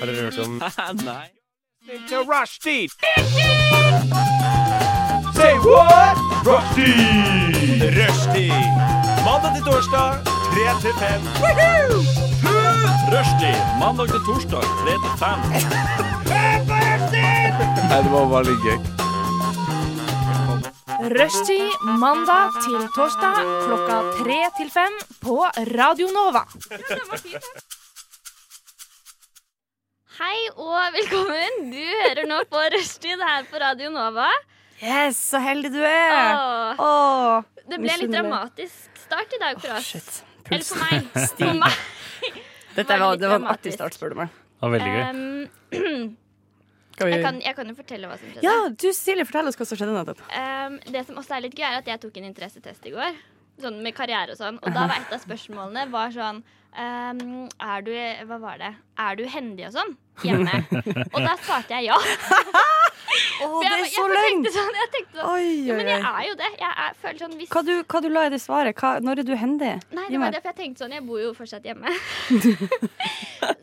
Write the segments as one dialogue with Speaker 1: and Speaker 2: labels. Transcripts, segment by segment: Speaker 1: Har dere hørt om
Speaker 2: Nei.
Speaker 3: Mandag til torsdag, 3 til 5. Rushtid. Mandag til torsdag, 3 til 5.
Speaker 4: Rushtid mandag til torsdag klokka tre til fem på Radio Nova.
Speaker 5: Hei og velkommen. Du hører nå på Rushtid her på Radio Nova.
Speaker 6: Yes, så heldig du er!
Speaker 5: Åh,
Speaker 6: Åh,
Speaker 5: det ble litt
Speaker 6: misunner.
Speaker 5: dramatisk start i dag for oss.
Speaker 6: shit.
Speaker 5: Eller
Speaker 6: Puls.
Speaker 5: for meg. For meg.
Speaker 6: Dette var,
Speaker 5: litt
Speaker 6: det var en artig
Speaker 5: dramatisk.
Speaker 6: start, spør du meg.
Speaker 1: Ja, veldig gøy.
Speaker 5: Um,
Speaker 6: Skal vi-
Speaker 5: jeg, kan, jeg kan jo fortelle hva som skjedde.
Speaker 6: Ja, du Silje, fortell oss hva som skjedde nettopp.
Speaker 5: Um, det som også er litt gøy, er at jeg tok en interessetest i går. Sånn med karriere og sånn. Og da var et av spørsmålene var sånn um, Er du Hva var det? Er du hendig og sånn? Hjemme. og da svarte jeg ja.
Speaker 6: Å,
Speaker 5: For
Speaker 6: det
Speaker 5: jeg,
Speaker 6: er
Speaker 5: jeg
Speaker 6: så
Speaker 5: tenkte
Speaker 6: løgn!
Speaker 5: sånn, jeg tenkte sånn
Speaker 6: Oi,
Speaker 5: ja,
Speaker 6: oi,
Speaker 5: men jeg
Speaker 6: oi.
Speaker 5: er jo det. Jeg er, føler sånn hvis
Speaker 6: Hva du, hva du la i det svaret? Hva, når er du hendig?
Speaker 5: Nei,
Speaker 6: Gi
Speaker 5: det var
Speaker 6: meg.
Speaker 5: derfor jeg tenkte sånn. Jeg bor jo fortsatt hjemme.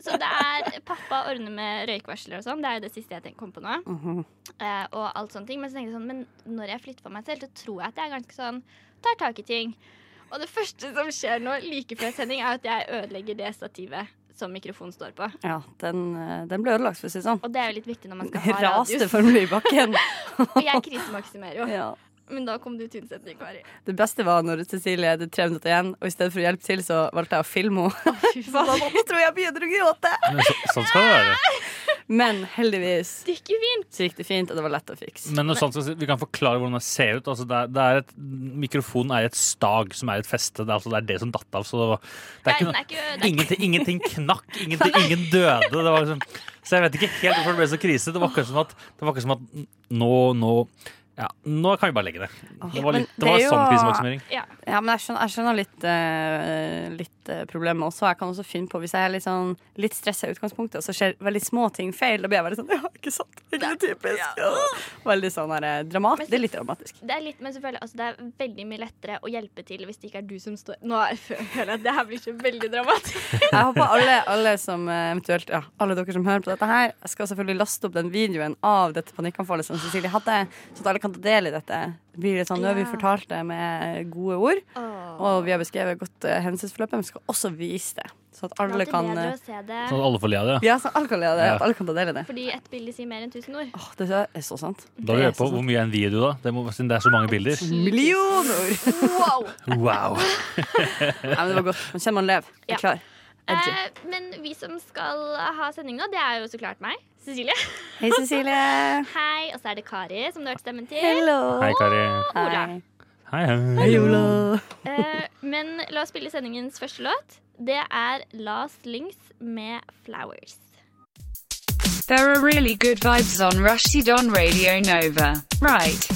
Speaker 5: så det er pappa ordner med røykvarsler og sånn. Det er jo det siste jeg tenk- kom på nå.
Speaker 6: Mhm.
Speaker 5: eh, og alt sånne ting. Men så tenkte jeg sånn, men når jeg flytter på meg selv, så tror jeg at jeg er ganske sånn Tar tak i ting. Og det første som skjer nå, like før sending, er at jeg ødelegger det stativet som mikrofonen står på.
Speaker 6: Ja, den, eh, den ble ødelagt, for å si det sånn.
Speaker 5: Og det er jo litt viktig når man skal ha
Speaker 6: Raste
Speaker 5: radius.
Speaker 6: formelig i bakken.
Speaker 5: Og jeg krisemaksimerer jo.
Speaker 6: Ja.
Speaker 5: Men da kom du til unnsetning, Kari.
Speaker 6: Det beste var når Cecilie hadde tre minutter igjen, og i stedet for å hjelpe til, så valgte jeg å filme henne. Nå tror jeg jeg begynner å gråte!
Speaker 1: Men så, sånn skal det være.
Speaker 6: Men heldigvis
Speaker 5: Stykke fint.
Speaker 6: så gikk det fint, og det var lett å fikse.
Speaker 1: Men når sånn skal, vi kan forklare hvordan det ser ut. Altså det er, det er et, mikrofonen er et stag som er et feste. Det er, altså, det, er det som datt av. Så det, var, det
Speaker 5: Nei,
Speaker 1: er ikke
Speaker 5: den er
Speaker 1: noe
Speaker 5: ikke, den er
Speaker 1: Ingenting, ingenting knakk, ingenting, ingen døde. Det var liksom, så jeg vet ikke helt hvorfor det ble så krise. Det var akkurat som at, det var akkurat som at nå, nå ja, Nå kan vi bare legge det. Det var,
Speaker 6: Men
Speaker 1: litt,
Speaker 6: det
Speaker 1: det var
Speaker 6: er jo-
Speaker 1: sånn krisemaksimering.
Speaker 5: ikke- ja.
Speaker 6: Ja, men jeg skjønner, jeg skjønner litt, eh, litt eh, problemet også. Jeg kan også finne på Hvis jeg er litt, sånn, litt stressa i utgangspunktet, og så skjer veldig små ting feil, da blir jeg veldig sånn Ja, ikke sant? Ikke det typisk? Ja. Veldig sånn her, eh, dramat. Det er litt dramatisk.
Speaker 5: Det er litt, men selvfølgelig, altså det er veldig mye lettere å hjelpe til hvis det ikke er du som står Nå er- føler jeg at det her blir så veldig dramatisk.
Speaker 6: Jeg håper alle, alle som eh, eventuelt Ja, alle dere som hører på dette her, jeg skal selvfølgelig laste opp den videoen av dette panikkanfallet som Cecilie hadde, så at alle kan ta del i dette. Det blir litt sånn, Nå har vi
Speaker 5: Ja.
Speaker 6: fortalt det med gode ord, og vi har beskrevet godt eh, hendelsesforløpet, men vi skal også vise det, så at
Speaker 5: det er
Speaker 6: alle
Speaker 5: alltid
Speaker 6: kan
Speaker 5: bedre
Speaker 6: eh,
Speaker 5: å se det,
Speaker 1: Sånn at alle får le av det. ja.
Speaker 6: Ja, så alle kan, le av det,
Speaker 1: Ja.
Speaker 6: at alle kan ta del i det.
Speaker 5: fordi et bilde sier mer enn tusen ord.
Speaker 6: Åh, det er så sant.
Speaker 1: Da lurer jeg på hvor mye er en video, da? Det, må, siden det er så mange bilder.
Speaker 6: Millioner!
Speaker 5: Wow!
Speaker 1: Wow.
Speaker 6: Nei, men det var godt. Nå kjenner man lev. Jeg
Speaker 5: Ja.
Speaker 6: er klar. Edgy.
Speaker 5: Eh, men vi som skal ha sending nå, det er jo så klart meg. Cecilie.
Speaker 6: Hei, Cecilie.
Speaker 5: Hei. Og så er det Kari, som du har hørt stemmen til.
Speaker 6: Hello.
Speaker 1: Hei, Kari.
Speaker 5: Og Ola.
Speaker 1: Hei, hei.
Speaker 6: Hei, Ola.
Speaker 5: Eh, men la oss spille sendingens første låt. Det er Lars Lynx med 'Flowers'.
Speaker 7: There are really good vibes on Rushdie on Radio Nova. Right.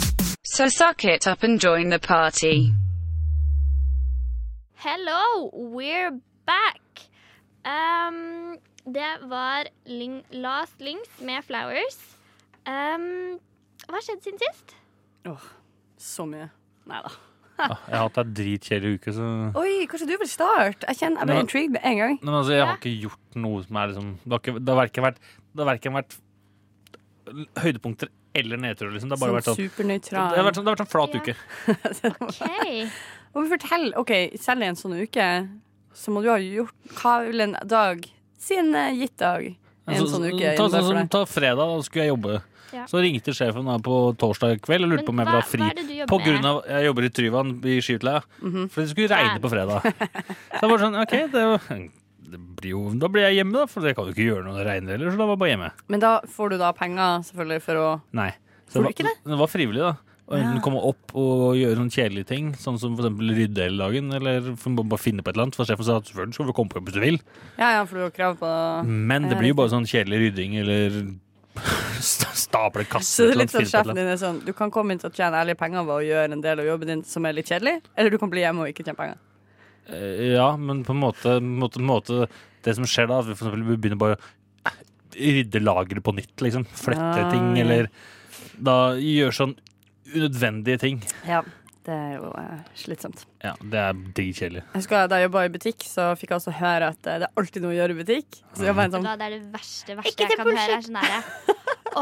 Speaker 7: So suck it up and join the party.
Speaker 5: Hello, we're back. Um, det var Ling Last Links med Flowers. Um, hva skjedde siden sist?
Speaker 6: Åh, så mye. Nei da.
Speaker 1: Ah, Jeg har hatt ei dritkjedelig uke, så
Speaker 6: Oi, kanskje du vil starte? Jeg kjenner, jeg ble
Speaker 1: Ja.
Speaker 6: intrigued med en gang.
Speaker 1: Nei, men altså, jeg har
Speaker 5: Ja.
Speaker 1: ikke gjort noe som er liksom Det har, ikke, det har verken vært Det har verken vært høydepunkter eller nedturer, liksom. Det har bare vært sånn det
Speaker 6: supernøytral.
Speaker 1: har vært, sånn, det har vært sånn flat
Speaker 5: Ja.
Speaker 1: uke.
Speaker 5: Hei.
Speaker 6: Må vi fortelle, ok, selv i en sånn uke, så må du ha gjort hva vil en dag, si en eh, gitt dag, i en
Speaker 1: Altså,
Speaker 6: sånn uke.
Speaker 1: ta,
Speaker 6: innenfor
Speaker 1: sånn, som-
Speaker 6: deg.
Speaker 1: ta fredag, da skulle jeg jobbe.
Speaker 5: Ja.
Speaker 1: Så ringte sjefen da på torsdag kveld og lurte på om jeg ville
Speaker 5: hva,
Speaker 1: ha fri.
Speaker 5: hva er det du
Speaker 1: På
Speaker 5: jobber
Speaker 1: grunn
Speaker 5: med?
Speaker 1: av Jeg jobber i Tryvann i skiutleia.
Speaker 6: Mhm.
Speaker 1: For det skulle regne
Speaker 5: Ja.
Speaker 1: på fredag. Så jeg bare sånn, ok, det, er jo- det blir jo, Da blir jeg hjemme, da. For jeg kan jo ikke gjøre noe når det regner heller. Så da var jeg bare hjemme.
Speaker 6: Men da får du da penger, selvfølgelig, for å...
Speaker 1: Nei.
Speaker 6: Får
Speaker 1: Så
Speaker 6: du
Speaker 1: det,
Speaker 6: ikke
Speaker 1: var, det var frivillig, da. Å enten
Speaker 6: Ja.
Speaker 1: komme opp og gjøre noen kjedelige ting, sånn som for eksempel rydde hele dagen, eller for må bare finne på et eller annet. For sjefen sa at selvfølgelig skal du komme på jobb hvis du vil,
Speaker 6: Ja, ja, for du har krav på...
Speaker 1: men det
Speaker 6: Ja,
Speaker 1: blir jo bare sånn kjedelig rydding eller st- stable
Speaker 6: Så
Speaker 1: kasser.
Speaker 6: det er
Speaker 1: eller
Speaker 6: litt sånn
Speaker 1: noe, finne på et eller
Speaker 6: sjefen din er sånn Du kan komme inn til å tjene ærlige penger ved å gjøre en del av jobben din som er litt kjedelig, eller du kan bli hjemme og ikke tjene penger.
Speaker 1: annet. Eh, Ja, men på en måte, måte, måte Det som skjer da, at vi for eksempel vi begynner bare å rydde lageret på nytt, liksom. Flette
Speaker 6: Ah,
Speaker 1: ting,
Speaker 6: ja.
Speaker 1: eller da gjøre sånn unødvendige ting.
Speaker 6: Ja. Det er jo eh, slitsomt.
Speaker 1: Ja, det er dritkjedelig.
Speaker 6: Jeg husker Da jeg jobba i butikk, så fikk jeg også høre at eh, det er alltid noe å gjøre i butikk. Så jeg var
Speaker 5: Vet
Speaker 6: en
Speaker 5: du
Speaker 6: sånn
Speaker 5: hva, det er det verste, verste jeg kan høre. Er sånn her,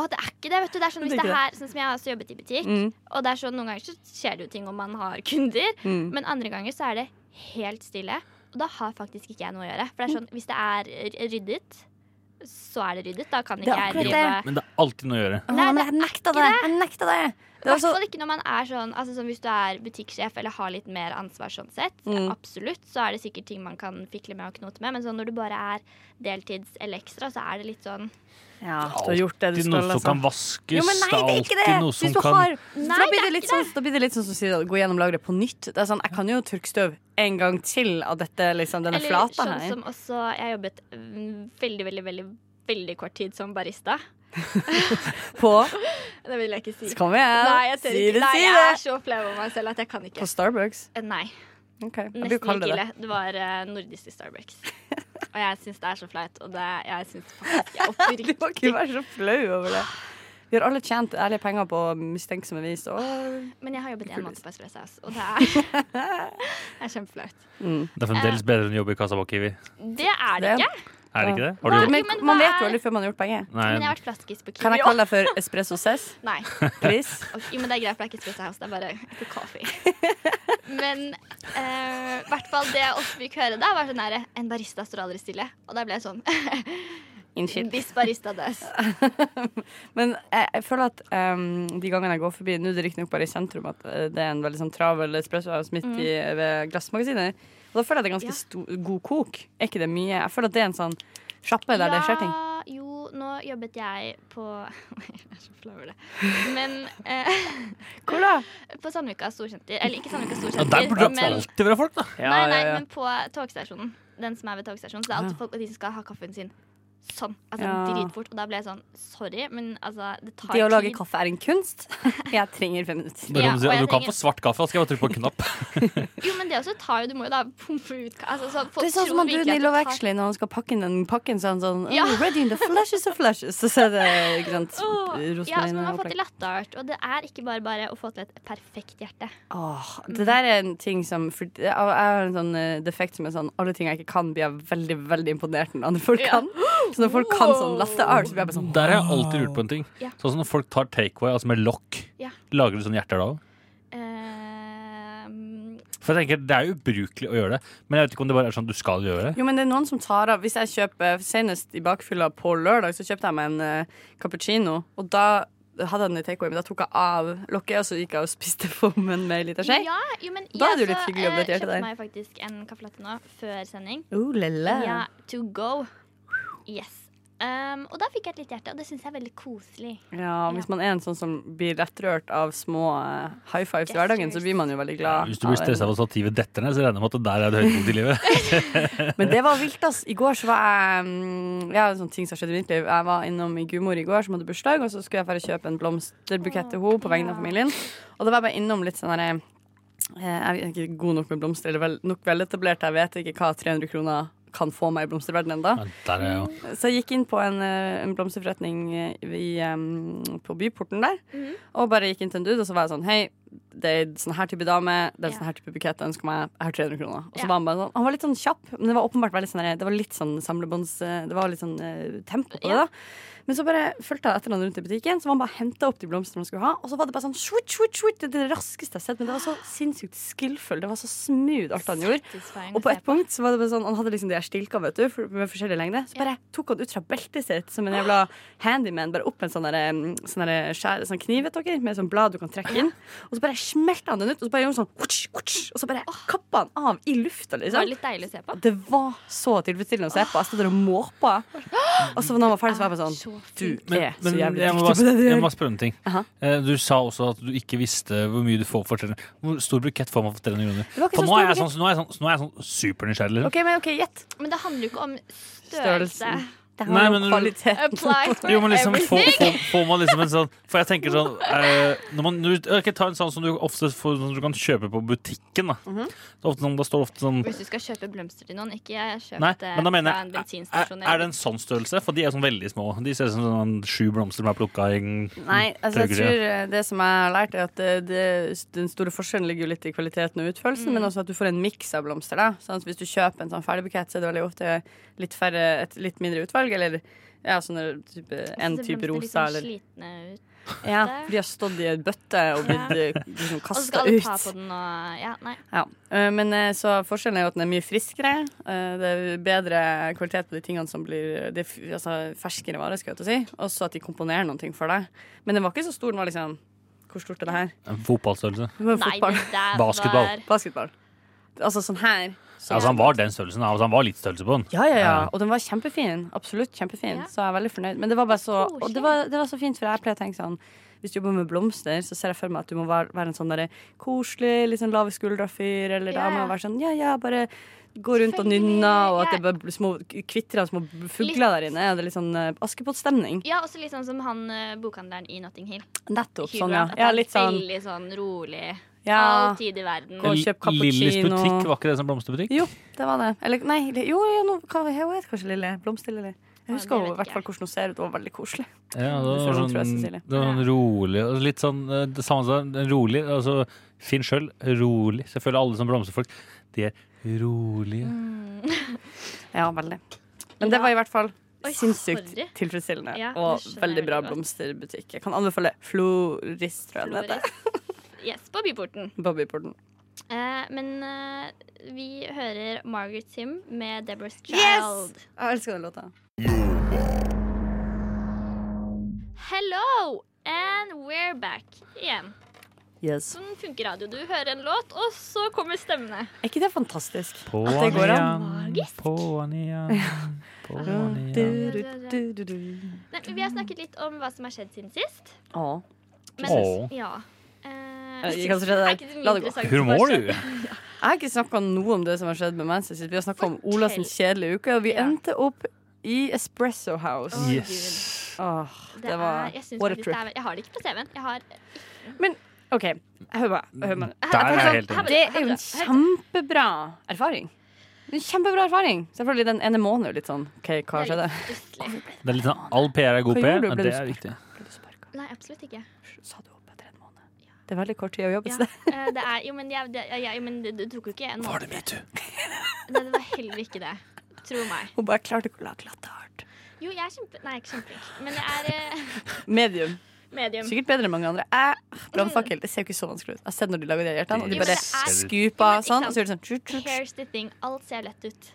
Speaker 5: Å, det er ikke det, vet du. Det er sånn, hvis
Speaker 6: Det er
Speaker 5: det
Speaker 6: ikke
Speaker 5: er sånn som jeg har også jobbet i butikk,
Speaker 6: Mm.
Speaker 5: og det er sånn, noen ganger så skjer det jo ting om man har kunder,
Speaker 6: Mm.
Speaker 5: men andre ganger så er det helt stille. Og da har faktisk ikke jeg noe å gjøre. For det er sånn, hvis det er r- ryddet, så er det ryddet. Da kan
Speaker 6: er
Speaker 5: ikke jeg
Speaker 6: akkurat
Speaker 5: drive
Speaker 1: Men det er alltid noe å gjøre.
Speaker 5: Nei,
Speaker 6: Å,
Speaker 5: det
Speaker 6: jeg nekta det! Jeg nekta det.
Speaker 5: I
Speaker 6: det var
Speaker 5: hvert
Speaker 6: så,
Speaker 5: fall ikke når man er sånn altså sånn Hvis du er butikksjef eller har litt mer ansvar sånn sett,
Speaker 6: Mm.
Speaker 5: absolutt, så er det sikkert ting man kan fikle med og knote med, men sånn når du bare er deltids eller ekstra, så er det litt sånn
Speaker 6: ja, du har gjort det du
Speaker 1: Alltid
Speaker 6: skal.
Speaker 1: noe som kan
Speaker 6: Liksom.
Speaker 1: vaskes.
Speaker 6: Jo, men nei, det er ikke det!
Speaker 1: alltid noe som
Speaker 6: Hvis du
Speaker 1: kan
Speaker 6: har,
Speaker 5: Nei,
Speaker 6: da,
Speaker 5: det
Speaker 6: blir
Speaker 5: er
Speaker 6: det litt
Speaker 5: ikke
Speaker 6: sånn, da blir det litt sånn som sier at gå gjennom lageret på nytt. Det er sånn, Jeg kan jo tørke støv en gang til av dette, liksom, denne
Speaker 5: Eller
Speaker 6: flata
Speaker 5: sånn
Speaker 6: her.
Speaker 5: som også Jeg jobbet mm, veldig, veldig, veldig veldig kort tid som barista.
Speaker 6: På
Speaker 5: Det vil jeg ikke si.
Speaker 6: Kom igjen,
Speaker 5: Nei, jeg tør
Speaker 6: si
Speaker 5: ikke.
Speaker 6: det,
Speaker 5: Nei,
Speaker 6: si
Speaker 5: jeg er
Speaker 6: det!
Speaker 5: så flau over meg selv at jeg kan ikke.
Speaker 6: På Starbucks.
Speaker 5: Eh, Nei,
Speaker 6: Ok, jeg blir jo
Speaker 5: nesten
Speaker 6: kald
Speaker 5: ikke
Speaker 6: i
Speaker 5: ille.
Speaker 6: det.
Speaker 5: Det var eh, nordisk i Starbucks. Og jeg syns det er så flaut. Og det, jeg syns faktisk jeg
Speaker 6: Du må ikke
Speaker 5: oppriktig
Speaker 6: være så flau over det. Vi har alle tjent ærlige penger på mistenksomme vis. Og
Speaker 5: Men jeg har jobbet én måned på Espresso House, og det er, det er kjempeflaut.
Speaker 1: Det er fremdeles bedre enn å jobbe i kassa på Kiwi.
Speaker 5: Det er det
Speaker 6: Det-
Speaker 5: ikke.
Speaker 1: Er det ikke det? Har du
Speaker 5: Nei.
Speaker 1: gjort det?
Speaker 6: men,
Speaker 5: men hva
Speaker 6: man vet jo
Speaker 5: er-
Speaker 6: aldri før man har gjort penger.
Speaker 1: Nei.
Speaker 5: Men jeg har vært flaskis på
Speaker 6: Kan
Speaker 5: Kiwi.
Speaker 6: jeg kalle deg for espresso cess,
Speaker 5: Nei.
Speaker 6: please?
Speaker 5: Ok, men det er greit, for det er ikke Espresso House, det er bare ikke kaffe. Men eh, i hvert fall det jeg også fikk høre da, var sånn her En barista står aldri stille. Og da ble jeg sånn
Speaker 6: Unnskyld.
Speaker 5: This barista does.
Speaker 6: Men jeg, jeg føler at em, de gangene jeg går forbi Nå er det riktignok bare i sentrum at eh, det er en veldig sånn travel espresso house midt i, ved glassmagasiner. Og da føler jeg det er ganske
Speaker 5: Mm. Ja.
Speaker 6: sto- god kok. Er ikke det mye? Jeg føler at det er en sånn sjappe der det skjer ting.
Speaker 5: Ja, jo, nå jobbet jeg på Jeg er så flau over det. Men eh,
Speaker 6: Hvor da?
Speaker 5: på Sandvika storsenter Eller ikke Sandvika
Speaker 1: Ja, der
Speaker 5: storsenter,
Speaker 1: burde det
Speaker 5: men
Speaker 1: alltid være folk, da.
Speaker 5: Nei, nei, men på togstasjonen. Den som er ved togstasjonen. Så det er alltid folk og de som skal ha kaffen sin sånn. Altså
Speaker 6: Ja.
Speaker 5: dritfort. Og da ble jeg sånn Sorry, men altså Det tar
Speaker 6: Det å lage
Speaker 5: tid.
Speaker 6: kaffe er en kunst. Jeg trenger fem minutter.
Speaker 1: Men
Speaker 5: Ja,
Speaker 1: om du, sier at
Speaker 5: og jeg
Speaker 1: du kan
Speaker 5: tenker-
Speaker 1: få svart kaffe, da skal jeg bare trykke på en knapp.
Speaker 5: Jo, men det også tar jo Du må jo da pumpe ut ka- altså, så folk
Speaker 6: Det er sånn som
Speaker 5: tror
Speaker 6: han
Speaker 5: virkelig
Speaker 6: duden i
Speaker 5: at
Speaker 6: Love
Speaker 5: det tar-
Speaker 6: Actually når han skal pakke inn den pakken, så er han sånn
Speaker 5: Ja.
Speaker 6: oh, Ready in the flashes of flashes. Og så er det ikke sant,
Speaker 5: Åh, Ja, så man har fått til
Speaker 6: rosmarinopplegg.
Speaker 5: latte art. Og det er ikke bare bare å få til et perfekt hjerte.
Speaker 6: Åh,
Speaker 5: Mm.
Speaker 6: det der er en ting som for, Jeg jeg har en sånn eh, defekt som er sånn Alle ting jeg ikke kan, blir jeg veldig veldig imponert når andre folk kan. Så når folk kan sånn latte art, så blir jeg bare sånn
Speaker 1: Der har jeg alltid lurt på en ting.
Speaker 5: Ja.
Speaker 1: Sånn som når folk tar takeaway, altså med lokk.
Speaker 5: Ja.
Speaker 1: Lager du sånne hjerter da òg?
Speaker 5: Ehm,
Speaker 1: For jeg tenker, Det er jo ubrukelig å gjøre det, men jeg vet ikke om det bare er sånn du skal gjøre det.
Speaker 6: Jo, men det er noen som tar av Hvis jeg kjøper senest i bakfylla på lørdag, så kjøpte jeg meg en eh, cappuccino, og da hadde jeg den i takeaway, men da tok jeg av lokket, og så gikk jeg og spiste formen med en liten skje.
Speaker 5: ja, jo, men
Speaker 6: Da er
Speaker 5: jeg
Speaker 6: det jo litt
Speaker 5: så,
Speaker 6: hyggelig å
Speaker 5: eh,
Speaker 6: bli irritert der.
Speaker 5: kjøpte meg faktisk en caffè latte nå, før sending.
Speaker 6: Oh, lille.
Speaker 5: Ja, to go. Yes. Ehm, og da fikk jeg et lite hjerte, og det syns jeg er veldig koselig.
Speaker 6: Ja, hvis man er en sånn som blir lettrørt av små eh, high fives i hverdagen, så blir man jo veldig glad.
Speaker 1: Hvis du blir
Speaker 6: av
Speaker 1: stressa av at stativet detter ned, så regner jeg med at det der er et høydepunkt i livet.
Speaker 6: det. Men det var vilt, ass. I går så var jeg mm, Ja, en sånn ting som har skjedd i mitt liv. Jeg var innom i gudmor i går som hadde bursdag, og så skulle jeg bare kjøpe en blomsterbukett til henne på vegne av familien. Og da var jeg bare innom litt sånn herre Jeg er ikke god nok med blomster, eller vel, nok veletablert, jeg vet ikke hva 300 kroner kan få meg i blomsterverdenen ennå.
Speaker 1: Ja, Der er jo
Speaker 6: Så jeg gikk inn på en, eh, en blomsterforretning eh, i, em, på byporten der.
Speaker 5: Mhm.
Speaker 6: Og bare gikk inn til en dude, og så var jeg sånn Hei, det er en sånn her type dame. Det er en
Speaker 5: Ja.
Speaker 6: sånn her type bukett. Jeg ønsker meg. Jeg har 300 kroner. Og så
Speaker 5: Ja.
Speaker 6: var han bare sånn Han var litt sånn kjapp, men det var åpenbart veldig sånn her- Det var litt sånn samlebånds eh, Det var litt sånn eh, tempo på det,
Speaker 5: Ja.
Speaker 6: da. Men så bare fulgte jeg etter han rundt i butikken, så var han bare henta opp de blomstene han skulle ha. Og så var det bare sånn shuit, shuit, shuit, Det er det raskeste jeg har sett, men det var så sinnssykt skillfull. Det var så smooth alt han gjorde.
Speaker 5: Satisfying å
Speaker 6: Og på
Speaker 5: se
Speaker 6: et punkt så var det bare sånn Han hadde liksom de her stilka, vet du, for- med forskjellig lengde. Så bare tok han ut fra beltet sitt som en jævla handyman, bare opp en sånn derre sånn der skjære, sånn kniv, vet dere, med sånn blad du kan trekke inn. Og så bare smelte han den ut, og så bare gjorde han sånn kutsj, kutsj, Og så bare kappa han av i lufta,
Speaker 5: Ah. Det var
Speaker 6: liksom.
Speaker 5: litt deilig å se på.
Speaker 6: Det var så tilfredsstillende å se på. Jeg stod der og måpa. Og så når han var ferdig, så var jeg bare
Speaker 5: Så
Speaker 6: sånn Du
Speaker 1: Men,
Speaker 6: er så
Speaker 1: men jeg,
Speaker 6: jævlig
Speaker 1: må
Speaker 6: dyktig på
Speaker 1: bare,
Speaker 6: det du
Speaker 1: jeg må
Speaker 6: gjør.
Speaker 1: bare spørre om en ting.
Speaker 6: Aha.
Speaker 1: Eh, Du sa også at du ikke visste hvor mye du får for 300 Hvor stor bukett får man for 300 kroner?
Speaker 6: var ikke
Speaker 1: For
Speaker 6: så
Speaker 1: nå er jeg
Speaker 6: stor
Speaker 1: sånn, nå er jeg sånn, nå er jeg sånn supernysgjerrig. Liksom.
Speaker 6: OK, men OK, gjett.
Speaker 5: Men det handler jo ikke om størrelse.
Speaker 6: Størrelsen. Det
Speaker 1: Nei,
Speaker 6: har jo
Speaker 1: men-
Speaker 6: kvalitet.
Speaker 5: Applies for
Speaker 1: Jo, men liksom få,
Speaker 5: everything.
Speaker 1: få, får man liksom en sånn For jeg tenker sånn eh, når man, når, ok, Ta en sånn som du ofte får, som du kan kjøpe på butikken. Da.
Speaker 6: Mhm.
Speaker 1: det, er ofte, sånn- det står ofte sånn
Speaker 5: Hvis du skal kjøpe blomster til noen, ikke kjøp
Speaker 1: Nei,
Speaker 5: det
Speaker 1: men da mener
Speaker 5: eh, fra en
Speaker 1: jeg er,
Speaker 5: bensinstasjon.
Speaker 1: er det en sånn størrelse? For de er sånn veldig små. De ser ut som sånn sju blomster som er plukka i en
Speaker 6: Nei, altså jeg
Speaker 1: tørker.
Speaker 6: tror eh, det som jeg har lært, er at det, det, den store forskjellen ligger jo litt i kvaliteten og utførelsen,
Speaker 1: Mm.
Speaker 6: men også at du får en miks av blomster. da sånn at Hvis du kjøper en sånn ferdigbukett, så er det veldig ofte litt færre, et litt mindre utvalg, eller ja, sånne type,
Speaker 5: Altså,
Speaker 6: en type rosa,
Speaker 5: eller liksom
Speaker 6: eller
Speaker 5: slitne ut.
Speaker 6: ja,
Speaker 5: der.
Speaker 6: De har stått i en bøtte og blitt eh, liksom,
Speaker 5: Og så
Speaker 6: kasta
Speaker 5: skal alle ta
Speaker 6: ut.
Speaker 5: på den og Ja, nei.
Speaker 6: Ja. eh, Men eh, så forskjellen er jo at den er mye friskere. eh, Det er bedre kvalitet på de tingene som blir det er, f- altså, ferskere varer, skal jeg til å si. Også at de komponerer noen ting for deg. Men den var ikke så stor. Den var liksom Hvor stort er det her?
Speaker 1: en fotballstørrelse.
Speaker 6: Det var jo
Speaker 5: nei
Speaker 6: fotball.
Speaker 5: det der
Speaker 1: Basketball.
Speaker 5: var-
Speaker 6: Basketball. Altså sånn her. Så-
Speaker 1: Altså, han var den størrelsen. Altså, han var litt størrelse på den.
Speaker 6: Ja, ja, ja. Og den var kjempefin. Absolutt kjempefin.
Speaker 5: Ja.
Speaker 6: Så jeg er veldig fornøyd. Men det var bare så Og
Speaker 5: Koselig.
Speaker 6: det var, det var så fint, for jeg pleier å tenke sånn Hvis du jobber med blomster, så ser jeg for meg at du må være, være en sånn derre koselig, litt sånn lave skuldra-fyr, eller
Speaker 5: Ja,
Speaker 6: dame
Speaker 5: ja.
Speaker 6: og være sånn ja, ja, bare Gå rundt og
Speaker 5: Selvfølgelig,
Speaker 6: nynner, og at
Speaker 5: ja.
Speaker 6: det bare blir små kvitrer av små fugler der inne. og Det er litt sånn uh, Askepott-stemning.
Speaker 5: Ja, også litt sånn som han eh, bokhandleren i Notting Hill.
Speaker 6: Nettopp.
Speaker 5: Hugo,
Speaker 6: Sånn, ja.
Speaker 5: at
Speaker 6: ja.
Speaker 5: han
Speaker 6: Litt sånn
Speaker 5: Veldig sånn rolig.
Speaker 6: Ja.
Speaker 5: All tid i verden.
Speaker 6: Gå og kjøp cappuccino.
Speaker 1: Lillys butikk, var ikke det som blomsterbutikk?
Speaker 6: Jo, det var det. Eller nei, li- jo, jo, nå, hva hun het kanskje Lille? Blomster-Lille. Jeg
Speaker 5: Ja,
Speaker 6: husker
Speaker 5: det
Speaker 6: jo i
Speaker 5: vet
Speaker 6: hvert fall
Speaker 5: ikke
Speaker 6: hvordan hun ser ut. Hun var veldig koselig.
Speaker 1: Ja, det
Speaker 6: Det
Speaker 1: var
Speaker 6: tror jeg,
Speaker 1: sånn,
Speaker 6: tror jeg, Cecilie.
Speaker 1: det var sånn rolig og Litt sånn eh, det samme som rolig. Altså, Finn sjøl, rolig. Selvfølgelig alle som blomsterfolk, de er rolige.
Speaker 6: Ja, veldig. Men det var i hvert fall
Speaker 5: Oi,
Speaker 6: sinnssykt
Speaker 5: sorry.
Speaker 6: tilfredsstillende
Speaker 5: Ja, det
Speaker 6: og
Speaker 5: skjønner jeg
Speaker 6: veldig bra
Speaker 5: veldig godt.
Speaker 6: blomsterbutikk. Jeg kan anbefale Florist, tror jeg den heter.
Speaker 5: Yes, på Byporten.
Speaker 6: Bobbyporten.
Speaker 5: Eh, men eh, vi hører Margaret Sim med Deborah's
Speaker 6: Yes!
Speaker 5: Child.
Speaker 6: Jeg elsker den låta.
Speaker 5: Hello! And we're back igjen.
Speaker 6: Yes.
Speaker 5: Sånn funker radio. Du hører en låt, og så kommer stemmene.
Speaker 6: Er ikke det fantastisk?
Speaker 1: På
Speaker 6: At det går an.
Speaker 5: Magisk.
Speaker 1: på han igjen, på han igjen.
Speaker 6: Du, du, du, du, du.
Speaker 5: Nei, men vi har snakket litt om hva som har skjedd siden sist.
Speaker 6: Å.
Speaker 5: Men,
Speaker 1: Åh.
Speaker 5: ja. Eh,
Speaker 6: Eh, jeg kan ikke skjønne det.
Speaker 5: er ikke så mye
Speaker 6: La det gå.
Speaker 5: interessant
Speaker 1: Hvor må
Speaker 5: som har
Speaker 1: du?
Speaker 5: skjedd.
Speaker 6: Jeg har ikke snakka noe om det som har skjedd med meg siden sist. Vi har snakka om Olas kjedelige uke, og vi
Speaker 5: Ja.
Speaker 6: endte opp i Espresso House.
Speaker 5: Å,
Speaker 1: Yes.
Speaker 6: Åh,
Speaker 5: Gud.
Speaker 6: det var
Speaker 5: er, jeg, synes
Speaker 6: what a
Speaker 5: faktisk
Speaker 6: trip.
Speaker 5: det er, jeg har det ikke på CV-en. Jeg har
Speaker 6: Men OK, hør meg. Hør meg.
Speaker 1: Der er sånn-
Speaker 5: sånn-
Speaker 1: jeg helt enig.
Speaker 6: Det sånn- er jo en kjempebra erfaring. En kjempebra erfaring. Selvfølgelig den ene måneden er jo litt sånn OK,
Speaker 5: Det
Speaker 6: hva
Speaker 5: er
Speaker 6: skjedde?
Speaker 5: litt stusslig.
Speaker 1: Det er litt sånn, All PR er god
Speaker 6: Hva
Speaker 1: PR,
Speaker 6: gjorde du?
Speaker 1: men
Speaker 6: Ble
Speaker 1: det
Speaker 6: du
Speaker 1: er
Speaker 6: smart?
Speaker 1: viktig.
Speaker 6: Ble du sparka?
Speaker 5: Nei, absolutt ikke.
Speaker 6: Sa du opp etter en måned? Det er veldig kort tid å jobbe
Speaker 5: Ja,
Speaker 6: et sted.
Speaker 5: eh, det er, jo, men, jeg, det, jeg, men det, det tok jo ikke en måned. Var det metoo? Nei, det var heller ikke det. Tro meg.
Speaker 6: Hun bare klarte ikke å lage latte hardt.
Speaker 5: Jo, jeg er kjempe... Nei, ikke kjempeflink. Men jeg er eh,
Speaker 6: Medium.
Speaker 5: medium.
Speaker 6: Sikkert bedre enn mange andre. Eh, Brannfakkel. Det ser jo ikke så vanskelig ut. Jeg har sett når de lager de hjertene, og de
Speaker 5: Jo, men
Speaker 6: bare
Speaker 5: det er-
Speaker 6: skuper
Speaker 5: Jo, men ikke
Speaker 6: sånn,
Speaker 5: sant.
Speaker 6: og så gjør de sånn tjut, tjut, tjut.
Speaker 5: Here's the thing. Alt ser lett ut.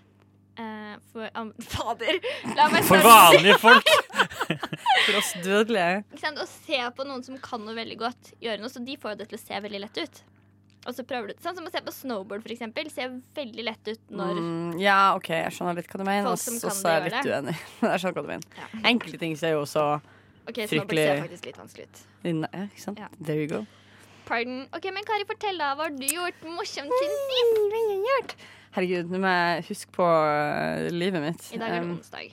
Speaker 5: Eh, for am- Fader! La meg
Speaker 1: For
Speaker 5: starte.
Speaker 1: vanlige folk!
Speaker 6: for oss dødelige.
Speaker 5: Ikke sant? Å se på noen som kan noe veldig godt, gjøre noe, så de får jo det til å se veldig lett ut. Og så prøver du Sånn som å se på snowboard, for eksempel. Ser veldig lett ut når
Speaker 6: Mm, ja, OK, jeg skjønner litt hva du mener,
Speaker 5: Folk
Speaker 6: og
Speaker 5: som
Speaker 6: så
Speaker 5: kan
Speaker 6: så er jeg
Speaker 5: det,
Speaker 6: litt uenig. Jeg skjønner hva du mener.
Speaker 5: Ja.
Speaker 6: Enkelte ting ser jo så
Speaker 5: OK, snowboard ser
Speaker 6: Fryktelig.
Speaker 5: faktisk litt vanskelig ut.
Speaker 6: Nei, ikke sant?
Speaker 5: Ja.
Speaker 6: There you go.
Speaker 5: Pardon. OK, men Kari, fortell, da. Hva har du gjort morsomt siden sist?
Speaker 6: Herregud, nå må jeg huske på øh, livet mitt.
Speaker 5: I dag er det
Speaker 6: Um,
Speaker 5: onsdag.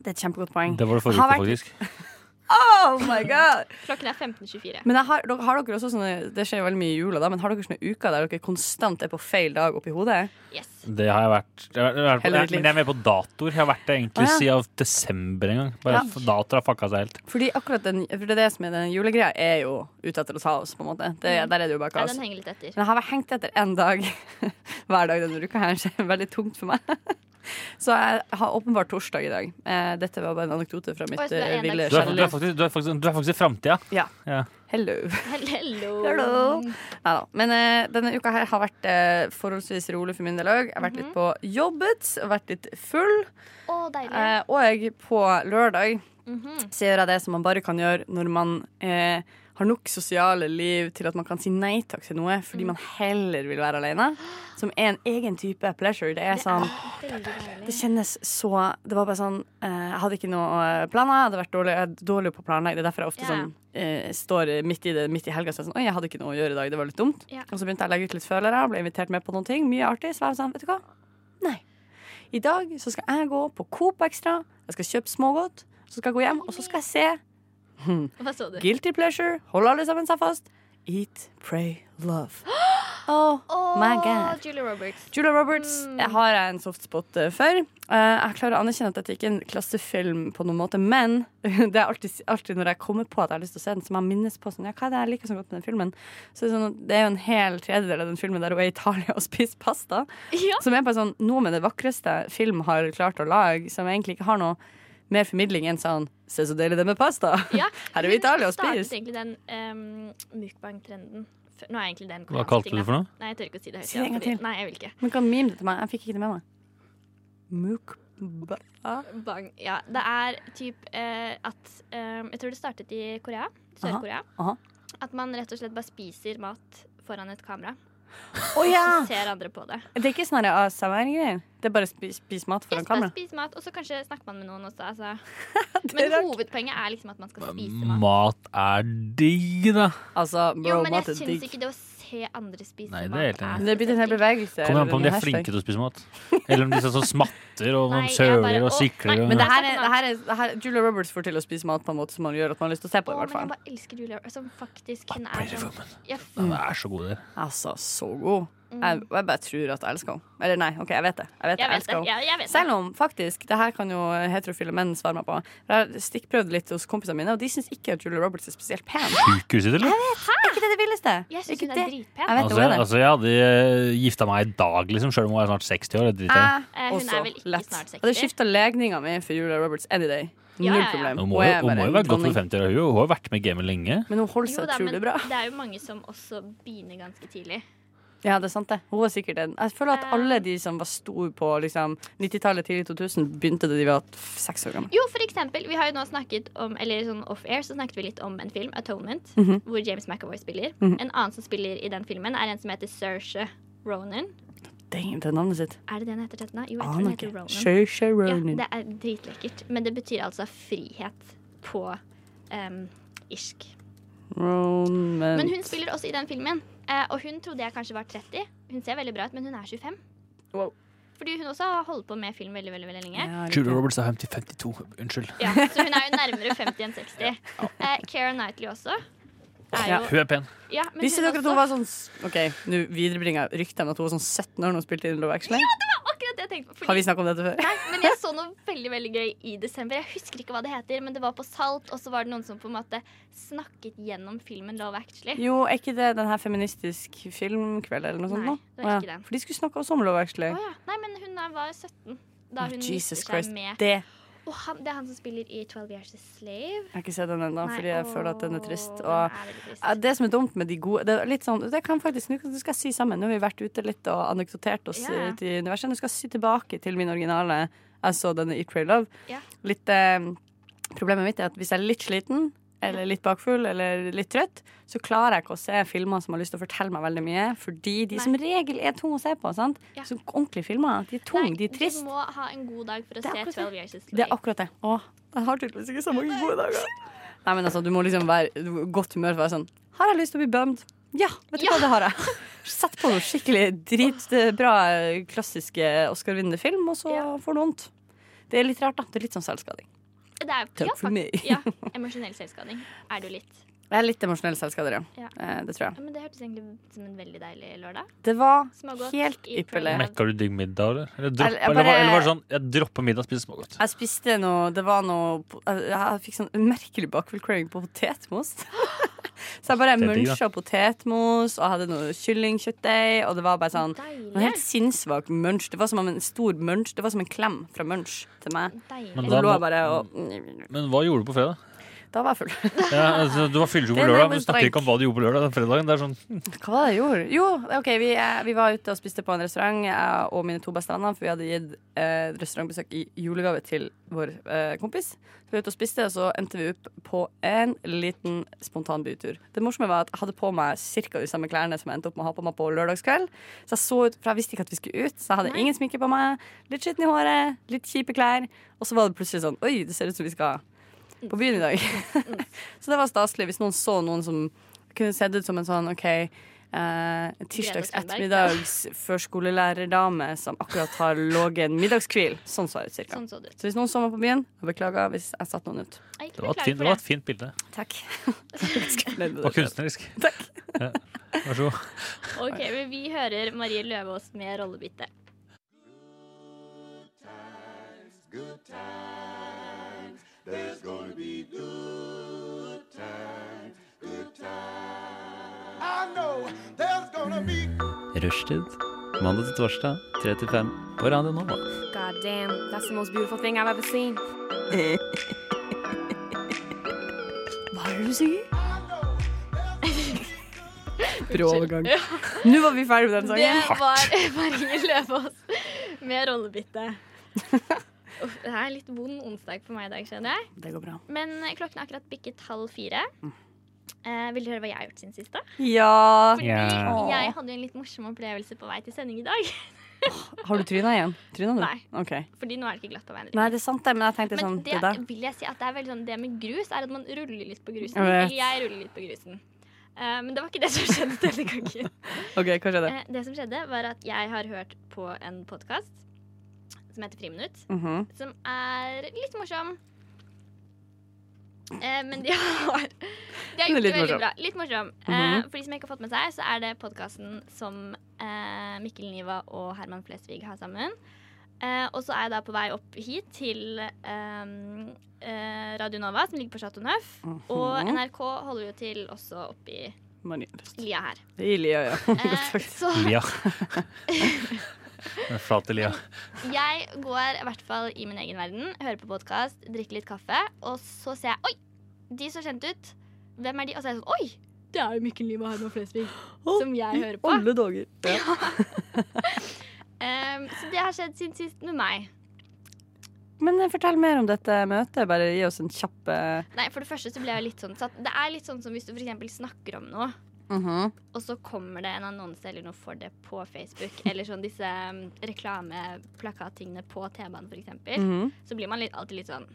Speaker 6: det er et kjempegodt poeng.
Speaker 1: Det var det forrige
Speaker 6: Har
Speaker 1: uke,
Speaker 6: vært-
Speaker 1: faktisk.
Speaker 6: Oh my god!
Speaker 5: Klokken er 15.24.
Speaker 6: Men jeg har, dere- har dere også sånne Det skjer jo veldig mye i jula, da, men har dere sånne uker der dere konstant er på feil dag oppi hodet?
Speaker 5: Yes.
Speaker 1: Det har jeg vært. Jeg har vært på,
Speaker 6: Hele ditt liv.
Speaker 1: men jeg er med på datoer. Jeg har vært det egentlig
Speaker 6: Å, ja.
Speaker 1: siden desember en gang. Bare
Speaker 6: Ja.
Speaker 1: f- Datoer har fucka seg helt.
Speaker 6: Fordi akkurat den, for det er det som er den julegreia, er jo ute etter å ta oss, på en måte. Det, der er det jo bare
Speaker 5: Mm. Ja,
Speaker 6: kaos.
Speaker 5: den henger litt etter.
Speaker 6: Men jeg har vært hengt etter én dag hver dag denne uka her, så det er veldig tungt for meg. Så jeg har åpenbart torsdag i dag. Eh, Dette var bare en anekdote
Speaker 5: Oi,
Speaker 6: fra mitt
Speaker 5: så du er
Speaker 6: eh,
Speaker 5: en
Speaker 6: ville
Speaker 5: dag-
Speaker 1: Du er,
Speaker 5: Skjønner.
Speaker 1: du er faktisk, du er faktisk, du er faktisk i framtida.
Speaker 6: Ja.
Speaker 1: Ja.
Speaker 6: Hello.
Speaker 5: Hello.
Speaker 6: Hello. Neida. Men eh, denne uka her har vært eh, forholdsvis rolig for min del òg. Jeg har vært litt på jobbet, og vært litt full.
Speaker 5: Å, deilig. Mhm.
Speaker 6: Eh, og på lørdag så gjør jeg det som man bare kan gjøre når man eh, har nok sosiale liv til at man kan si nei takk til noe fordi man heller vil være alene. Som er en egen type pleasure. Det er sånn
Speaker 5: Veldig deilig.
Speaker 6: det kjennes så Det var bare sånn eh, Jeg hadde ikke noe planer. Jeg hadde vært dårlig, jeg er dårlig på å planlegge. Det er derfor jeg ofte
Speaker 5: Ja.
Speaker 6: sånn eh, står midt i det midt i helga og så er jeg sånn Oi, jeg hadde ikke noe å gjøre i dag. Det var litt dumt.
Speaker 5: Ja.
Speaker 6: Og så begynte jeg å legge ut litt følere og ble invitert med på noen ting. Mye artig. Så var jeg sånn, vet du hva. Nei. I dag så skal jeg gå på Coop Extra, jeg skal kjøpe smågodt, så skal jeg gå hjem, og så skal jeg se
Speaker 5: Hva så du?
Speaker 6: Guilty Pleasure, hold alle sammen seg fast, Eat, Pray, Love. Oh, my god.
Speaker 5: Julie Roberts.
Speaker 6: Julia Roberts
Speaker 5: Mm.
Speaker 6: jeg har jeg en softspot eh, for. Eh, Jeg klarer å anerkjenne at dette ikke er en klassefilm, på noen måte men det er alltid, alltid når jeg kommer på at jeg har lyst til å se den, som jeg minnes på sånn, ja, hva er det jeg liker så godt med den filmen. Så det er, sånn, at det er jo en hel tredjedel av den filmen der hun er i Italia og spiser pasta.
Speaker 5: Ja.
Speaker 6: Som er bare sånn noe med det vakreste film har klart å lage, som egentlig ikke har noe mer formidling enn sånn Se så deilig det med pasta!
Speaker 5: Ja,
Speaker 6: Her er vi i
Speaker 5: hun
Speaker 6: Italia og
Speaker 5: startet
Speaker 6: spiser.
Speaker 5: egentlig den um, mukbang-trenden. F- Nå er egentlig den
Speaker 1: Hva kalte du det for noe?
Speaker 5: Nei, jeg tør ikke å si det høyt.
Speaker 6: Si det en gang
Speaker 5: fordi-
Speaker 6: til.
Speaker 5: Nei, jeg vil ikke.
Speaker 6: Men kan meme det til meg? Jeg fikk ikke det med meg. Mukba...
Speaker 5: Bang. Ja, det er typ eh, at eh, Jeg tror det startet i Korea. Sør-Korea.
Speaker 6: aha.
Speaker 5: At man rett og slett bare spiser mat foran et kamera.
Speaker 6: Å ja!
Speaker 5: Så ser andre på det.
Speaker 6: Det er ikke sånn her ASMR-greier. Det er bare spis, spis mat foran
Speaker 5: Yes, bare
Speaker 6: kamera.
Speaker 5: spis mat, og så kanskje snakker man med noen også. Altså. Men
Speaker 6: rart.
Speaker 5: hovedpoenget er liksom at man skal spise mat.
Speaker 1: Mat er digg, da.
Speaker 6: Altså, bro,
Speaker 5: Jo, men
Speaker 6: mat
Speaker 5: jeg
Speaker 6: er
Speaker 5: syns
Speaker 6: digg.
Speaker 5: ikke det å se andre spise
Speaker 1: Nei, det er
Speaker 5: mat
Speaker 1: helt enig.
Speaker 6: Det er blitt en hel bevegelse.
Speaker 1: Kommer an på om de er
Speaker 6: eller en hashtag.
Speaker 1: flinke til å spise mat. Eller om de sånn som smatter og
Speaker 5: Nei,
Speaker 1: sånn
Speaker 5: jeg bare-
Speaker 1: søler og
Speaker 5: Å, nei,
Speaker 1: sikler.
Speaker 5: men
Speaker 1: Og,
Speaker 6: Det her, er, det her er, det her, Julia Roberts får til å spise mat på en måte som man gjør at man har lyst til å se på.
Speaker 5: Å,
Speaker 6: det, i hvert
Speaker 5: men jeg
Speaker 6: fall
Speaker 5: bare elsker Julia. Som faktisk, hun er
Speaker 1: Pretty
Speaker 5: sånn
Speaker 1: Woman.
Speaker 5: Jeg
Speaker 1: Den er så god, der.
Speaker 6: Altså, så god. Jeg, jeg bare tror at jeg elsker henne. Eller nei, OK, jeg vet det. Jeg vet
Speaker 5: Mm.
Speaker 6: det,
Speaker 5: Jeg
Speaker 6: jeg
Speaker 5: vet
Speaker 6: elsker
Speaker 5: det.
Speaker 6: henne.
Speaker 5: Ja, jeg vet det.
Speaker 6: Selv om, faktisk, det her kan jo heterofile menn svare meg på. Jeg har stikkprøvd litt hos kompisene mine, og de syns ikke at Julia Roberts er spesielt pen. Er
Speaker 1: Sykehuset, eller?
Speaker 6: ikke det det villeste?
Speaker 5: Jeg syns
Speaker 6: Ikke
Speaker 5: hun er
Speaker 6: det-
Speaker 5: dritpen.
Speaker 6: Jeg vet
Speaker 1: Altså,
Speaker 6: hun
Speaker 1: jeg,
Speaker 6: er det.
Speaker 1: altså, jeg hadde eh, gifta meg i dag, liksom, sjøl om hun er snart 60 år. Jeg driter i det.
Speaker 5: Eh,
Speaker 6: Jeg
Speaker 5: hun
Speaker 6: også
Speaker 5: er vel ikke
Speaker 6: lett.
Speaker 5: snart
Speaker 6: Jeg Hadde
Speaker 5: 60.
Speaker 6: skifta legninga mi for Julia Roberts any day. Null
Speaker 5: Ja, ja, ja.
Speaker 6: problem.
Speaker 1: Hun må, jo-
Speaker 6: er
Speaker 1: hun
Speaker 6: Ah, bare
Speaker 1: må jo
Speaker 6: en
Speaker 1: være godt
Speaker 6: dronning.
Speaker 1: over 50 år. Hun hun har jo vært med i gamet lenge.
Speaker 6: Men hun holder
Speaker 5: Jo
Speaker 6: seg
Speaker 5: da, men
Speaker 6: utrolig bra.
Speaker 5: det er jo mange som også begynner ganske tidlig.
Speaker 6: Ja, det er sant det. Hun var sikkert en. Jeg føler at
Speaker 5: Eh.
Speaker 6: alle de som var store på liksom, 90-tallet, tidlig 2000, begynte da de var f- seks år gamle.
Speaker 5: Jo, for eksempel, vi har jo nå snakket om Eller sånn off-air så snakket vi litt om en film, 'Atonement',
Speaker 6: Mhm.
Speaker 5: hvor James McAvoy spiller. En annen som spiller i den filmen, er en som heter Saoirse Ronan.
Speaker 6: Dang, det er navnet sitt.
Speaker 5: Er det det hun heter, Tetna? Jo, jeg tror hun
Speaker 6: Aner
Speaker 5: heter
Speaker 6: ikke.
Speaker 5: Ronan.
Speaker 6: Saoirse
Speaker 5: Ja,
Speaker 6: Ronan.
Speaker 5: det er dritlekkert. Men det betyr altså frihet på em, irsk.
Speaker 6: Ronan.
Speaker 5: Men hun spiller også i den filmen. eh, Og hun trodde jeg kanskje var 30. Hun ser veldig bra ut, men hun er 25.
Speaker 6: Wow.
Speaker 5: Fordi hun også har holdt på med film veldig veldig, veldig lenge.
Speaker 6: Ja,
Speaker 1: Julia Roberts er 52. Unnskyld.
Speaker 5: Ja, så hun er jo nærmere 50 enn 60. Eh, Keira Knightley også. Er
Speaker 6: Ja.
Speaker 5: jo,
Speaker 1: Hun er pen.
Speaker 5: ja, men
Speaker 6: Visste
Speaker 5: hun
Speaker 6: dere at hun var sånn s- OK, nå viderebringer jeg ryktet om at hun var sånn 17 år da hun spilte inn Love Actually.
Speaker 5: Akkurat det jeg tenkte på.
Speaker 6: Har
Speaker 5: Fordi,
Speaker 6: vi snakket om dette før?
Speaker 5: nei, men jeg så noe veldig veldig gøy i desember. Jeg husker ikke hva det heter, men det var på Salt, og så var det noen som på en måte snakket gjennom filmen Love Actually.
Speaker 6: Jo, er ikke det den her feministisk filmkveld eller noe sånt?
Speaker 5: Nei,
Speaker 6: nå?
Speaker 5: det var
Speaker 6: Å,
Speaker 5: ikke
Speaker 6: ja.
Speaker 5: den.
Speaker 6: For de skulle snakke også om Love Actually.
Speaker 5: Å ja. Nei, men hun er- var 17 da hun
Speaker 6: Jesus
Speaker 5: gifter
Speaker 6: Christ.
Speaker 5: seg med
Speaker 6: Det Jeg
Speaker 5: Og han, Det er han som spiller i 12 Years a Slave.
Speaker 6: har ikke sett den ennå,
Speaker 5: Nei,
Speaker 6: fordi jeg
Speaker 5: åh,
Speaker 6: føler at den er trist.
Speaker 5: den
Speaker 6: Og
Speaker 5: er veldig trist.
Speaker 6: Ja, Det som er dumt med de gode Det er litt sånn, det kan faktisk, nå skal- nå skal jeg sy sammen. Nå har vi vært ute litt og anekdotert oss
Speaker 5: Ja.
Speaker 6: ut i universet. Nå skal jeg sy tilbake til min originale. Jeg så denne Eat, Pray, Love.
Speaker 5: Ja.
Speaker 6: Litt, eh, problemet mitt er at hvis jeg er litt sliten, eller litt bakfull, eller litt trøtt, så klarer jeg ikke å se filmer som har lyst til å fortelle meg veldig mye. Fordi de
Speaker 5: Nei.
Speaker 6: som regel er tunge å se på. sant?
Speaker 5: Ja.
Speaker 6: Så ordentlige filmer. De er tunge,
Speaker 5: Nei,
Speaker 6: de er trist.
Speaker 5: Du må ha en god dag for å
Speaker 6: Det er
Speaker 5: se
Speaker 6: akkurat det.
Speaker 5: 12 Years a Slave.
Speaker 6: Det er akkurat det. Åh, jeg har tydeligvis ikke så mange gode dager. Nei, men altså, du må liksom være du må- godt humør for å være sånn Har jeg lyst til å bli bømt? Ja, vet du
Speaker 5: Ja.
Speaker 6: hva, det har jeg. Sett på noe skikkelig dritbra klassiske Oscar-vinnende film, og så
Speaker 5: Ja.
Speaker 6: får du vondt. Det er litt rart, da. Det er litt sånn selvskading.
Speaker 5: Det er,
Speaker 6: Takk
Speaker 5: ja,
Speaker 6: for
Speaker 5: fakt-
Speaker 6: meg.
Speaker 5: ja, emosjonell selvskading er det jo litt.
Speaker 6: Jeg er litt emosjonell selvskader, ja.
Speaker 5: Ja.
Speaker 6: Eh, Det tror jeg.
Speaker 5: Ja, men Det hørtes egentlig ut som en veldig deilig lørdag.
Speaker 6: Det var
Speaker 5: Smågodt,
Speaker 6: helt
Speaker 5: Eat, Pray,
Speaker 6: ypperlig.
Speaker 5: Love.
Speaker 1: Mekka du digg middag, eller? Eller, dropp,
Speaker 6: Jeg- jeg
Speaker 1: eller, var,
Speaker 6: bare-
Speaker 1: eller var det sånn Jeg dropper middag, spiser smågodt.
Speaker 6: Jeg spiste noe Det var noe Jeg, jeg fikk sånn umerkelig bakfull-craving på potetmos. så jeg bare
Speaker 1: Det er digg, da.
Speaker 6: muncha potetmos, og jeg hadde noe kyllingkjøttdeig, og det var bare sånn
Speaker 5: Deilig.
Speaker 6: En helt sinnssvak munch. Det var som om en stor munch. Det var som en klem fra munch til meg.
Speaker 5: Deilig.
Speaker 1: Men
Speaker 6: Og
Speaker 1: da
Speaker 6: så lå
Speaker 1: må-
Speaker 6: jeg bare og
Speaker 1: Men hva gjorde du på fredag?
Speaker 6: Da var jeg full.
Speaker 1: Ja, altså, du var fyllesyk
Speaker 6: Det
Speaker 1: på
Speaker 6: er
Speaker 1: lørdag,
Speaker 6: nærmest
Speaker 1: men du snakker ikke om hva du gjorde på lørdag den fredagen. Det er sånn
Speaker 6: Hva var det jeg gjorde? Jo, OK, vi, eh, vi var ute og spiste på en restaurant, jeg og mine to beste venner, for vi hadde gitt eh, restaurantbesøk i julegave til vår eh, kompis. Så vi var ute og spiste, og så endte vi opp på en liten spontan bytur. Det morsomme var at jeg hadde på meg ca. de samme klærne som jeg endte opp med å ha på meg på lørdagskveld. Så jeg så ut, for jeg visste ikke at vi skulle ut, så jeg hadde ingen sminke på meg, litt skitten i håret, litt kjipe klær, og så var det plutselig sånn Oi, det ser ut som vi skal på byen i dag. så det var staselig hvis noen så noen som kunne sett ut som en sånn OK, eh, en tirsdags
Speaker 5: Greta Thunberg.
Speaker 6: ettermiddags førskolelærerdame som akkurat har ligget en middagskvil. Sånn så jeg ut, cirka.
Speaker 5: Sånn så det ut.
Speaker 6: Så hvis noen så meg på byen, jeg beklager hvis jeg satte noen ut.
Speaker 5: Jeg
Speaker 1: Det var, et
Speaker 5: beklager
Speaker 1: fint,
Speaker 5: for
Speaker 1: det var et fint bilde.
Speaker 6: Takk.
Speaker 1: Og kunstnerisk. Ja. Vær så god.
Speaker 5: Ok, men vi hører Marie Løvaas med rollebytte.
Speaker 2: Rushtid. Mandag til torsdag, 3 til 5 på Radio Nova.
Speaker 8: God damn, that's the most beautiful thing I've ever seen.
Speaker 6: Hva er det du sier?
Speaker 5: Bra overgang.
Speaker 6: Nå var vi ferdig med den
Speaker 5: Det
Speaker 6: sangen.
Speaker 5: var Marie Løvaas med rollebytte. Uff, det er litt vond onsdag for meg i dag, skjønner jeg.
Speaker 6: Det går bra.
Speaker 5: Men eh, klokken er akkurat bikket halv fire. Eh, vil du høre hva jeg har gjort siden sist? da?
Speaker 6: Mm. Ja.
Speaker 5: Fordi
Speaker 1: Ja.
Speaker 5: jeg hadde jo en litt morsom opplevelse på vei til sending i dag.
Speaker 6: Har du tryna igjen? Tryna du?
Speaker 5: Nei.
Speaker 6: Ok.
Speaker 5: Fordi nå er det ikke glatt på veien.
Speaker 6: Nei, det er sant det, men jeg tenkte
Speaker 5: Men
Speaker 6: sånn
Speaker 5: det,
Speaker 6: det der.
Speaker 5: vil jeg si at det er veldig sånn Det med grus er at man ruller litt på grusen.
Speaker 6: Jeg vet.
Speaker 5: Eller jeg ruller litt på grusen. Eh, men det var ikke det som skjedde denne gangen.
Speaker 6: OK, hva skjedde?
Speaker 5: Eh, det som skjedde, var at jeg har hørt på en podkast som heter Friminutt,
Speaker 6: Mhm.
Speaker 5: som er litt morsom. Eh, men de har De har
Speaker 6: Den er
Speaker 5: gjort det
Speaker 6: litt
Speaker 5: veldig
Speaker 6: morsom.
Speaker 5: bra. Litt morsom. Eh,
Speaker 6: Mhm.
Speaker 5: for de som ikke har fått med seg, så er det podkasten som eh, Mikkel Niva og Herman Flesvig har sammen. Eh, og så er jeg da på vei opp hit til ehm, eh, Radio Nova, som ligger på Chateau Neuf.
Speaker 6: Mhm.
Speaker 5: Og NRK holder jo til også oppi
Speaker 6: Marienlyst.
Speaker 5: lia her.
Speaker 6: Lia, ja. Godt
Speaker 5: Eh,
Speaker 6: sagt.
Speaker 5: så
Speaker 1: Lia. Den flate lia.
Speaker 5: Jeg går i hvert fall i min egen verden, hører på podkast, drikker litt kaffe, og så ser jeg Oi! De så kjent ut. Hvem er de? Og så er jeg sånn Oi! Det er jo Mikkel Niva og Herman Flesvig. Som jeg hører på.
Speaker 6: Alle dager. Ja.
Speaker 5: Ehm, så det har skjedd siden sist med meg.
Speaker 6: Men eh, fortell mer om dette møtet. Bare gi oss en kjapp eh,
Speaker 5: Nei, For det første så ble jeg litt sånn satt. Det er litt sånn som hvis du for eksempel snakker om noe,
Speaker 6: Mhm.
Speaker 5: og så kommer det en annonse eller noe for det på Facebook, eller sånn disse um, reklameplakattingene på T-banen for eksempel.
Speaker 6: Mhm.
Speaker 5: så blir man litt, alltid litt sånn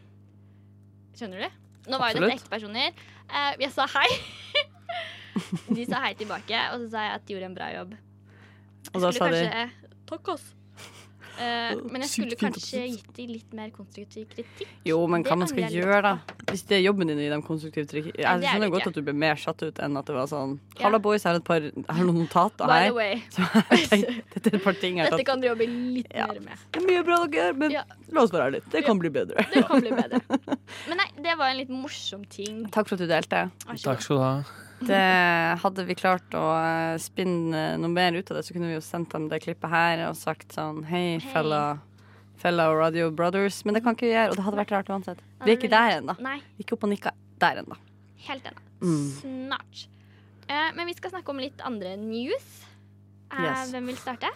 Speaker 5: Skjønner du? Nå var jo dette
Speaker 6: Absolutt.
Speaker 5: ekte personer. Eh, jeg sa hei. De sa hei tilbake, og så sa jeg at de gjorde en bra jobb.
Speaker 6: Og da
Speaker 5: Skulle
Speaker 6: sa de
Speaker 5: kanskje, Takk, ass. Eh, men jeg
Speaker 6: Sykt
Speaker 5: skulle
Speaker 6: fint
Speaker 5: kanskje gitt de litt mer konstruktiv kritikk.
Speaker 6: Jo, men
Speaker 5: Det
Speaker 6: hva man
Speaker 5: angrer
Speaker 6: skal
Speaker 5: jeg litt
Speaker 6: gjøre, da? Hvis det er jobben din å gi dem konstruktiv trikk Jeg
Speaker 5: Ja, det er
Speaker 6: skjønner
Speaker 5: det
Speaker 6: godt
Speaker 5: ikke.
Speaker 6: at du ble mer satt ut enn at det var sånn
Speaker 5: Ja.
Speaker 6: Halla, boys, jeg har et par jeg har noen notater
Speaker 5: By the
Speaker 6: her.
Speaker 5: way,
Speaker 6: Så jeg tenkte, dette er et par ting jeg har
Speaker 5: dette
Speaker 6: tatt.
Speaker 5: kan dere jobbe litt
Speaker 6: Ja.
Speaker 5: mer med.
Speaker 6: Det er mye bra dere gjør, men
Speaker 5: Ja.
Speaker 6: la oss være ærlige. Det kan bli bedre.
Speaker 5: Det kan bli bedre. Men nei, det var en litt morsom ting.
Speaker 6: Takk for at du delte.
Speaker 5: Vær så
Speaker 1: Takk skal du ha.
Speaker 6: Det hadde vi klart å eh, spinne noe mer ut av det, så kunne vi jo sendt dem det klippet her og sagt sånn Hei,
Speaker 5: Hei.
Speaker 6: fella, fella Radio Brothers. Men det kan ikke vi gjøre, og det hadde vært rart uansett.
Speaker 5: god.
Speaker 6: Vi er ikke der ennå.
Speaker 5: Nei, Nei,
Speaker 6: Vi er ikke opp og nikka der ennå.
Speaker 5: helt ennå.
Speaker 6: Mm.
Speaker 5: Snart. Eh, men vi skal snakke om litt andre news. Eh,
Speaker 6: Yes.
Speaker 5: Hvem vil starte?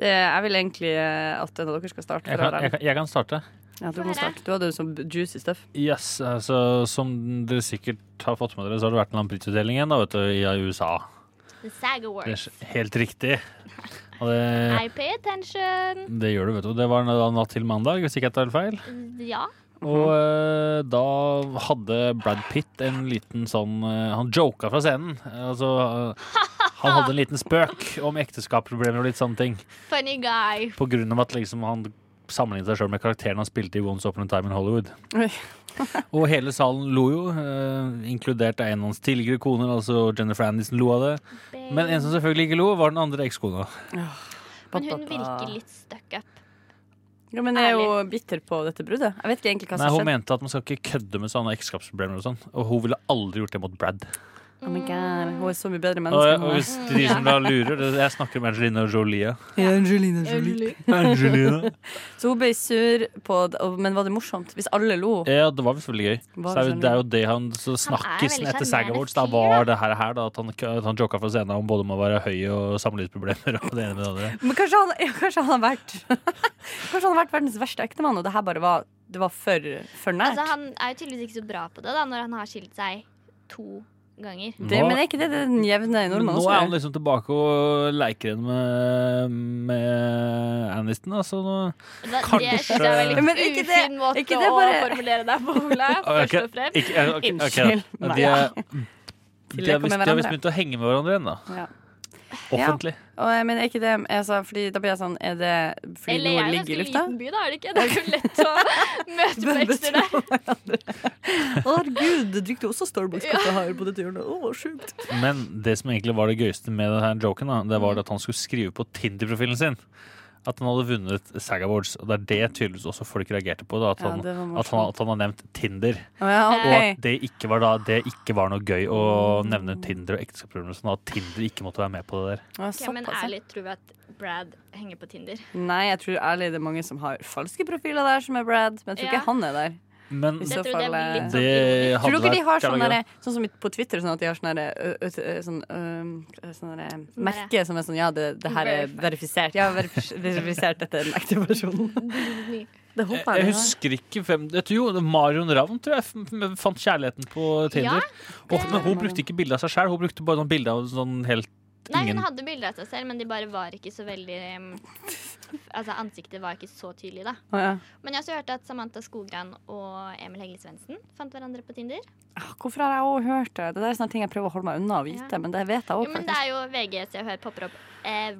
Speaker 6: Det- Jeg vil egentlig eh, at en av dere skal starte.
Speaker 1: Jeg
Speaker 6: For
Speaker 1: kan, jeg
Speaker 6: jeg,
Speaker 1: kan, jeg kan starte.
Speaker 6: ja, du,
Speaker 5: Få
Speaker 6: må
Speaker 5: høre.
Speaker 6: starte. du hadde jo sånn juicy stuff.
Speaker 1: Yes, altså, som dere sikkert har fått med dere, så har det vært en eller annen prisutdeling igjen da, vet du, i USA.
Speaker 5: The SAG
Speaker 1: Det
Speaker 5: Awards.
Speaker 1: er helt riktig. Og det,
Speaker 5: I pay attention.
Speaker 1: det gjør du, vet du. Det var da natt til mandag, hvis ikke jeg tar feil.
Speaker 5: Ja.
Speaker 1: Og eh, da hadde Brad Pitt en liten sånn eh, Han joka fra scenen. Altså, eh, han hadde en liten spøk om ekteskapsproblemer og litt sånne ting.
Speaker 5: Funny guy.
Speaker 1: På grunn av at liksom, han sammenlignet seg sjøl med karakteren han spilte i Once Upon a Time in Hollywood.
Speaker 6: Oi.
Speaker 1: og hele salen lo jo, eh, inkludert en av hans tidligere koner, altså Jennifer Aniston lo av det. Men en som selvfølgelig ikke lo, var den andre ekskona.
Speaker 5: Men hun virker litt stuck up.
Speaker 6: ja, Men jeg er jo bitter på dette bruddet. Jeg vet ikke egentlig hva
Speaker 1: Nei,
Speaker 6: som
Speaker 1: Hun
Speaker 6: skjedde.
Speaker 1: mente at man skal ikke kødde med sånne ekteskapsproblemer og sånn. Og hun ville aldri gjort det mot Brad.
Speaker 6: Oh my God. Hun er så mye bedre
Speaker 1: Og,
Speaker 6: menneske enn
Speaker 1: og
Speaker 6: hun er.
Speaker 1: hvis de som da lurer det- Jeg snakker om Angelina Jolie.
Speaker 6: Angelina Jolie.
Speaker 1: Angelina.
Speaker 6: Så hun ble sur, på, det, og- men var det morsomt? Hvis alle lo?
Speaker 1: Ja, det var visst veldig gøy.
Speaker 6: Var
Speaker 1: så det, er jo-
Speaker 6: det sånn-
Speaker 1: det er jo det han så Snakkisen
Speaker 5: veldig
Speaker 1: etter
Speaker 5: sjarmerende
Speaker 1: SAG Awards da
Speaker 5: fyr,
Speaker 1: var det her, her da, at han, at han joka fra scenen om både om å være høy og samlivsproblemer og det ene med det andre.
Speaker 6: Men kanskje han, ja, kanskje han har vært Kanskje han har vært verdens verste ektemann, og det her bare var, det var for, for nært.
Speaker 5: Altså, han er jo tydeligvis ikke så bra på det da, når han har skilt seg to ganger.
Speaker 6: det, men er ikke det det den jevne
Speaker 1: Men
Speaker 6: nordmannen
Speaker 1: nå
Speaker 6: også
Speaker 1: er han
Speaker 6: gjør?
Speaker 1: liksom tilbake og leker igjen med, med Aniston. da, så nå
Speaker 5: Det, det
Speaker 1: Kanskje-
Speaker 5: synes jeg er en
Speaker 6: Men
Speaker 5: veldig
Speaker 6: ikke det-
Speaker 5: ufin måte
Speaker 6: ikke det bare-
Speaker 5: å formulere deg på, Ola. Først og fremst.
Speaker 1: Ikke, ok, ok, ok, da.
Speaker 6: Unnskyld meg.
Speaker 1: De, er,
Speaker 6: De
Speaker 1: de, har visst,
Speaker 6: leker med
Speaker 1: de har visst
Speaker 6: hverandre.
Speaker 1: begynt å henge med hverandre igjen, da.
Speaker 6: Ja.
Speaker 1: Offentlig.
Speaker 6: Og, eh, men er ikke det altså, fordi Da blir jeg sånn Er det fordi
Speaker 5: Eller
Speaker 6: noe
Speaker 5: jeg er
Speaker 6: ligger i
Speaker 5: ganske
Speaker 6: lufta?
Speaker 5: liten by, da, er det ikke? Det er jo lett å møte på ekster der.
Speaker 6: Å herregud, det drikker også Starbucks-kaffe her på den turen. Å, hva sjukt.
Speaker 1: Men det som egentlig var det gøyeste med denne joken, da, det var at han skulle skrive på Tinder-profilen sin at han hadde vunnet SAG Awards. Og det er det tydeligvis også folk reagerte på. Da, at,
Speaker 6: Ja,
Speaker 1: han,
Speaker 6: det var
Speaker 1: at, han,
Speaker 6: morsomt.
Speaker 1: at han har nevnt Tinder.
Speaker 6: Sånn. Å ja,
Speaker 1: Og
Speaker 6: ok.
Speaker 1: at det ikke var da Det ikke var noe gøy å nevne Tinder og ekteskapsproblemer. Sånn at Tinder ikke måtte være med på det der.
Speaker 6: Å,
Speaker 5: Ok, men
Speaker 6: såpass, ja.
Speaker 5: ærlig, tror vi at Brad henger på Tinder?
Speaker 6: Nei, jeg tror ærlig det er mange som har falske profiler der, som er Brad. Men jeg tror
Speaker 5: Ja.
Speaker 6: ikke han er der.
Speaker 1: Men
Speaker 6: I
Speaker 5: Jeg
Speaker 6: så
Speaker 5: tror det
Speaker 6: fall,
Speaker 5: blir
Speaker 6: eh,
Speaker 5: litt sånn
Speaker 1: det
Speaker 5: ironisk.
Speaker 1: hadde
Speaker 6: Tror dere de har
Speaker 1: vært
Speaker 6: sånn
Speaker 1: jævla gøy.
Speaker 6: derre- Sånn som på Twitter, sånn at de har sånn derre, ø- ø- ø- sånn, ø, sånn derre merke som er sånn Ja, det, det her er verifisert. Ja, verif- verifisert, dette er den ekte personen. Det
Speaker 1: Jeg,
Speaker 6: håper
Speaker 1: jeg
Speaker 6: jeg de har.
Speaker 1: husker ikke hvem jeg tror Jo, det var Marion Ravn tror jeg f- f- fant kjærligheten på
Speaker 5: Ja,
Speaker 1: Tinder. og, men hun brukte ikke bilde av seg sjøl, hun brukte bare sånn bilde av sånn helt
Speaker 5: Nei,
Speaker 1: ingen
Speaker 5: hun hadde bilder av seg selv, men de bare var ikke så veldig um, Altså, ansiktet var ikke så tydelig, da.
Speaker 6: Å, ja.
Speaker 5: Men jeg har også hørt at Samantha Skogran og Emil Hegge Svendsen fant hverandre på Tinder.
Speaker 6: Ah, Hvorfor har jeg også hørt det? Det der er sånne ting jeg prøver å holde meg unna og vite,
Speaker 5: Ja.
Speaker 6: men det vet jeg
Speaker 5: Jo,
Speaker 6: også
Speaker 5: men det
Speaker 6: faktisk.
Speaker 5: er jo VG, så jeg hører popper opp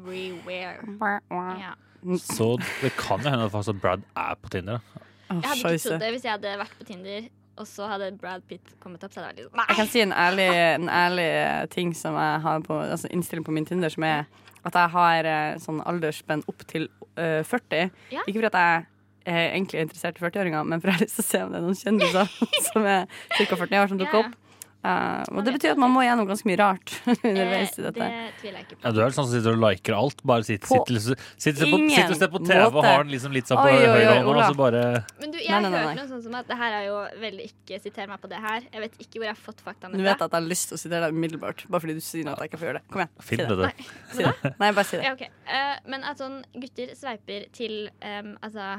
Speaker 5: everywhere. Ja.
Speaker 1: Så det kan jo hende at faktisk at Brad er på Tinder. da.
Speaker 6: Å,
Speaker 5: Jeg hadde ikke
Speaker 6: scheisse.
Speaker 5: trodd det hvis jeg hadde vært på Tinder, og så hadde Brad Pitt kommet opp. Så hadde jeg vært litt
Speaker 6: Jeg
Speaker 5: sånn,
Speaker 6: kan si en ærlig, en ærlig eh, ting som jeg har på altså innstilling på min Tinder, som er at jeg har eh, sånn aldersspenn opp til eh, 40.
Speaker 5: Ja.
Speaker 6: Ikke fordi at jeg eh, egentlig er interessert i 40-åringer, men for jeg har lyst til å se om det er noen kjendiser som er ca. 40 år, som dukker
Speaker 5: Ja, ja.
Speaker 6: opp. Eh, og
Speaker 5: Man
Speaker 6: det
Speaker 5: vet
Speaker 6: betyr at man må gjennom ganske mye rart underveis
Speaker 5: sånn, eh,
Speaker 6: i dette.
Speaker 5: Det tviler jeg ikke
Speaker 1: Ja,
Speaker 5: på.
Speaker 1: du er vel sånn som sitter og liker alt. Bare sitter,
Speaker 6: På
Speaker 1: sitter, sitter, sitter, på,
Speaker 6: ingen
Speaker 1: sitter og ser på TV og
Speaker 6: måte.
Speaker 1: har den liksom litt sånn på
Speaker 6: Oi, oi, oi,
Speaker 1: høyrehånda, og
Speaker 6: Ola.
Speaker 1: så bare
Speaker 5: Men du, jeg
Speaker 6: Nei,
Speaker 5: har
Speaker 6: nei, nei,
Speaker 5: hørt
Speaker 6: nei.
Speaker 5: noe sånn som at det her er jo veldig ikke Siter meg på det her. Jeg vet ikke hvor jeg har fått faktaene
Speaker 6: Nå vet jeg at jeg har lyst til å sitere deg umiddelbart, bare fordi du sier at jeg ikke får gjøre det. Kom igjen. Si
Speaker 1: Finn
Speaker 6: det.
Speaker 1: det, du.
Speaker 6: Si det. Nei, bare si det.
Speaker 5: Ja, ok. Eh, men at sånn gutter sveiper til em, altså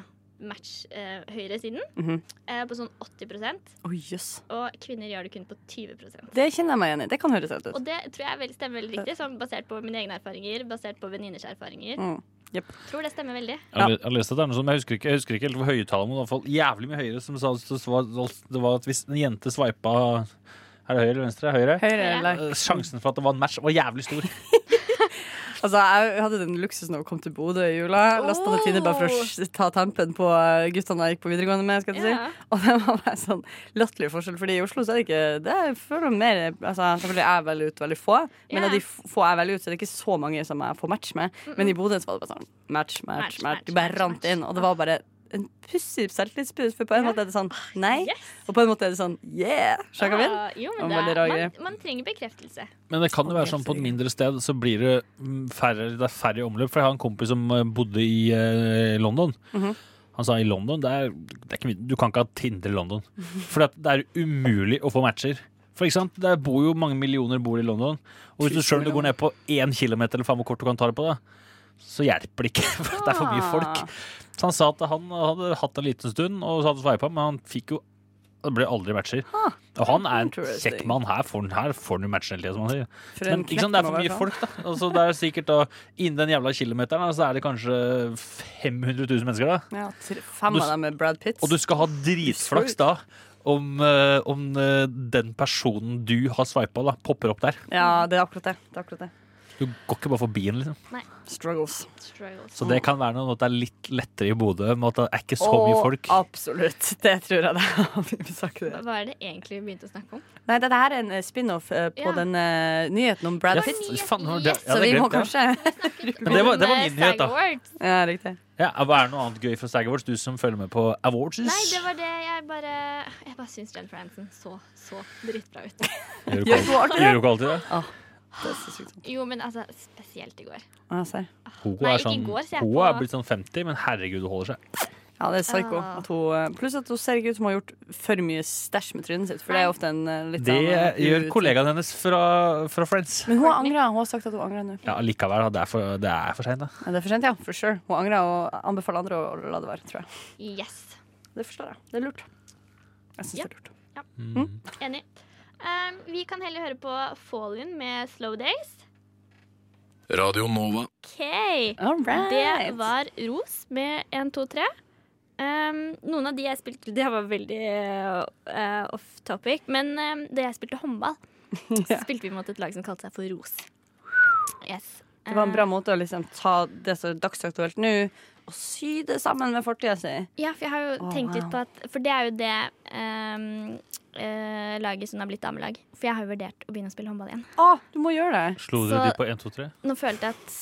Speaker 5: match eh, høyresiden
Speaker 6: Mhm.
Speaker 5: eh, på sånn 80
Speaker 6: Å, jøss.
Speaker 5: og kvinner gjør det kun på 20
Speaker 6: Det kjenner jeg meg igjen i. Det kan høres helt ut.
Speaker 5: Og det tror jeg vel stemmer veldig riktig, sånn basert på mine egne erfaringer, basert på venninners erfaringer.
Speaker 6: Mm. Jepp.
Speaker 5: Tror det stemmer veldig.
Speaker 1: Jeg har le- jeg har lest at det er noe som, jeg husker ikke, jeg husker ikke helt hvor høyttallet, men i hvert fall jævlig mye høyere, som sa det var, det var at hvis en jente sveipa Er det høyre eller venstre? Høyre?
Speaker 6: Høyre eller
Speaker 1: Eh, Sjansen for at det var en match, var jævlig stor.
Speaker 6: Altså, jeg hadde den luksusen av å komme til Bodø i jula. Lasta ned Tinder bare for å s- ta tempen på eh, guttene jeg gikk på videregående med. Skal jeg
Speaker 5: Ja.
Speaker 6: si. Og det var bare sånn latterlig forskjell, Fordi i Oslo så er det ikke Det er- jeg føler mer altså, Selvfølgelig er jeg veldig ute, veldig få. Men
Speaker 5: Ja.
Speaker 6: av de f- få jeg er veldig ute, så er det ikke så mange som jeg får match med. Men i Bodø så var det bare sånn match,
Speaker 5: Match,
Speaker 6: match, match.
Speaker 5: match,
Speaker 6: Du bare
Speaker 5: match,
Speaker 6: rant
Speaker 5: match.
Speaker 6: inn. Og det var bare en pussig selvtillitsbrudd, for på en måte er det sånn nei,
Speaker 5: Ah, Yes.
Speaker 6: og på en måte er det sånn yeah. Sjaka min?
Speaker 5: Ah, jo, men
Speaker 6: Og
Speaker 5: det
Speaker 6: veldig
Speaker 5: er,
Speaker 6: rar
Speaker 5: man,
Speaker 6: greie.
Speaker 5: man trenger bekreftelse.
Speaker 1: Men det kan jo være
Speaker 6: Helt
Speaker 1: sånn på et
Speaker 6: sikkert.
Speaker 1: mindre sted så blir det mm, færre, det er færre i omløp. For jeg har en kompis som eh, bodde i eh, London. Han sa i London det er, det er ikke, mye- Du kan ikke ha Tinder i London. For at det er umulig å få matcher. For ikke sant? Der bor jo mange millioner bor i London. Og hvis du selv om du går ned på én kilometer eller faen hvor kort du kan ta det på, da, så hjelper det ikke. For det er for mye
Speaker 6: Ah,
Speaker 1: folk. Så han sa at han hadde hatt det en liten stund, og så hadde sveipa, men han fikk jo Det ble aldri matcher. Og han er en
Speaker 6: Interesting.
Speaker 1: kjekk mann. Her får han- her får han jo matchen hele tida, som han sier.
Speaker 6: For
Speaker 1: Men
Speaker 6: en
Speaker 1: ikke sant, det
Speaker 6: knekk
Speaker 1: er for
Speaker 6: må
Speaker 1: mye
Speaker 6: være sånn.
Speaker 1: folk, da. Altså, det er sikkert da, Innen den jævla kilometeren da, så er det kanskje 500 000 mennesker. da.
Speaker 6: Ja, tre- fem
Speaker 1: Og du
Speaker 6: av
Speaker 1: s-
Speaker 6: dem er Brad Pitts.
Speaker 1: Og du skal ha dritflaks da om, eh, om eh, den personen du har sveipa, da, popper opp der.
Speaker 6: Ja, det er akkurat det. det, er akkurat det.
Speaker 1: Du går ikke bare forbi den, liksom.
Speaker 6: Struggles.
Speaker 5: Struggles.
Speaker 1: Så det kan være noe med at det er litt lettere i Bodø, med at det er ikke så mye folk.
Speaker 6: Absolutt. Det tror jeg det er. Vi snakker det.
Speaker 5: Hva er det egentlig vi begynte å snakke om?
Speaker 6: Nei, dette her er en eh, spin-off eh, på
Speaker 5: Ja.
Speaker 6: den eh, nyheten om Brad
Speaker 1: Ja,
Speaker 6: Pitt.
Speaker 1: faen, det- ja, det
Speaker 6: så vi
Speaker 1: glemte
Speaker 6: må
Speaker 1: jeg.
Speaker 6: kanskje
Speaker 1: Men det var, det var
Speaker 5: Men,
Speaker 1: min
Speaker 5: eh,
Speaker 1: nyhet,
Speaker 5: SAG
Speaker 1: da.
Speaker 5: Awards.
Speaker 6: Ja, riktig.
Speaker 1: Ja, hva er det noe annet gøy fra Stag Awards, du som følger med på awards?
Speaker 5: Nei, det var det jeg bare Jeg bare syns Jennifer Aniston så så dritbra ut.
Speaker 1: Gjør du
Speaker 6: Gjør
Speaker 1: ikke
Speaker 6: hun
Speaker 1: alt- gjør
Speaker 6: alltid det?
Speaker 1: du ikke alltid det?
Speaker 6: Det er så sykt sånn.
Speaker 5: Jo, men altså, spesielt i går.
Speaker 6: Ja, ser.
Speaker 1: Hun
Speaker 5: Nei,
Speaker 1: er,
Speaker 5: ikke
Speaker 1: sånn,
Speaker 5: i går, så jeg
Speaker 1: hun
Speaker 5: på-
Speaker 1: er blitt sånn 50, men herregud, hun holder seg.
Speaker 6: Ja, det er psycho.
Speaker 5: Ah.
Speaker 6: At hun, eh, pluss at hun ser ikke ut som hun har gjort for mye stæsj med trynet sitt. For det er ofte en eh, litt
Speaker 1: Det
Speaker 6: sånn, eh,
Speaker 1: gjør
Speaker 6: uting.
Speaker 1: kollegaen hennes fra, fra Friends.
Speaker 6: Men hun har angret. Hun har sagt at hun angrer nå.
Speaker 1: Ja, likevel, da. det er for, det er for seint, da.
Speaker 6: Ja, det er for sent, ja. For sure. Hun angrer og anbefaler andre å la det være, tror jeg.
Speaker 5: Yes.
Speaker 6: Det forstår jeg. Det er lurt. Jeg syns
Speaker 5: Ja.
Speaker 6: det er lurt.
Speaker 1: Mm.
Speaker 5: Enig. Um, vi kan heller høre på Fallin med Slow Days.
Speaker 9: Radio Nova.
Speaker 5: OK.
Speaker 6: All right.
Speaker 5: Det var Ros med 1, 2, 3. Um, noen av de jeg spilte Det var veldig eh, off ehm, topic. Men um, da jeg spilte håndball, så spilte vi mot et lag som kalte seg for Ros. Yes. Ehm,
Speaker 6: Det var en
Speaker 5: Eh.
Speaker 6: bra måte å liksom ta det som er dagsaktuelt nå, og sy det sammen med fortida si.
Speaker 5: Ja, for jeg har jo
Speaker 6: Å,
Speaker 5: tenkt litt på
Speaker 6: wow.
Speaker 5: at For det er jo det ehm, eh, laget som har blitt damelag. For jeg har jo vurdert å begynne å spille håndball igjen.
Speaker 6: Å, du må gjøre det!
Speaker 1: Slo dere
Speaker 5: Så-
Speaker 1: de på 1, 2, 3?
Speaker 5: Nå følte jeg at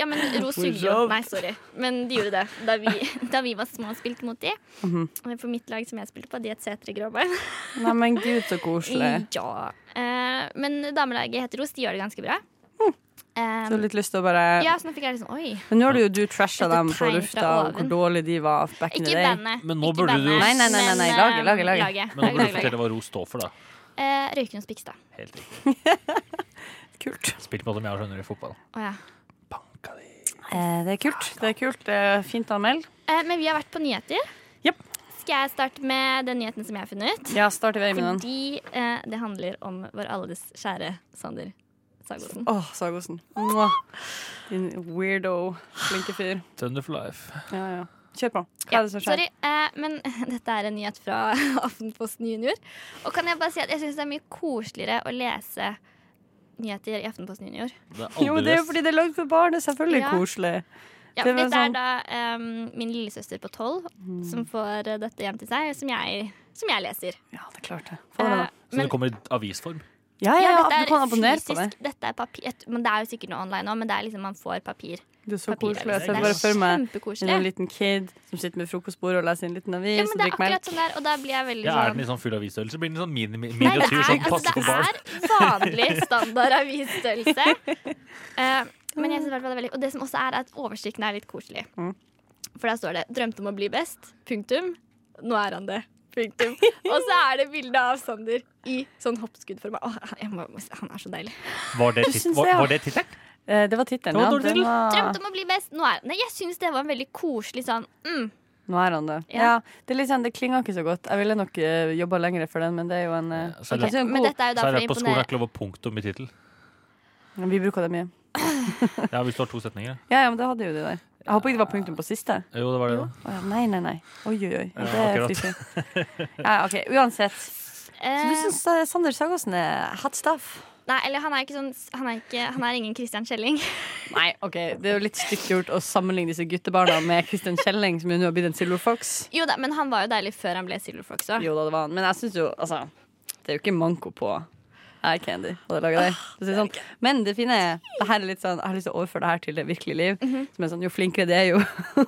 Speaker 5: Ja, men Ros sugde jo Nei, sorry. Men de gjorde det da vi, da vi var små og spilte mot de.
Speaker 6: Mhm.
Speaker 5: For mitt lag som jeg spilte på, de het Setre Gråbein.
Speaker 6: Nei, men gud, så
Speaker 5: Mm.
Speaker 6: koselig.
Speaker 5: Ja. Eh, men damelaget heter Ros. De gjør det ganske bra.
Speaker 6: Mm. Så
Speaker 5: Um,
Speaker 6: litt lyst til å bare
Speaker 5: ja, så nå fikk jeg litt sånn Oi.
Speaker 6: Men nå har du jo du trasha
Speaker 5: Dette
Speaker 6: dem
Speaker 5: tegn
Speaker 6: på
Speaker 5: fra
Speaker 6: lufta, og hvor
Speaker 5: oven.
Speaker 6: dårlig de var back in the
Speaker 5: Ikke
Speaker 6: day.
Speaker 5: bandet.
Speaker 1: Men nå
Speaker 5: ikke
Speaker 1: burde du-
Speaker 5: bandet,
Speaker 1: Nei,
Speaker 6: nei, nei, nei, nei,
Speaker 5: men,
Speaker 6: laget,
Speaker 5: eh,
Speaker 6: laget, laget.
Speaker 1: Men nå burde
Speaker 5: Laget,
Speaker 1: du
Speaker 5: laget.
Speaker 1: fortelle hva Ros står for, da.
Speaker 5: Eh, Røykenes Bikstad.
Speaker 1: Helt riktig.
Speaker 6: Kult.
Speaker 1: Spilt mot dem jeg har skjønner i fotball.
Speaker 5: Å ja.
Speaker 1: Banka de.
Speaker 6: Eh, det er kult. Det er kult. Det er fint å anmelde.
Speaker 5: Eh, men vi har vært på nyheter.
Speaker 6: Japp.
Speaker 5: Skal jeg starte med den nyheten som jeg har funnet?
Speaker 6: Ja, start i vei med den.
Speaker 5: Fordi eh, det handler om vår alles kjære Sander Sagosen.
Speaker 6: Åh, Sagosen. Mwah. Din weirdo, flinke fyr.
Speaker 1: Thunder for life.
Speaker 6: Ja, ja. Kjør på. Hva er det som skjer?
Speaker 5: Sorry, eh, men dette er en nyhet fra Aftenposten Junior. Og kan jeg bare si at jeg syns det er mye koseligere å lese nyheter i Aftenposten Junior.
Speaker 1: Det er
Speaker 6: Jo, det er jo
Speaker 1: aldri
Speaker 6: fordi det er lagd for barn. Det er selvfølgelig
Speaker 5: Ja.
Speaker 6: koselig.
Speaker 5: Ja,
Speaker 6: Det var
Speaker 5: dette er
Speaker 6: sånn- Mm.
Speaker 5: da eh, min lillesøster på tolv som får eh, dette hjem til seg, som jeg, som jeg leser.
Speaker 6: Ja, det er klart det. Få det med
Speaker 5: Eh,
Speaker 6: deg.
Speaker 1: Så det kommer i avisform.
Speaker 6: Ja, ja,
Speaker 5: ja,
Speaker 6: ja,
Speaker 5: dette
Speaker 6: du kan
Speaker 5: er
Speaker 6: abonnere på det.
Speaker 5: fysisk. Dette er papir, men det er jo sikkert noe online òg, men det er liksom man får papir.
Speaker 6: Det er så
Speaker 5: papir,
Speaker 6: koselig. Jeg
Speaker 5: liksom.
Speaker 6: ser
Speaker 5: Det
Speaker 6: bare
Speaker 5: er
Speaker 6: for meg
Speaker 5: kjempekoselig.
Speaker 6: en liten kid som sitter med frokostbordet og leser en liten avis
Speaker 5: Ja, men
Speaker 6: og
Speaker 5: det er
Speaker 6: drikker melk.
Speaker 5: akkurat sånn der, og da blir jeg veldig
Speaker 1: Ja, Er den
Speaker 5: sånn
Speaker 1: i sånn full avisstørrelse, blir den sånn mini, mi-
Speaker 5: Nei, det
Speaker 1: miniatyr
Speaker 5: er,
Speaker 1: som passer
Speaker 5: altså,
Speaker 1: for
Speaker 5: det
Speaker 1: barn.
Speaker 5: er vanlig standard avisstørrelse. Eh, men jeg synes i hvert fall det er veldig Og det som også er, er at oversikten er litt koselig.
Speaker 6: Mm.
Speaker 5: For der står det 'Drømte om å bli best'. Punktum. Nå er han det. Punktum. Og så er det bilde av Sander i sånn hoppskuddformat. Åh, jeg må, han er så deilig.
Speaker 1: Var det tit-
Speaker 6: synes
Speaker 1: var-
Speaker 6: jeg, ja.
Speaker 1: var det tittelen?
Speaker 6: Eh, Det var tittelen.
Speaker 1: Det var
Speaker 6: ja.
Speaker 1: dårlig tittel.
Speaker 6: var-
Speaker 5: 'Drømte om å bli best'. Nå er han det. Jeg syns det var en veldig koselig sånn mm.
Speaker 6: Nå er han det.
Speaker 5: Ja.
Speaker 6: Ja. det, er litt sånn, det klinger ikke så godt. Jeg ville nok uh, jobba lenger for den, men det er jo en eh,
Speaker 1: så er
Speaker 6: det er en
Speaker 5: Men
Speaker 6: god,
Speaker 5: dette er
Speaker 1: Så
Speaker 5: jo da
Speaker 1: er
Speaker 5: for å
Speaker 1: det på skolen er
Speaker 5: imponere.
Speaker 1: ikke lov å punktum i tittel.
Speaker 6: Vi bruker det mye.
Speaker 1: Ja, hvis du har to setninger.
Speaker 6: Ja, ja, men det hadde jo de der. Jeg håper ikke det var punktum på siste.
Speaker 1: Jo, det var det, da.
Speaker 6: Å ja, nei, nei, nei. Oi, oi, oi.
Speaker 1: Ja,
Speaker 6: Det er
Speaker 1: akkurat.
Speaker 6: frisig. Ja, OK, uansett. Så du
Speaker 5: Eh,
Speaker 6: syns Sander Sagosen er hot stuff?
Speaker 5: nei, eller han er ikke sånn Han er, ikke, han er ingen Christian Kjelling.
Speaker 6: Nei, OK, det er jo litt stygt gjort å sammenligne disse guttebarna med Christian Kjelling, som jo nå har blitt en Silver Fox.
Speaker 5: Jo da, men han var jo deilig før han ble Silver Fox òg.
Speaker 6: Jo da, det var han. Men jeg syns jo, altså Det er jo ikke manko på eye candy. Hadde laget det. Så det er sånn. Men det fine er det her er litt sånn, Jeg har lyst til å overføre det her til det virkelige liv. Som er sånn, Jo flinkere det er, jo,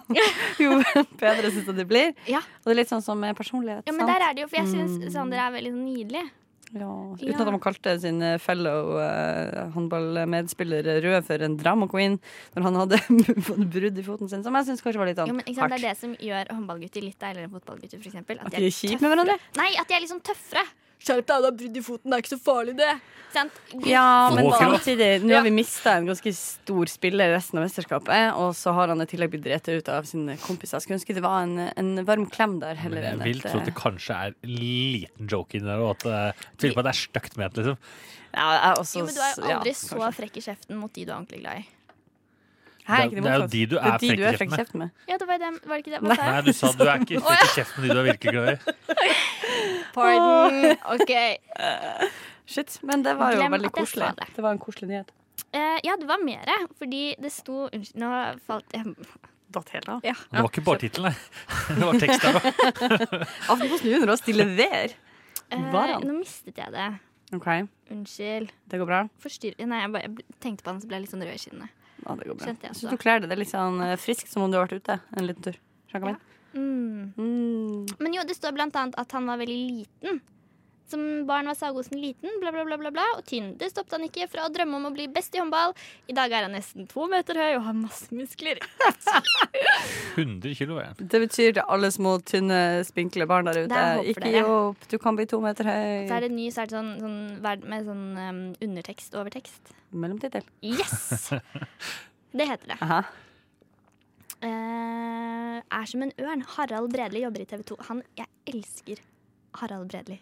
Speaker 6: jo bedre syns jeg det blir.
Speaker 5: Ja.
Speaker 6: Og det er litt sånn som med personlighet.
Speaker 5: Ja, men
Speaker 6: sant?
Speaker 5: der er det jo, for jeg syns Sander er veldig sånn nydelig.
Speaker 6: Ja, uten
Speaker 5: Ja.
Speaker 6: at han kalte sin eh, fellow eh, håndballmedspiller Rød for en drama queen når han hadde fått brudd i foten sin, som jeg syns kanskje var litt sånn
Speaker 5: Jo, men, ikke sant? Det er det som gjør håndballgutter litt deiligere enn fotballgutter, for eksempel.
Speaker 6: At de er kjipe med hverandre?
Speaker 5: Nei, at de er liksom tøffere. Skjerp deg, du har brudd i foten, det er ikke så farlig, det. Sant?
Speaker 6: Ja,
Speaker 1: Så
Speaker 6: men
Speaker 1: håper jeg.
Speaker 6: samtidig Nå
Speaker 5: Ja.
Speaker 6: har vi mista en ganske stor spiller resten av mesterskapet, og så har han i tillegg blitt drept ut av sine kompiser. Skulle ønske det var en, en varm klem der heller
Speaker 1: Men
Speaker 6: enn
Speaker 1: jeg vil
Speaker 6: et
Speaker 1: tro at det
Speaker 6: eh,
Speaker 1: kanskje er en liten joke inni der, og at eh, jeg tviler på at det er stygt ment, liksom.
Speaker 6: ja, jeg er også,
Speaker 5: Jo, men du er jo
Speaker 6: ja,
Speaker 5: aldri så
Speaker 6: kanskje.
Speaker 5: frekk i kjeften mot de du er ordentlig glad i.
Speaker 6: Hæ, er ikke
Speaker 1: Det er jo
Speaker 6: motsatt?
Speaker 1: de du
Speaker 6: Det
Speaker 1: er frekk i
Speaker 6: frekk i kjeften med.
Speaker 5: Ja, det var, det, var det ikke det? Hva sa
Speaker 1: Nei,
Speaker 5: jeg?
Speaker 1: du sa du er ikke fikk i kjeften de du er virkelig glad i.
Speaker 5: Pardon. OK.
Speaker 6: Shit, men det var jo
Speaker 5: Glem
Speaker 6: veldig
Speaker 5: at jeg
Speaker 6: koselig.
Speaker 5: sa det.
Speaker 6: Det var en koselig nyhet.
Speaker 5: Eh, ja, det var mere, fordi det sto Unnskyld, nå falt jeg
Speaker 6: Datt helt av.
Speaker 5: ja.
Speaker 1: Det var ikke bare tittelen, nei. Det var teksten. da.
Speaker 6: Aftenposten Junior også, de leverer. Var
Speaker 5: Eh,
Speaker 6: han?
Speaker 5: Nå mistet jeg det.
Speaker 6: OK,
Speaker 5: Unnskyld.
Speaker 6: det går bra.
Speaker 5: Forstyrr... Nei, jeg bare jeg bl- tenkte på han, så ble jeg litt sånn rød i kinnene.
Speaker 6: Ja, det går bra.
Speaker 5: Skjønte jeg
Speaker 6: Jeg
Speaker 5: også.
Speaker 6: syns du kler det. Det er litt sånn eh, friskt, som om du har vært ute en liten tur. Skjønner du hva jeg
Speaker 5: Mm.
Speaker 6: mener? Mm.
Speaker 5: Men jo, det står blant annet at han var veldig liten. Som barn var Sagosen liten, bla, bla, bla, bla, bla og tynn. Det stoppet han ikke fra å drømme om å bli best i håndball. I dag er han nesten to meter høy og har masse muskler.
Speaker 1: 100 kilo er jeg.
Speaker 6: Det betyr til alle små, tynne, spinkle barn der
Speaker 5: Det
Speaker 6: ute.
Speaker 5: er håp for
Speaker 6: Ikke
Speaker 5: dere.
Speaker 6: gi opp, du kan bli to meter høy.
Speaker 5: Så er det ny, så er det sånn, sånn verd- med sånn um, undertekst og overtekst.
Speaker 6: Mellomtittel.
Speaker 5: Yes! Det heter det.
Speaker 6: Aha.
Speaker 5: Eh, er som en ørn. Harald Bredli jobber i TV 2. Han, jeg elsker Harald Bredli.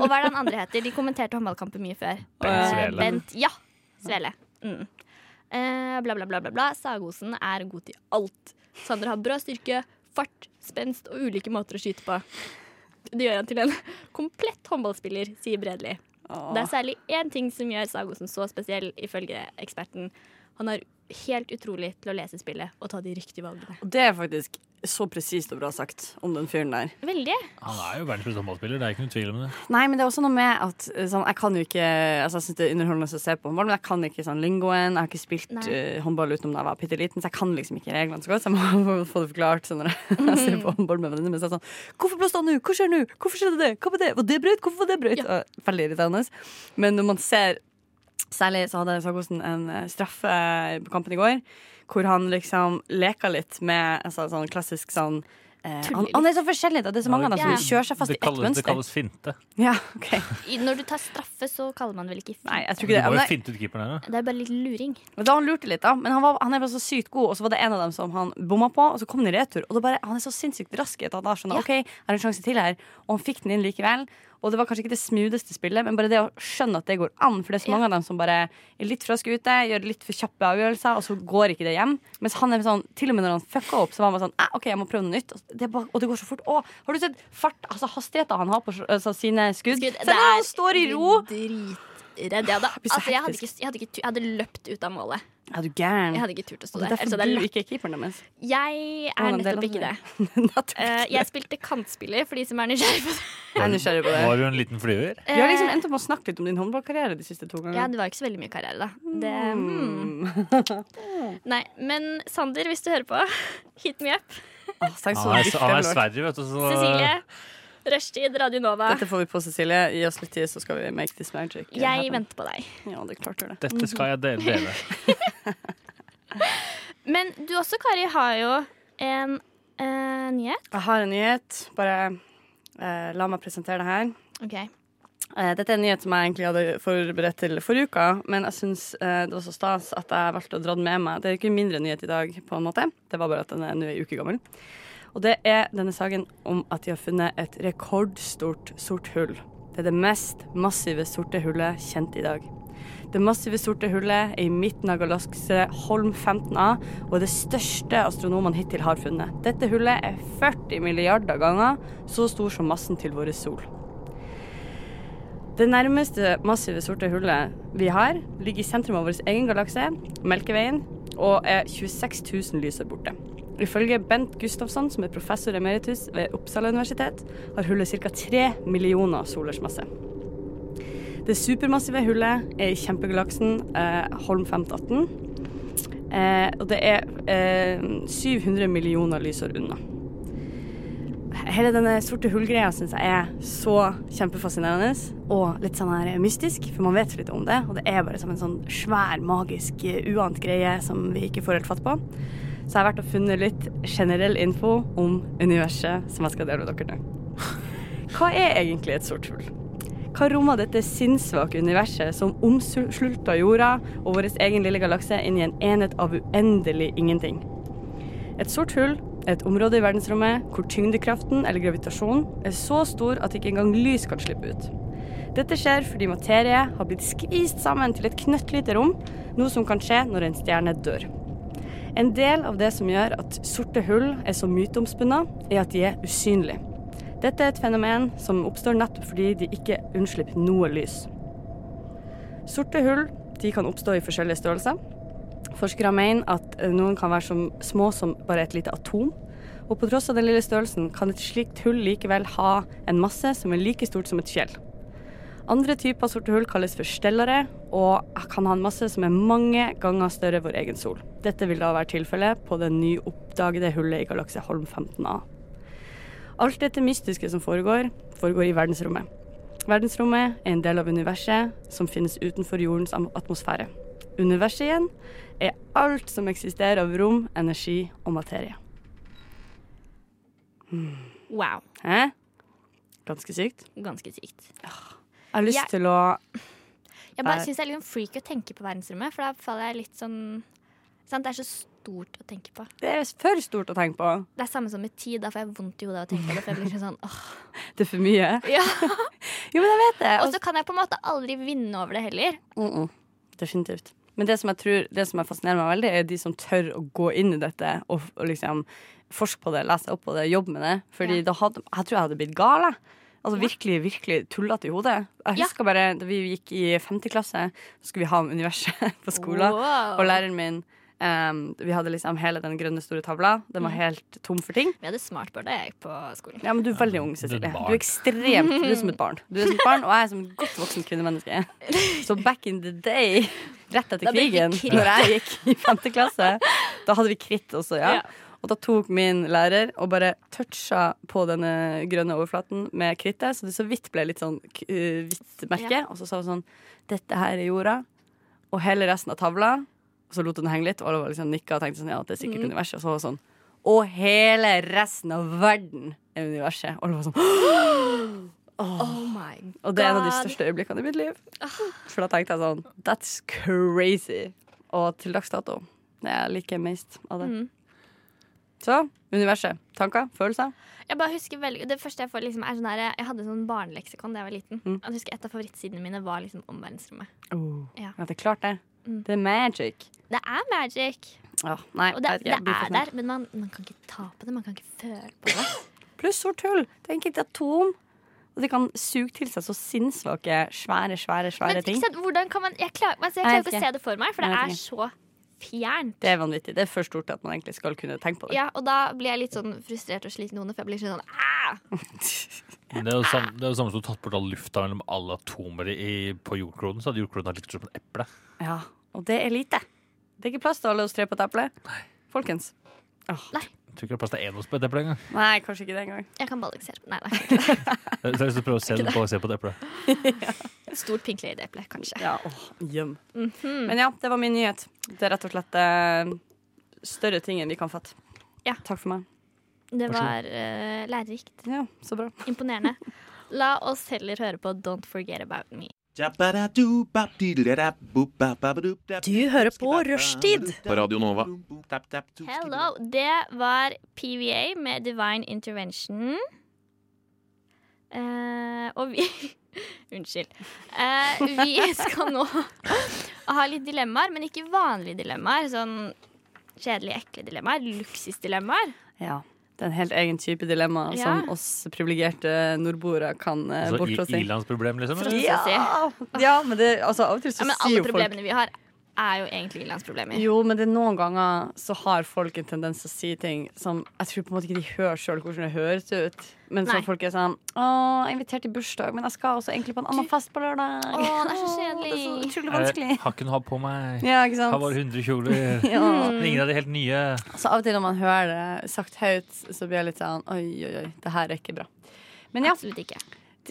Speaker 5: Og hva er det han andre heter? De kommenterte håndballkamper mye før.
Speaker 1: Bent
Speaker 5: Eh,
Speaker 1: Svele.
Speaker 5: Bent, ja, Svele. Mm. Eh, bla, bla, bla, bla, bla. Sagosen er god til alt. Sander har bra styrke, fart, spenst og ulike måter å skyte på. Det gjør han til en komplett håndballspiller, sier Bredli. Det er særlig én ting som gjør Sagosen så spesiell, ifølge eksperten. Han er helt utrolig til å lese spillet og ta de riktige valgene.
Speaker 6: Og det er faktisk så presist og bra sagt om den fyren der.
Speaker 5: Veldig.
Speaker 1: Han er jo verdens beste håndballspiller, det er ikke noe tvil om det.
Speaker 6: Nei, men det er også noe med at eh, sånn, jeg kan jo ikke altså, Jeg syns det er underholdende å se på håndball, men jeg kan ikke sånn lingoen. Jeg har ikke spilt
Speaker 5: Nei.
Speaker 6: eh, håndball utenom da jeg var bitte liten, så jeg kan liksom ikke reglene så godt. Så jeg må få det forklart sånn, når jeg ser
Speaker 5: Mm.
Speaker 6: på håndball med venninner mine. Så er det sånn Hvorfor blåste han nå? Hva skjer nå? Hvorfor skjedde det? Hva var det? Var det brøyt? Hvorfor var det brøyt? Og Veldig irriterende. Men når man ser Særlig så hadde Sagosen en eh, straffe på kampen i går, hvor han liksom leka litt med altså, sånn klassisk sånn eh,
Speaker 5: Tuller
Speaker 6: han, han er så forskjellig, da. Det er så mange av dem
Speaker 5: Ja.
Speaker 6: som kjører seg fast
Speaker 1: Det
Speaker 6: i ett
Speaker 1: kalles, det
Speaker 6: mønster.
Speaker 1: kalles finte.
Speaker 6: Ja, ok
Speaker 5: I- Når du tar straffe, så kaller man vel ikke fint.
Speaker 6: Nei, jeg tror
Speaker 1: Du
Speaker 6: ikke det.
Speaker 1: må
Speaker 6: Men,
Speaker 1: jo finte ut keeperen her. da.
Speaker 5: Det er bare litt luring.
Speaker 6: det- da han lurte litt, da. Men han, var, han er bare så sykt god, og så var det en av dem som han bomma på, og så kom den i retur. Og da bare, han er så sinnssykt rask i at han da
Speaker 5: Ja.
Speaker 6: skjønner OK, jeg har en sjanse til her. Og han fikk den inn likevel. Og det var kanskje ikke det smootheste spillet, men bare det å skjønne at det går an. For det er så
Speaker 5: Ja.
Speaker 6: mange av dem som bare er litt fraske ute, gjør litt for kjappe avgjørelser, og så går ikke det hjem. Mens han er sånn, til og med når han fucka opp, så var han bare sånn «Eh, OK, jeg må prøve noe nytt. Og det, er bare, og det går så fort. Å, har du sett fart, altså hastigheten han har på altså, sine skudd?
Speaker 5: Gud,
Speaker 6: Se der, han står i ro!
Speaker 5: Dritredd. Jeg hadde,
Speaker 6: blir så
Speaker 5: altså, jeg hadde,
Speaker 6: hektisk.
Speaker 5: ikke, jeg, hadde ikke, tu- jeg hadde løpt ut av målet.
Speaker 6: Er du gæren?
Speaker 5: Jeg hadde ikke turt å
Speaker 6: Og
Speaker 5: stå
Speaker 6: det
Speaker 5: der.
Speaker 6: er
Speaker 5: Altså,
Speaker 6: derfor
Speaker 5: det er
Speaker 6: du
Speaker 5: løpt.
Speaker 6: ikke er keeperen deres.
Speaker 5: Jeg
Speaker 6: Å,
Speaker 5: er
Speaker 6: men det er
Speaker 5: nettopp ikke det.
Speaker 6: Nettopp ikke
Speaker 5: Eh,
Speaker 6: det.
Speaker 5: jeg spilte kantspiller, for de som er nysgjerrig på det. Eh,
Speaker 6: Jeg er nysgjerrig på det.
Speaker 1: Var du en liten flyver?
Speaker 6: Vi har liksom endt opp med å snakke litt om din håndballkarriere de siste to
Speaker 5: Ja,
Speaker 6: gangene. Mm.
Speaker 5: det var ikke så veldig mye karriere, da. Det, hmm. Nei, men Sander, hvis du hører på, hit me up.
Speaker 6: Åh, tenk så
Speaker 1: Han er,
Speaker 6: viktig
Speaker 1: han er i
Speaker 6: det ble.
Speaker 1: Sverige, vet du. Så
Speaker 5: Cecilie, rushtid, Radio Nova.
Speaker 6: Dette får vi på, Cecilie. Gi oss litt tid, så skal vi make this magic.
Speaker 5: Jeg venter på deg.
Speaker 6: Ja, det er klart du gjør det.
Speaker 1: dette skal jeg dele. dele.
Speaker 5: Men du også, Kari, har jo en eh, nyhet.
Speaker 6: Jeg har en nyhet. Bare eh, la meg presentere det her.
Speaker 5: Ok.
Speaker 6: Eh, Dette er en nyhet som jeg egentlig hadde forberedt til forrige uka, men jeg syns eh, det var så stas at jeg valgte å dra den med meg. Det er ikke en mindre nyhet i dag, på en måte. Det var bare at den er nå ei uke gammel. Og det er denne saken om at de har funnet et rekordstort sort hull. Det er det mest massive sorte hullet kjent i dag. Det massive sorte hullet er i midten av galakse Holm 15A og er det største astronomene hittil har funnet. Dette hullet er 40 milliarder ganger så stor som massen til vår sol. Det nærmeste massive sorte hullet vi har, ligger i sentrum av vår egen galakse, Melkeveien, og er 26 000 lysår borte. Ifølge Bent Gustafsson, som er professor emeritus ved Uppsala universitet, har hullet ca. 3 millioner solers masse. Det supermassive hullet er i kjempegalaksen eh, Holm 518, eh, og det er eh, 700 millioner lysår unna. Hele denne sorte hull-greia syns jeg er så kjempefascinerende og litt sånn her mystisk, for man vet så lite om det. Og det er bare som en sånn svær, magisk, eh, uant greie som vi ikke får helt fatt på. Så jeg har vært og funnet litt generell info om universet som jeg skal dele med dere nå. Hva er egentlig et sort hull? Hva rommer dette sinnssvake universet som omslutta jorda og vår egen lille galakse inn i en enhet av uendelig ingenting? Et sort hull er et område i verdensrommet hvor tyngdekraften eller gravitasjonen er så stor at ikke engang lys kan slippe ut. Dette skjer fordi materie har blitt skvist sammen til et knøttlite rom, noe som kan skje når en stjerne dør. En del av det som gjør at sorte hull er så myteomspunnet, er at de er usynlige. Dette er et fenomen som oppstår nettopp fordi de ikke unnslipper noe lys. Sorte hull de kan oppstå i forskjellige størrelser. Forskere mener at eh, noen kan være som, små som bare et lite atom. Og på tross av den lille størrelsen kan et slikt hull likevel ha en masse som er like stort som et fjell. Andre typer sorte hull kalles for stellare og kan ha en masse som er mange ganger større enn vår egen sol. Dette vil da være tilfellet på det nyoppdagede hullet i galakse Holm 15A. Alt dette mystiske som foregår, foregår i verdensrommet. Verdensrommet er en del av universet som finnes utenfor jordens am- atmosfære. Universet igjen er alt som eksisterer av rom, energi og materie. Hmm.
Speaker 5: Wow.
Speaker 6: Hæ? Ganske sykt.
Speaker 5: Ganske sykt.
Speaker 6: Jeg har lyst
Speaker 5: Jeg-
Speaker 6: til å
Speaker 5: Jeg bare
Speaker 6: Der.
Speaker 5: syns det er litt sånn freak å tenke på verdensrommet, for da faller jeg litt sånn sant? Det er så stort å tenke på.
Speaker 6: Det er for stort å tenke på.
Speaker 5: Det er samme som med tid, da får jeg vondt i hodet av å tenke på det. For jeg blir sånn, åh.
Speaker 6: Det er for mye.
Speaker 5: Ja.
Speaker 6: Jo, men jeg vet det.
Speaker 5: Og så kan jeg på en måte aldri vinne over det heller.
Speaker 6: Mm -mm. Definitivt. Men det som, jeg tror, det som jeg fascinerer meg veldig, er de som tør å gå inn i dette og, og liksom forske på det, lese opp på det, jobbe med det. Fordi
Speaker 5: Ja.
Speaker 6: da hadde, jeg tror jeg hadde blitt gal. jeg. Altså virkelig, virkelig tullete i hodet. Jeg
Speaker 5: Ja.
Speaker 6: husker bare da vi gikk i 5. klasse, så skulle vi ha om universet på skolen.
Speaker 5: Wow.
Speaker 6: Og læreren min em, Vi hadde liksom hele den grønne store tavla. Den
Speaker 5: Mm.
Speaker 6: var helt tom for ting.
Speaker 5: Vi hadde smartboard da jeg gikk på skolen.
Speaker 6: Ja, men Du er veldig ung,
Speaker 1: er et
Speaker 6: Cecilie.
Speaker 1: barn.
Speaker 6: Du er ekstremt Du er som et barn. Du er som et barn, Og jeg er som et godt voksen kvinnemenneske. Så back in the day, rett etter
Speaker 5: Da ble vi
Speaker 6: krigen,
Speaker 5: kritt.
Speaker 6: når jeg gikk i 5. klasse, da hadde vi kritt også, ja.
Speaker 5: Ja.
Speaker 6: Og da tok min lærer og bare toucha på denne grønne overflaten med krittet, så det så vidt ble litt sånn k- eh, hvitt merke. Og så sa hun sånn Dette her er jorda. Og hele resten av tavla. Og så lot hun det henge litt, og alle var liksom nikka og tenkte sånn Ja, det er sikkert
Speaker 5: Mm.
Speaker 6: universet. Og så var det sånn Og hele resten av verden er universet. Og alle var sånn
Speaker 5: Oh my
Speaker 6: og det er en av de
Speaker 5: God. Ah.
Speaker 6: største øyeblikkene i mitt liv. For da tenkte jeg sånn That's crazy. Og til dags dato er jeg like amazed av det.
Speaker 5: Mm.
Speaker 6: Så universet. Tanker, følelser.
Speaker 5: Jeg bare husker veldig Det første jeg får liksom er sånn her Jeg hadde sånn barneleksikon da jeg var liten.
Speaker 6: Mm.
Speaker 5: Jeg husker Et av favorittsidene mine var liksom om verdensrommet. Ja.
Speaker 6: Ja, det er klart, det.
Speaker 5: Mm.
Speaker 6: Det er magic.
Speaker 5: Det er magic.
Speaker 6: Ja, nei,
Speaker 5: Og det,
Speaker 6: jeg vet ikke,
Speaker 5: det
Speaker 6: jeg blir
Speaker 5: er
Speaker 6: for
Speaker 5: der, men man, man kan ikke ta på det. Man kan ikke føle på det.
Speaker 6: sånn. Pluss sort hull. Det er enkelt atom. Og det kan suge til seg så sinnssvake, svære, svære
Speaker 5: Men
Speaker 6: svære ting.
Speaker 5: ikke sant, hvordan kan man Jeg klarer, altså, jeg
Speaker 6: Nei,
Speaker 5: klarer
Speaker 6: jeg
Speaker 5: ikke
Speaker 6: vet
Speaker 5: å se det for meg, for det
Speaker 6: Nei, jeg
Speaker 5: er
Speaker 6: vet
Speaker 5: så fjernt.
Speaker 6: Det er vanvittig. Det er for stort til at man egentlig skal kunne tenke på det.
Speaker 5: Ja, og da blir jeg litt sånn frustrert og sliten i hodet, for jeg blir sånn «Ah!»
Speaker 1: Det er jo sam- det er jo samme som du tatt bort all lufta mellom alle atomer i, på jordkloden. Så hadde jordkloden vært like stor som et eple.
Speaker 6: Ja, Og det er lite. Det er ikke plass til alle oss tre på et eple. Folkens.
Speaker 1: Jeg tror ikke det er plass til én av oss på et eple engang.
Speaker 6: Nei, kanskje ikke det engang.
Speaker 5: Jeg kan balansere på Nei, nei.
Speaker 1: Jeg har lyst til å prøve å se, balansere på et eple.
Speaker 5: Et stort pinklig i det eplet, kanskje.
Speaker 6: Ja, åh, gjem.
Speaker 5: Mhm.
Speaker 6: Men ja, det var min nyhet. Det er rett og slett eh, større ting enn vi kan fatte.
Speaker 5: Ja.
Speaker 6: Takk for meg.
Speaker 5: Det var eh, lærerikt.
Speaker 6: Ja, så bra.
Speaker 5: Imponerende. La oss heller høre på Don't Forget About Me.
Speaker 3: Du hører på Rushtid
Speaker 9: På Radio Nova.
Speaker 5: Hello! Det var PVA med Divine Intervention. Eh, og vi Unnskyld. Eh, vi skal nå ha litt dilemmaer, men ikke vanlige dilemmaer. Sånn kjedelige, ekle dilemmaer. Luksusdilemmaer.
Speaker 6: Ja. Det er en helt egen type dilemma
Speaker 5: Ja.
Speaker 6: som oss privilegerte nordboere kan eh,
Speaker 1: Så
Speaker 6: bortblåse i.
Speaker 1: ilandsproblem, liksom? Eller?
Speaker 5: å si.
Speaker 6: Ja. ja, men det, altså, av og til så
Speaker 5: Ja, men
Speaker 6: sier
Speaker 5: alle
Speaker 6: jo folk
Speaker 5: problemene vi har, er jo egentlig ilandsproblemer.
Speaker 6: Jo, men det er noen ganger så har folk en tendens til å si ting som Jeg tror på en måte ikke de hører sjøl hvordan det høres ut. Men så
Speaker 5: Nei.
Speaker 6: folk er sånn Å, jeg er invitert i bursdag, men jeg skal også egentlig på en annen fest på lørdag.
Speaker 5: Å, det er så
Speaker 6: Å,
Speaker 5: kjedelig.
Speaker 6: Det er så
Speaker 1: Er
Speaker 6: utrolig
Speaker 1: det-
Speaker 6: vanskelig.
Speaker 1: Eh, Har ikke noe å ha på meg.
Speaker 6: Ja,
Speaker 1: Har
Speaker 6: ikke sant?
Speaker 1: bare 100 kjoler.
Speaker 6: Ja.
Speaker 5: Hmm.
Speaker 1: Ingen av de helt nye.
Speaker 6: Så av og til når man hører det sagt høyt, så blir jeg litt sånn Oi, oi, oi, det her er ikke bra. Men ja,
Speaker 5: Absolutt ikke.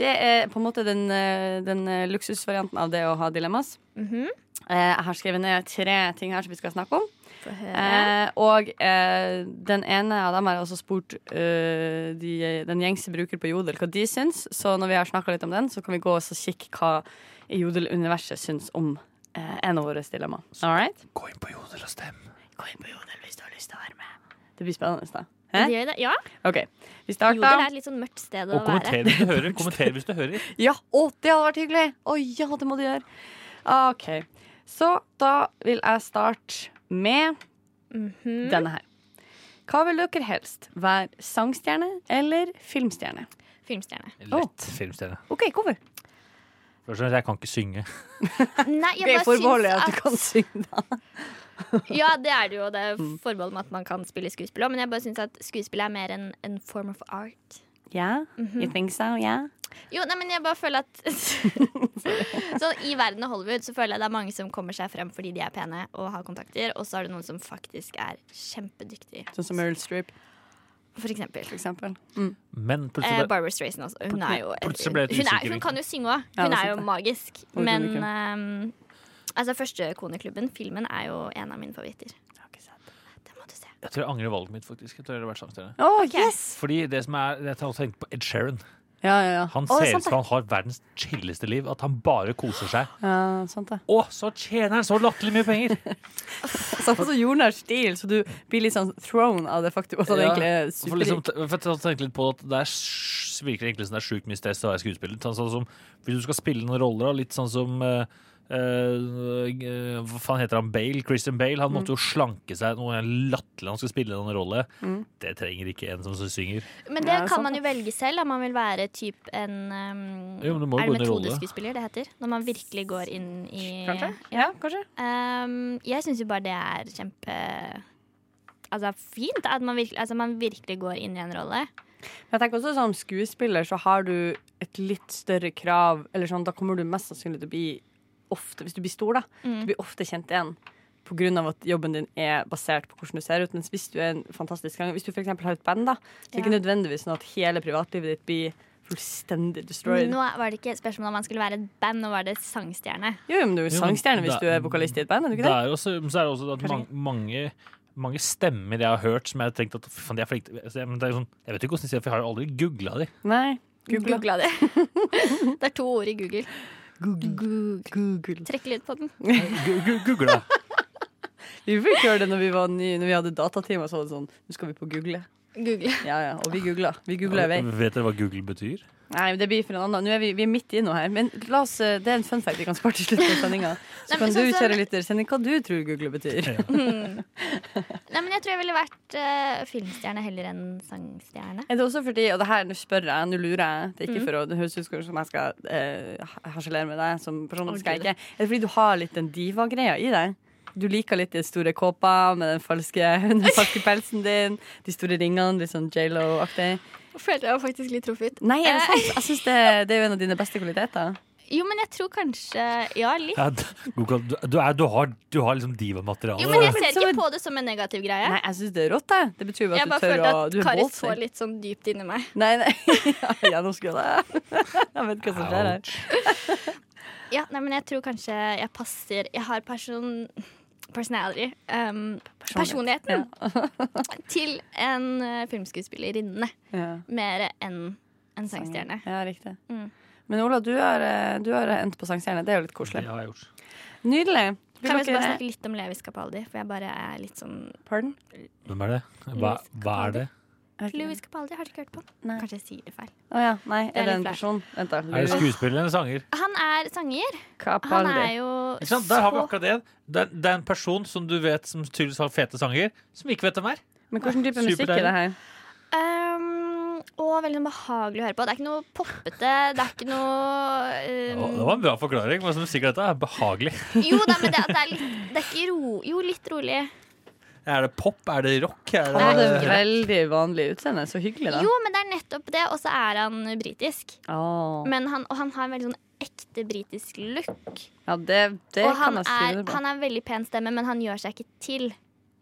Speaker 6: det er på en måte den, eh, den eh, luksusvarianten av det å ha dilemmas.
Speaker 5: Mhm.
Speaker 6: Eh, Jeg har skrevet ned tre ting her som vi skal snakke om.
Speaker 5: Få høre.
Speaker 6: Eh, og eh, den ene av dem har jeg også spurt eh, de, den gjengse bruker på Jodel hva de syns. Så når vi har snakka litt om den, så kan vi gå og så kikke hva i Jodel-universet syns om eh, en av våre dilemma. All right?
Speaker 1: Gå inn på Jodel og stem.
Speaker 6: Gå inn på Jodel hvis du har lyst til å være med. Det blir spennende. da.
Speaker 5: Det gjør det. Ja,
Speaker 6: OK, vi
Speaker 5: Jodel er
Speaker 6: starter.
Speaker 5: et litt sånn mørkt sted å
Speaker 1: Og
Speaker 5: være.
Speaker 1: kommenter hvis du hører. Kommenter hvis du hører.
Speaker 6: Ja, å, det hadde vært hyggelig! Å ja, det må du gjøre. OK. Så da vil jeg starte med
Speaker 5: Mhm.
Speaker 6: denne her. Hva vil dere helst? Være sangstjerne eller filmstjerne?
Speaker 5: Filmstjerne.
Speaker 1: Lett filmstjerne.
Speaker 6: OK, hvorfor?
Speaker 1: Først og fremst, jeg kan ikke synge.
Speaker 5: Nei,
Speaker 6: Ok,
Speaker 5: jeg bare syns
Speaker 6: forbeholder jeg at du
Speaker 5: at
Speaker 6: kan synge, da.
Speaker 5: Ja, det er det jo. Det er
Speaker 1: Mm.
Speaker 5: forbehold med at man kan spille skuespill òg. Men jeg bare syns at skuespill er mer en, en form of art.
Speaker 6: Ja,
Speaker 1: Mhm.
Speaker 6: sånn, you think so, yeah?
Speaker 5: Jo, nei, men jeg bare føler at Sånn i verden av Hollywood så føler jeg det er mange som kommer seg frem fordi de er pene og har kontakter, og så er det noen som faktisk er kjempedyktig.
Speaker 6: Sånn som Meryl Streep,
Speaker 5: For eksempel.
Speaker 6: for eksempel.
Speaker 1: Men
Speaker 5: Eh,
Speaker 1: plutselig bare
Speaker 5: Barbara Streisand også. Hun er jo
Speaker 1: Plutselig ble jeg litt
Speaker 5: hun, er,
Speaker 1: usikker,
Speaker 5: hun kan jo synge òg.
Speaker 6: Ja, det
Speaker 5: Hun
Speaker 6: er
Speaker 5: er jo
Speaker 6: sant det.
Speaker 5: magisk.
Speaker 6: Hun kunne
Speaker 5: Men
Speaker 6: ikke.
Speaker 5: ehm, altså, Første Koneklubben, filmen, er jo en av mine favoritter. Det må du se.
Speaker 1: Jeg tror jeg angrer valget mitt, faktisk. Jeg tror jeg hadde vært samstjerne.
Speaker 6: Å, yes!
Speaker 1: Fordi det som er, jeg har også tenkt på Ed Sheeran.
Speaker 6: Ja, ja, ja.
Speaker 1: Han
Speaker 6: Å,
Speaker 1: ser ut
Speaker 6: sant
Speaker 1: som han har verdens chilleste liv. At han bare koser seg.
Speaker 6: det. Ja, sant det.
Speaker 1: Å, så tjener han så latterlig mye penger!
Speaker 6: Sånn som jordnær stil, så du blir litt sånn thrown av det faktum at han
Speaker 1: Ja,
Speaker 6: egentlig er
Speaker 1: For, liksom,
Speaker 6: superrik.
Speaker 1: for jeg tenkte litt på at det er, s- virker egentlig som det er sjukt mye stress å være skuespiller. Sånn som, hvis du skal spille noen roller, da, litt sånn som eh, eh, eh, Hva faen heter han? Bale? Christian Bale. Han måtte jo
Speaker 6: Mm.
Speaker 1: slanke seg noe latterlig han skulle spille den rollen. Det trenger ikke en som synger.
Speaker 5: Men det
Speaker 6: Ja, det er sant,
Speaker 5: kan man jo velge selv, om man vil være typ en um,
Speaker 1: Jo, men du må jo
Speaker 5: Er
Speaker 1: gå inn
Speaker 5: det
Speaker 1: i rolle.
Speaker 5: metodeskuespiller det heter? Når man virkelig går inn i
Speaker 6: Kanskje? Ja, kanskje.
Speaker 5: Um, jeg syns jo bare det er kjempe Altså fint at man virkelig, altså, man virkelig går inn i en rolle.
Speaker 6: Men jeg tenker også Som skuespiller så har du et litt større krav. Eller sånn, Da kommer du mest sannsynlig til å bli ofte, hvis du blir stor, da, du blir ofte kjent igjen. Pga. at jobben din er basert på hvordan du ser ut. Mens hvis du er en fantastisk gang, Hvis du for eksempel har et band, da, så er det ikke
Speaker 5: Ja.
Speaker 6: nødvendigvis sånn at hele privatlivet ditt blir fullstendig
Speaker 5: Men
Speaker 6: destroyed.
Speaker 5: nå var det ikke spørsmål om man skulle være et band, nå var det sangstjerne.
Speaker 6: Jo, jo, men du er
Speaker 1: Jo,
Speaker 6: jo
Speaker 1: men
Speaker 6: sangstjerne hvis
Speaker 1: det-
Speaker 6: du er vokalist i et band, er du
Speaker 1: Det
Speaker 6: ikke det?
Speaker 1: er også, men så er det også at
Speaker 6: Kanskje
Speaker 1: man, mange mange stemmer jeg har hørt som jeg har tenkt at fy faen, de er flinke til Så jeg- men det er jo sånn, Jeg vet jo ikke hvordan de sier det, for jeg har jo aldri googla de.
Speaker 6: Nei. Google.
Speaker 5: Googla det. det er to ord i Google.
Speaker 6: Google.
Speaker 5: Trekk litt på den.
Speaker 1: Gu- gu- Googla.
Speaker 6: Vi fikk gjøre det når vi var nye, når vi hadde datatimer. Så var det sånn Nå skal vi på Google.
Speaker 5: Google.
Speaker 6: Ja, ja. Og vi googla. Vi googla i vei.
Speaker 1: Vet dere hva Google betyr?
Speaker 6: Nei, det blir for en annen. Nå er vi, vi er midt i noe her. Men la oss, eh, det er en fun fact vi kan spare til slutten av sendinga. Så
Speaker 5: Nei, men
Speaker 6: kan du,
Speaker 5: sånn som-
Speaker 6: kjære lytter, sende inn hva du tror Google betyr.
Speaker 5: Nei, men jeg tror jeg ville vært eh, filmstjerne heller enn sangstjerne.
Speaker 6: Er det også fordi, og det her, nå spør jeg, nå lurer jeg, det er
Speaker 5: Mm.
Speaker 6: ikke for å det høres ut som jeg skal eh, harselere med deg som person, det skal jeg ikke. Er det fordi du har litt den diva-greia i deg? Du liker litt de store kåpa med den falske, den falske pelsen din, de store ringene, litt sånn J.Lo-aktig.
Speaker 5: Følte jeg var faktisk litt truffet.
Speaker 6: Nei, er det sant? Jeg synes det, det er jo en av dine beste kvaliteter.
Speaker 5: Jo, men jeg tror kanskje Ja, litt.
Speaker 1: Ja, d- Google, du, du, er, du, har, du har liksom divamateriale.
Speaker 5: Jo, men jeg
Speaker 6: men
Speaker 5: ser
Speaker 6: som en-
Speaker 5: ikke på det som en negativ greie.
Speaker 6: Nei, jeg synes det er rått, det. Det betyr jo
Speaker 5: Jeg
Speaker 6: at du
Speaker 5: bare
Speaker 6: tør
Speaker 5: følte
Speaker 6: å,
Speaker 5: at
Speaker 6: du er
Speaker 5: Kari så
Speaker 6: ballsy.
Speaker 5: litt sånn dypt inni meg.
Speaker 6: Nei, nei, ja, ja, nå skulle jeg Jeg vet hva
Speaker 5: sånn,
Speaker 6: som skjer her.
Speaker 5: Ja, nei, men jeg tror kanskje jeg passer Jeg har person... Personality. Um, personligheten til en uh, filmskuespillerinne.
Speaker 6: Ja.
Speaker 5: Mer enn en sangstjerne.
Speaker 6: Ja, riktig.
Speaker 5: Mm.
Speaker 6: Men Ola, du har, eh, du har endt på sangstjerne. Det er jo litt
Speaker 1: Det
Speaker 6: koselig.
Speaker 1: har jeg gjort.
Speaker 6: Nydelig. Vil
Speaker 5: Kan vi
Speaker 6: dere-
Speaker 5: bare snakke litt om Levis Capaldi? For jeg bare er litt sånn
Speaker 6: Pardon?
Speaker 1: Hvem er det? Hva, hva er det?
Speaker 6: Er det-
Speaker 5: Louis Capaldi, har du ikke hørt på han?
Speaker 6: Nei.
Speaker 5: Kanskje jeg sier det feil.
Speaker 6: Å ja, nei,
Speaker 5: Det er
Speaker 6: er det en
Speaker 5: litt
Speaker 6: person? Vent, da.
Speaker 1: Er det skuespiller eller sanger?
Speaker 5: Han er sanger. Han er
Speaker 6: Capaldi.
Speaker 5: jo
Speaker 1: Ikke sant? Der har vi akkurat det. Det er, det er en person som du vet som tydeligvis har fete sanger, som ikke vet hvem er.
Speaker 6: Men hvilken type musikk er
Speaker 1: Superdeilig.
Speaker 6: det her?
Speaker 5: um, Og veldig behagelig å høre på. Det er ikke noe poppete, det er ikke noe
Speaker 1: Å,
Speaker 5: um,
Speaker 1: det var en bra forklaring. Hva som sikkert dette er behagelig.
Speaker 5: Jo, da, men det, at det er litt det er ikke ro, Jo, litt rolig.
Speaker 1: Er det pop? Er det rock? Er
Speaker 6: Han hadde et
Speaker 1: det,
Speaker 6: veldig vanlig utseende. Så hyggelig, da.
Speaker 5: Jo, men det er nettopp det, og så er han britisk.
Speaker 6: Å.
Speaker 5: Men han, og han har en veldig sånn ekte britisk look.
Speaker 6: Ja, det, det
Speaker 5: Og
Speaker 6: kan
Speaker 5: han er,
Speaker 6: jeg skrive det på.
Speaker 5: han er en veldig pen stemme, men han gjør seg ikke til.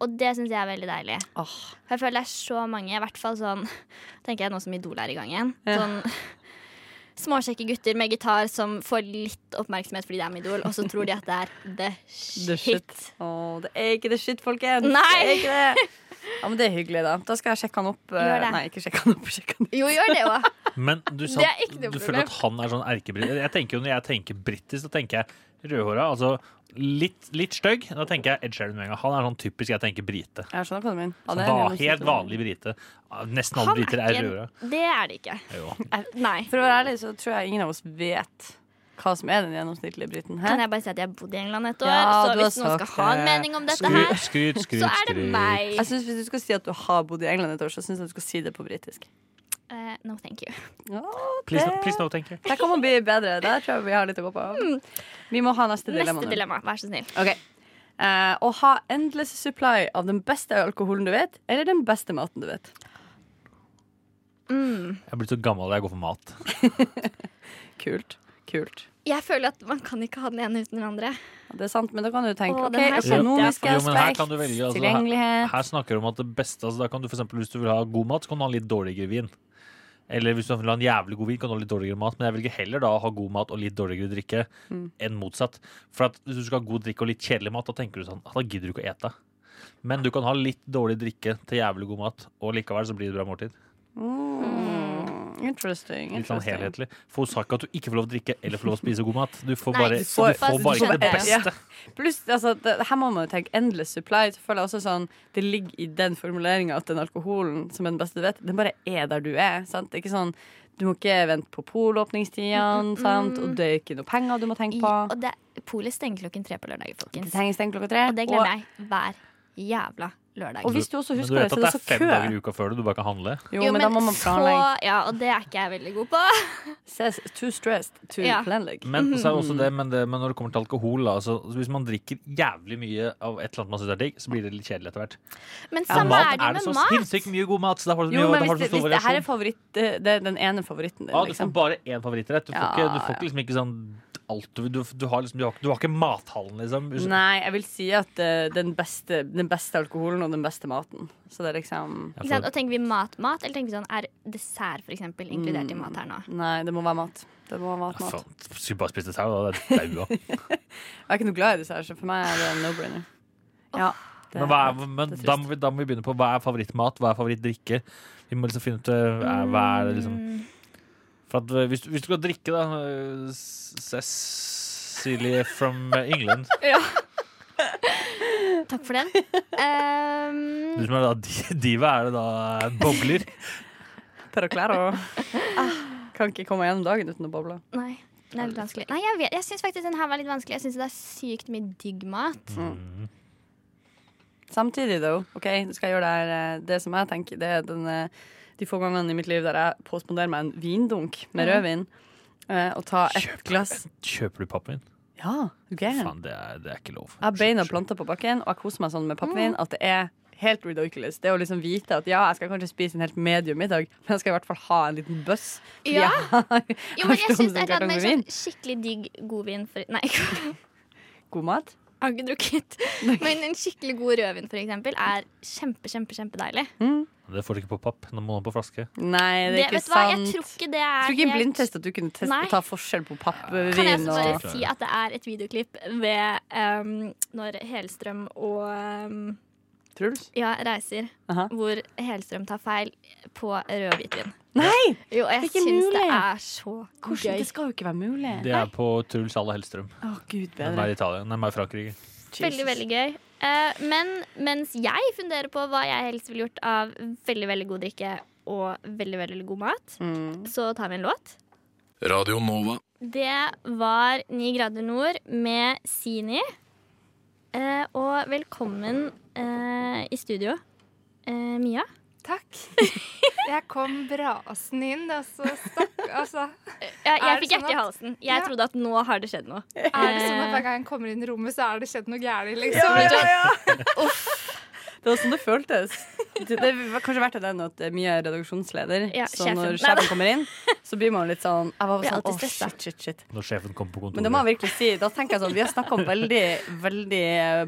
Speaker 5: Og det syns jeg er veldig deilig.
Speaker 6: Åh.
Speaker 5: For jeg føler det er så mange, i hvert fall sånn Tenker jeg nå som Idol er i gang igjen.
Speaker 6: Ja.
Speaker 5: Sånn småkjekke gutter med gitar som får litt oppmerksomhet fordi det er med Idol, og så tror de at det er the shit.
Speaker 6: The shit. Å, det er ikke the shit, folkens.
Speaker 5: Nei.
Speaker 6: Det er ikke det. Ja, men det er hyggelig, da. Da skal jeg sjekke han opp. eh,
Speaker 5: Gjør det.
Speaker 6: Nei, ikke sjekke han opp. Sjekke han
Speaker 5: Jo, gjør det òg.
Speaker 1: Men du, sa,
Speaker 5: Det er ikke noe
Speaker 1: du
Speaker 5: problem.
Speaker 1: føler at han er sånn erkebritisk. Jeg tenker jo Når jeg tenker britisk, så tenker jeg rødhåra. Altså litt, litt stygg. Da tenker jeg Ed Sheeran med en gang. Han er sånn typisk jeg tenker brite.
Speaker 6: Jeg skjønner hva du mener. Ja,
Speaker 1: Sånn
Speaker 6: det er
Speaker 1: va-
Speaker 6: en
Speaker 1: helt
Speaker 6: gjennomsnittlig-
Speaker 1: vanlig brite. Ah, Nesten alle briter er rødhåra.
Speaker 5: Det er det ikke. Eh,
Speaker 1: Jo.
Speaker 5: Nei.
Speaker 6: For å være ærlig så tror jeg ingen av oss vet hva som er den gjennomsnittlige briten. Hæ?
Speaker 5: Kan jeg bare si at jeg har bodd i England et år?
Speaker 6: Ja,
Speaker 5: så
Speaker 6: du har
Speaker 5: hvis noen skal
Speaker 6: sagt
Speaker 5: ha en
Speaker 6: det.
Speaker 5: mening om dette
Speaker 1: Skryt,
Speaker 5: her,
Speaker 1: skryt, skryt.
Speaker 5: så er det
Speaker 1: skryt.
Speaker 5: meg.
Speaker 6: Jeg synes Hvis du skal si at du har bodd i England et år, så syns jeg du skal si det på britisk. Altså-
Speaker 5: Eh, no, thank you.
Speaker 1: Please, no- please no, tenker jeg.
Speaker 6: Der kan man bli bedre. Der tror jeg vi har litt å gå på. Vi må ha neste
Speaker 5: Hmm.
Speaker 6: dilemma.
Speaker 5: Neste
Speaker 6: nå.
Speaker 5: dilemma, vær så snill.
Speaker 6: Ok. Eh, å ha endless supply av den beste alkoholen du vet, eller den beste maten du vet.
Speaker 5: Mm.
Speaker 1: Jeg er blitt så gammel at jeg går for mat.
Speaker 6: Kult. Kult.
Speaker 5: Jeg føler at man kan ikke ha den ene uten den andre.
Speaker 6: Ja, Det er sant, men da kan du tenke
Speaker 5: Å,
Speaker 6: ok,
Speaker 5: den her kjente jeg.
Speaker 6: økonomisk
Speaker 1: Jo, men her
Speaker 6: aspekt,
Speaker 1: kan du velge, altså,
Speaker 6: tilgjengelighet
Speaker 1: Her snakker du om at det beste altså, Da kan du for eksempel, Hvis du vil ha god mat, så kan du ha litt dårligere vin. Eller hvis du vil ha en jævlig god vin, kan du ha litt dårligere mat. Men jeg velger heller da å ha god mat og litt dårligere drikke enn motsatt. For at hvis du skal ha god drikke og litt kjedelig mat, da tenker du sånn Da gidder du ikke å ete. Men du kan ha litt dårlig drikke til jævlig god mat, og likevel så blir det bra måltid.
Speaker 6: Mm. Interesting.
Speaker 1: Litt sånn
Speaker 6: interesting.
Speaker 1: helhetlig. For hun sa ikke at du ikke får lov til å drikke eller får lov til å spise god mat. Du får
Speaker 5: Nei,
Speaker 1: bare,
Speaker 5: du
Speaker 1: du
Speaker 5: får-
Speaker 1: får bare ikke det
Speaker 5: du skjønner
Speaker 1: beste.
Speaker 6: Pluss, altså, det, her må man jo tenke endless supply. Så føler jeg også sånn, Det ligger i den formuleringa at den alkoholen som er den beste du vet, den bare er der du er. sant? Det er ikke sånn, Du må ikke vente på polåpningstidene, sant? og det er ikke noe penger du må tenke på.
Speaker 5: I- Og det, Polet stenger klokken tre på lørdager,
Speaker 6: Det
Speaker 5: folkens.
Speaker 6: trenger stengt klokka tre.
Speaker 5: Og det
Speaker 6: og-
Speaker 5: gleder jeg hver jævla lørdag.
Speaker 6: Og hvis du også
Speaker 1: Men du
Speaker 6: husker det,
Speaker 1: vet at
Speaker 6: så
Speaker 1: det
Speaker 6: er det
Speaker 1: er
Speaker 6: så
Speaker 1: fem
Speaker 6: kø.
Speaker 1: dager i uka før det, du bare kan handle.
Speaker 6: Jo, men da må man planlegge.
Speaker 5: Så, ja, og det er ikke jeg veldig god på.
Speaker 6: Says too stressed to
Speaker 5: Ja.
Speaker 6: planlegge.
Speaker 1: Men, så er det også det, men, det, men når det kommer til alkohol, da, så hvis man drikker jævlig mye av et eller annet man syns er digg, så blir det litt kjedelig etter hvert.
Speaker 5: Men
Speaker 1: Og
Speaker 5: samme er det jo
Speaker 1: det
Speaker 5: med
Speaker 1: så
Speaker 5: mat.
Speaker 1: sinnssykt mye god mat, så derfor er det
Speaker 6: Jo,
Speaker 1: så mye,
Speaker 6: men
Speaker 1: derfor er
Speaker 6: hvis
Speaker 1: det
Speaker 6: det,
Speaker 1: så stor
Speaker 6: hvis det her er
Speaker 1: variasjon.
Speaker 6: favoritt, det, det er den ene favoritten din,
Speaker 1: Ja, du får
Speaker 6: liksom.
Speaker 1: bare én favorittrett. Du får,
Speaker 6: Ja,
Speaker 1: ikke, du får
Speaker 6: ja.
Speaker 1: ikke, liksom ikke sånn alt du, du, du, har liksom, du, har, du har ikke mathallen, liksom.
Speaker 6: Nei, jeg vil si at eh, den, beste, den beste alkoholen og den beste maten. Så det er liksom
Speaker 1: Ja,
Speaker 5: Ikke
Speaker 1: for-
Speaker 5: sant? Og tenker vi mat-mat, eller tenker vi sånn er dessert for eksempel, inkludert
Speaker 1: Mm.
Speaker 5: i mat her nå?
Speaker 6: Nei, det må være mat. Det må være mat,
Speaker 1: Ja,
Speaker 6: mat.
Speaker 1: faen, Skulle bare spist det sau, da. Det er daua.
Speaker 6: Jeg er ikke noe glad i dessert, så for meg er det en no-brainer. Ja, det-
Speaker 1: Men, hva er, men
Speaker 6: det er
Speaker 1: da, må vi, da må vi begynne på hva er favorittmat, hva er favorittdrikke? Vi må liksom finne ut eh, hva er- hva er det liksom
Speaker 6: Mm.
Speaker 5: Mm,
Speaker 1: For at eh, hvis, du- hvis du skal drikke, da eh, Cecilie from eh, England.
Speaker 5: Takk for den. Ehm,
Speaker 1: Du som er da di- diva, er det da bobler?
Speaker 6: Per og klær og Kan ikke komme gjennom dagen uten å boble.
Speaker 5: nei, det er litt vanskelig. Nei, jeg, vet- jeg syns faktisk den her var litt vanskelig. Jeg syns det er sykt mye digg mat.
Speaker 6: Mm.
Speaker 1: Mm.
Speaker 6: Samtidig, though, OK, du skal gjøre det her eh, Det som jeg tenker, det er den, eh, de få gangene i mitt liv der jeg påsponderer meg en vindunk med rødvin, eh, og tar ett glass
Speaker 1: Kjøper du pappvin?
Speaker 6: Ja, du gæren.
Speaker 1: Faen, det er, det er ikke lov.
Speaker 6: Jeg har beina planta på bakken, og jeg koser meg sånn med
Speaker 5: Mm.
Speaker 6: pappvin at det er helt ridiculous. Det å liksom vite at ja, jeg skal kanskje spise en helt medium middag, men jeg skal i hvert fall ha en liten bøss. fordi
Speaker 5: Ja.
Speaker 6: jeg har-
Speaker 5: Jo, men jeg
Speaker 6: Kartong-
Speaker 5: syns det er et eller annet med sånn
Speaker 6: kartongvin.
Speaker 5: skikkelig digg god vin for Nei, jeg
Speaker 6: God mat.
Speaker 5: har ikke drukket. Men en skikkelig god rødvin, for eksempel, er kjempe, kjempe, kjempedeilig.
Speaker 1: Det får du ikke på papp. Nå må du ha på flaske.
Speaker 6: Nei, det er
Speaker 5: Det,
Speaker 6: ikke
Speaker 5: vet du hva,
Speaker 6: sant.
Speaker 5: jeg tror ikke det er
Speaker 6: tror ikke en
Speaker 5: helt-
Speaker 6: blindtest at du kunne teste,
Speaker 5: Nei.
Speaker 6: ta forskjell på pappvin
Speaker 5: Kan jeg også bare
Speaker 6: og
Speaker 5: si at det er et videoklipp ved ehm, når Helstrøm og ehm,
Speaker 6: Truls?
Speaker 5: Ja, reiser.
Speaker 6: Aha.
Speaker 5: Hvor Helstrøm tar feil på rød og hvitvin.
Speaker 6: Nei!
Speaker 5: Jo, og jeg
Speaker 6: Det er ikke
Speaker 5: syns det
Speaker 6: mulig.
Speaker 5: er så
Speaker 6: Hvordan?
Speaker 5: gøy.
Speaker 6: Det skal jo ikke være mulig.
Speaker 1: Det er på Truls Alle Hellstrøm.
Speaker 6: Å, gud
Speaker 1: Den
Speaker 6: bedre.
Speaker 1: er i Italia. Den er i Frankrike.
Speaker 5: Veldig, veldig gøy. Eh, men mens jeg funderer på hva jeg helst ville gjort av veldig, veldig god drikke og veldig, veldig god mat, så tar vi en låt.
Speaker 9: Radio Nova.
Speaker 5: Det var Ni grader nord med Sini. Eh, og velkommen eh, i studio, eh, Mia.
Speaker 10: Takk. Jeg kom brasende inn, og så stakk Altså,
Speaker 5: Jeg,
Speaker 10: Er
Speaker 5: jeg
Speaker 10: det
Speaker 5: fikk
Speaker 10: sånn
Speaker 5: hjertet i
Speaker 10: at-
Speaker 5: halsen. Jeg
Speaker 10: Ja.
Speaker 5: trodde at nå har det skjedd noe.
Speaker 10: er det sånn
Speaker 6: Eh.
Speaker 10: at hver gang jeg kommer inn i rommet, så er det skjedd noe gærent, liksom?
Speaker 6: Det var sånn det føltes. Det, det var kanskje verdt det enn at Mia er redaksjonsleder,
Speaker 5: Ja,
Speaker 6: så
Speaker 5: sjefen. Nei,
Speaker 6: når
Speaker 5: da.
Speaker 6: sjefen kommer inn, så blir man litt sånn Jeg var
Speaker 5: Blir
Speaker 6: sånn,
Speaker 5: alltid
Speaker 6: å,
Speaker 5: stressa.
Speaker 6: shit, shit, shit.
Speaker 1: Når sjefen kommer på
Speaker 6: Men det
Speaker 1: kontoret.
Speaker 6: må jeg virkelig si. Da tenker jeg sånn, Vi har snakka om veldig veldig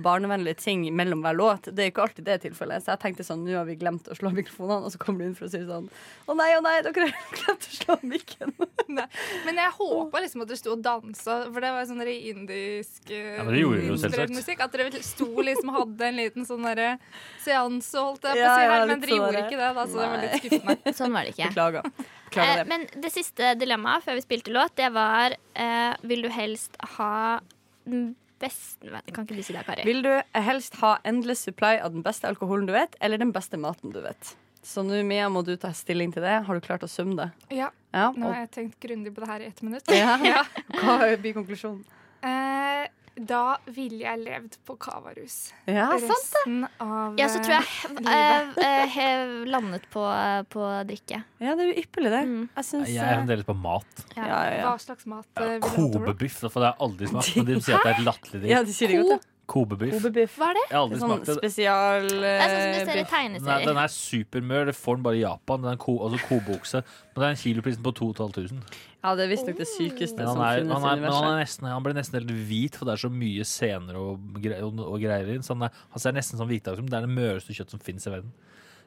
Speaker 6: barnevennlige ting mellom hver låt. Det er ikke alltid det tilfellet. Så jeg tenkte sånn, nå har vi glemt å slå av mikrofonene. Og så kommer du inn for å si sånn Å nei, å nei, dere har glemt å slå av mikken.
Speaker 10: Nei. Men jeg håpa liksom at dere sto og dansa, for det var sånn der indisk eh,
Speaker 1: Ja, men det gjorde dere jo
Speaker 10: inspirert
Speaker 1: selvsagt.
Speaker 10: musikk. At dere sto liksom og hadde en liten sånn derre seanse, holdt jeg på å
Speaker 6: Ja,
Speaker 10: si
Speaker 6: ja,
Speaker 10: her, men
Speaker 6: litt
Speaker 10: dere
Speaker 6: sånn
Speaker 10: gjorde
Speaker 6: derre-
Speaker 10: ikke det, da, så det var litt skuffende.
Speaker 5: Sånn var det ikke.
Speaker 6: Beklager.
Speaker 5: Eh,
Speaker 6: Beklager det.
Speaker 5: men det siste dilemmaet før vi spilte låt, det var eh, Vil du helst ha den beste Nei, Kan ikke du si det, Kari?
Speaker 6: Vil du helst ha endless supply av den beste alkoholen du vet, eller den beste maten du vet? Så nå, Mia, må du ta stilling til det. Har du klart å summe det?
Speaker 10: Ja,
Speaker 6: Ja.
Speaker 10: nå
Speaker 6: Og,
Speaker 10: har jeg tenkt grundig på det her i ett minutt.
Speaker 6: ja. Hva blir konklusjonen?
Speaker 10: Eh, da ville jeg levd på kavarus.
Speaker 6: Ja, Ah, altså.
Speaker 10: Resten
Speaker 6: sant.
Speaker 10: av
Speaker 5: Ja, så tror jeg
Speaker 10: eh,
Speaker 5: eh,
Speaker 10: livet.
Speaker 5: eh, he- landet på, eh, på drikke.
Speaker 6: Ja, det er jo ypperlig, det. Jeg syns
Speaker 1: Jeg er
Speaker 6: eh,
Speaker 1: fremdeles på mat.
Speaker 5: Ja.
Speaker 6: ja, ja, ja.
Speaker 10: Hva slags mat eh, ville dere tro?
Speaker 1: Kobebiff, for det har jeg aldri smakt. Men de sier at det er et latterlig
Speaker 6: ja,
Speaker 1: dritt.
Speaker 6: de sier det godt, ja.
Speaker 1: Kobebiff.
Speaker 6: Kobebiff. Hva er
Speaker 1: Jeg har
Speaker 6: Det
Speaker 1: aldri
Speaker 6: er sånn
Speaker 1: smakt det.
Speaker 6: spesial
Speaker 5: Det er sånn som du
Speaker 6: eh,
Speaker 1: Den
Speaker 5: ser i
Speaker 6: biff.
Speaker 1: er, den
Speaker 5: tegneserier.
Speaker 1: er supermør. Det får den bare i Japan. Den er ko, altså kobeokse. Men det er en kiloprisen på 2500.
Speaker 6: Ja, det er visstnok det sykeste
Speaker 1: Men han,
Speaker 6: som
Speaker 1: er,
Speaker 6: finnes
Speaker 1: han,
Speaker 6: i
Speaker 1: er, men han,
Speaker 6: universet.
Speaker 1: er nesten, han ble nesten helt hvit, for det er så mye sener og, gre- og, og greier inn. Så han, er, han ser nesten sånn hvitere ut som det er det møreste kjøtt som fins i verden.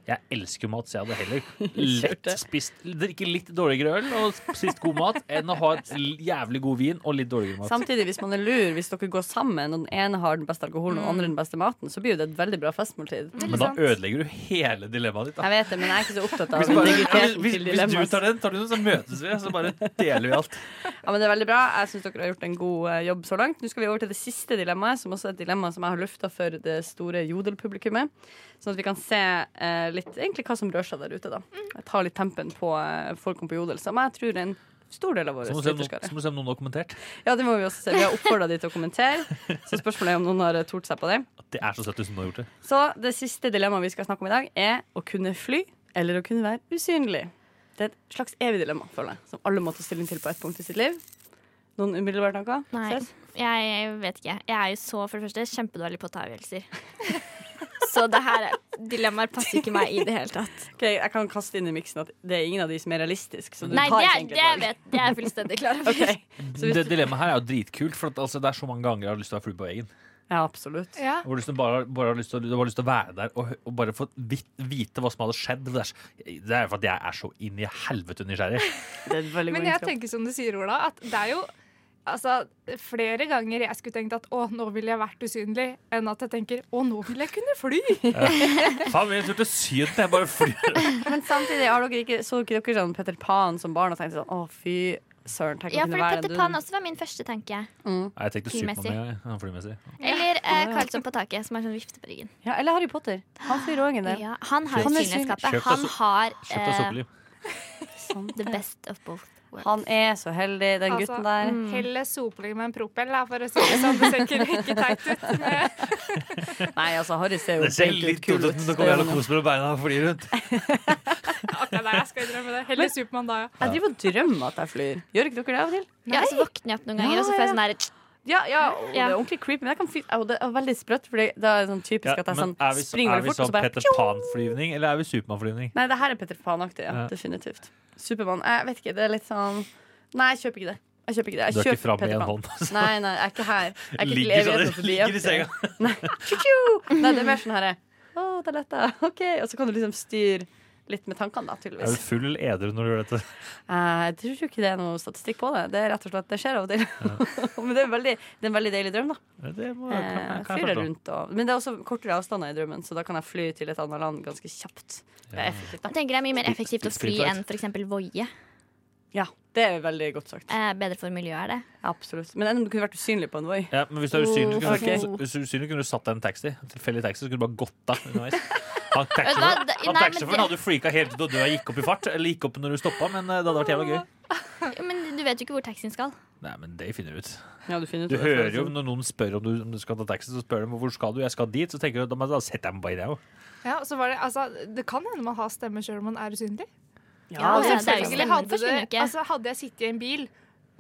Speaker 1: Jeg elsker mat, så jeg hadde heller lett spist Drikke litt dårligere øl og spist god mat enn å ha et l- jævlig god vin og litt dårligere mat.
Speaker 6: Samtidig, hvis man er lur, hvis dere går sammen, og den ene har den beste alkoholen og den andre den beste maten, så blir jo det et veldig bra festmåltid.
Speaker 1: Men da ødelegger du hele dilemmaet ditt. Da.
Speaker 6: Jeg vet det, men jeg er ikke så opptatt av
Speaker 1: Hvis, bare, hvis, hvis,
Speaker 6: integriteten til
Speaker 1: hvis du
Speaker 6: dilemmaet.
Speaker 1: tar den, tar du den, så møtes vi, så bare deler vi alt.
Speaker 6: Ja, men det er veldig bra. Jeg syns dere har gjort en god eh, jobb så langt. Nå skal vi over til det siste dilemmaet, som også er et dilemma som jeg har lufta for det store jodelpublikummet. Sånn at vi kan se eh, litt egentlig hva som rører seg der ute, da. Jeg tar litt tempen på eh, folkene på jodel, som jeg tror er en stor del av våre
Speaker 1: Så må du se om noen,
Speaker 6: lytterskare.
Speaker 1: så må du se om noen har kommentert.
Speaker 6: Ja, det må vi også se. Vi har oppfordra de til å kommentere, så spørsmålet er om noen har eh, tort seg på det.
Speaker 1: Det er så søtt hvis noen har gjort det.
Speaker 6: Så det siste dilemmaet vi skal snakke om i dag, er å kunne fly eller å kunne være usynlig. Det er et slags evig dilemma, føler jeg, som alle må ta stilling til på et punkt i sitt liv. Noen umiddelbare tanker?
Speaker 5: Nei,
Speaker 6: Ses?
Speaker 5: jeg vet ikke. Jeg er jo så for det første kjempedårlig på å ta avgjørelser. Så det her er- dilemmaer passer ikke meg i det hele tatt.
Speaker 6: Ok, Jeg kan kaste inn i miksen at det er ingen av de som er realistiske. Så du
Speaker 5: Nei,
Speaker 6: tar
Speaker 5: det,
Speaker 6: ikke
Speaker 5: er-
Speaker 6: egentlig
Speaker 5: det jeg
Speaker 6: et valg.
Speaker 5: vet det er jeg fullstendig klar over.
Speaker 6: Ok. Så hvis
Speaker 1: Det
Speaker 6: du-
Speaker 1: dilemmaet her er jo dritkult, for at, altså, det er så mange ganger jeg har lyst til å være flue på veggen.
Speaker 6: Ja, absolutt.
Speaker 10: Ja.
Speaker 1: Jeg har lyst til å bare, bare har lyst til, å- bare har lyst til å være der og, hø- og bare få vit, vite hva som hadde skjedd. Det er, så- det er for at jeg er så inn i helvete nysgjerrig.
Speaker 6: Det er et veldig
Speaker 10: Men
Speaker 6: god
Speaker 10: jeg
Speaker 6: egenskap.
Speaker 10: tenker som du sier, Ola, at det er jo altså, flere ganger jeg skulle tenkt at å, nå ville jeg vært usynlig, enn at jeg tenker å, nå ville jeg kunne fly.
Speaker 1: Faen, vi er en tur til Syden. Jeg bare flyr.
Speaker 6: Men samtidig har dere ikke, så ikke dere sånn Peter Pan som barn og tenkte sånn å, fy søren, tenk å
Speaker 5: Ja,
Speaker 6: kunne
Speaker 5: for
Speaker 6: være
Speaker 5: Petter Pan også var min første tanke.
Speaker 1: Nei, Jeg tenkte
Speaker 5: Flymessig.
Speaker 1: Supermann en gang, jeg. flymessig.
Speaker 5: Eller eh, Karlsson på taket, som er sånn vifte på ryggen.
Speaker 6: Ja, eller Harry Potter. Han flyr òg en del.
Speaker 5: Ja, han har jo
Speaker 6: Han er
Speaker 5: synlighetskapet.
Speaker 1: synlig.
Speaker 5: Han har
Speaker 1: Kjøpt av
Speaker 5: eh,
Speaker 1: Sokkeli.
Speaker 6: Sånn.
Speaker 5: the best of both worlds.
Speaker 6: Han er så heldig, den
Speaker 10: Altså,
Speaker 6: gutten der.
Speaker 10: Helle sopling med en propell, da, for å si det sånn. Det ser ikke, ikke teit ut. Men
Speaker 6: Nei, altså, Harry ser jo
Speaker 1: Det ser
Speaker 6: helt
Speaker 1: litt
Speaker 6: kul
Speaker 1: kult ut, men nå
Speaker 6: Det
Speaker 1: kommer
Speaker 6: gjør
Speaker 1: jeg og
Speaker 6: han jo.
Speaker 1: koser meg med beina og flyr rundt.
Speaker 10: Akkurat der, jeg skal innrømme det. Helle Supermann da, ja.
Speaker 6: Jeg driver og drømmer at jeg flyr. Gjør ikke dere det av og til?
Speaker 5: Ja, så våkner jeg opp noen ganger, og så får jeg sånn her
Speaker 6: Ja, ja, og det
Speaker 5: Ja.
Speaker 6: er ordentlig creepy. Men jeg kan fly, og det er veldig sprøtt, for det er sånn typisk
Speaker 1: Ja,
Speaker 6: at jeg sånn,
Speaker 1: men er vi, så-
Speaker 6: springer
Speaker 1: er
Speaker 6: veldig
Speaker 1: vi
Speaker 6: fort, og
Speaker 1: sånn
Speaker 6: så bare
Speaker 1: Petter Pan-flyvning, eller er vi Supermann-flyvning?
Speaker 6: Nei, det her er Petter Pan-aktig, ja.
Speaker 1: Ja.
Speaker 6: Definitivt. Supermann. Jeg vet ikke, det er litt sånn Nei, jeg kjøper ikke det. Jeg kjøper ikke det. Jeg
Speaker 1: Du er ikke
Speaker 6: kjøper
Speaker 1: framme i
Speaker 6: Peter
Speaker 1: en
Speaker 6: Pan.
Speaker 1: hånd. altså.
Speaker 6: Nei, nei, jeg er ikke her. Jeg er ikke
Speaker 1: Ligger
Speaker 6: til evigheten
Speaker 1: sånn-
Speaker 6: forbi,
Speaker 1: ligger i
Speaker 6: aktig.
Speaker 1: senga.
Speaker 6: Nei. Tju-tju! nei, det er mer sånn herre Å, der letta jeg. OK. Og så kan du liksom styre litt med tankene, da,
Speaker 1: Er du
Speaker 6: tydeligvis.
Speaker 1: full eller edru når du gjør dette?
Speaker 6: Jeg tror jo ikke det er noe statistikk på det. Det er rett og slett, det skjer av og til. Men det er, veldig, det er en veldig deilig drøm, da.
Speaker 1: Det må, kan,
Speaker 6: Eh,
Speaker 1: kan, kan
Speaker 6: Fyrer
Speaker 1: jeg forstå.
Speaker 6: rundt og Men det er også kortere avstander i drømmen, så da kan jeg fly til et annet land ganske kjapt. Det er
Speaker 5: Jeg
Speaker 6: effektivt, da.
Speaker 5: tenker det er mye mer effektivt å fly enn f.eks. voie.
Speaker 6: Ja, det er veldig godt sagt.
Speaker 5: Eh, bedre for miljøet er det.
Speaker 6: Absolutt. Men enn om du kunne vært usynlig på en Voi.
Speaker 1: Ja, men hvis du er usynlig, kunne,
Speaker 6: Ok.
Speaker 1: du- hvis du er usynlig, kunne du satt deg i en taxi. En Tilfeldig taxi, så kunne du bare gått av underveis. Han
Speaker 5: Vet
Speaker 1: taxisjåføren
Speaker 5: du hva?
Speaker 1: han
Speaker 5: Nei, men
Speaker 1: taxisjåføren
Speaker 5: det-
Speaker 1: hadde jo freaka helt ut, og du gikk opp i fart. Eller gikk opp når du stoppa, men eh, det hadde vært jævla gøy.
Speaker 5: Jo, Men du vet jo ikke hvor taxien skal.
Speaker 1: Nei, men det finner du ut.
Speaker 6: Ja, du finner ut
Speaker 1: Du
Speaker 6: av det, sånn.
Speaker 1: hører jo
Speaker 6: forresten.
Speaker 1: når noen spør om du, om du skal ta taxi, så spør de hvor skal du, jeg skal dit. Så tenker du, da, men da setter jeg meg bare i det òg.
Speaker 10: ja og så var det, altså, det kan hende man har stemme selv om man er usynlig.
Speaker 6: Ja,
Speaker 5: Ja,
Speaker 10: Og
Speaker 5: det er jo
Speaker 10: selvfølgelig
Speaker 5: stemmen
Speaker 10: hadde,
Speaker 5: forsvinner
Speaker 10: det,
Speaker 5: ikke.
Speaker 10: altså, hadde jeg sittet i en bil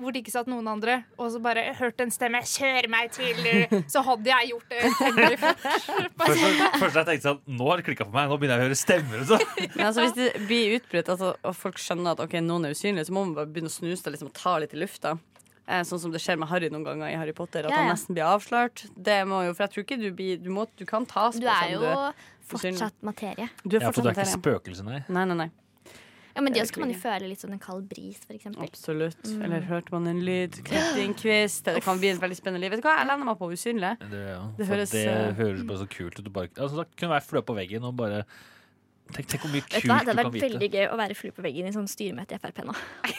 Speaker 10: hvor det ikke satt noen andre, og så bare hørt en stemme 'kjør meg til', du», så hadde jeg gjort det. temmelig fort.
Speaker 1: Først, først jeg tenkte sånn, nå har det klikka for meg, nå begynner jeg å høre stemmer. og sånn.
Speaker 6: Men altså, hvis det blir utbrudd, altså, og folk skjønner at ok, noen er usynlige, så må man bare begynne å snuse det liksom, og ta litt i lufta. Eh, Sånn som det skjer med Harry noen ganger i Harry Potter. At
Speaker 5: Ja,
Speaker 6: han
Speaker 5: ja.
Speaker 6: nesten blir avslørt. Det må jo, for jeg tror ikke du blir Du, må, du kan tas på
Speaker 5: Du er
Speaker 6: selv om
Speaker 5: jo
Speaker 6: usynlig.
Speaker 5: fortsatt materie.
Speaker 6: du, du er
Speaker 1: Ja, for du
Speaker 6: fortsatt
Speaker 1: er ikke
Speaker 6: materie.
Speaker 1: spøkelse, nei.
Speaker 6: Nei, nei, nei.
Speaker 5: Ja, men det
Speaker 6: Det er
Speaker 5: også kan man jo
Speaker 6: ikke
Speaker 5: føle litt som en kald bris, for eksempel.
Speaker 6: Absolutt. Eller hørte man en lyd? Klippet inn kvist? Det kan bli et veldig spennende liv. Vet du hva, jeg lander meg på usynlig.
Speaker 1: Det, ja.
Speaker 6: Det
Speaker 1: For
Speaker 6: høres,
Speaker 1: det
Speaker 6: eh,
Speaker 1: høres bare så kult ut. Du bare, altså, da kunne jeg vært flø på veggen og bare Tenk, tenk hvor mye
Speaker 5: Vet
Speaker 1: kult du
Speaker 5: du hva, Det hadde
Speaker 1: kan
Speaker 5: vært
Speaker 1: vite.
Speaker 5: veldig gøy å være flue på veggen i sånn styremøte i Frp nå.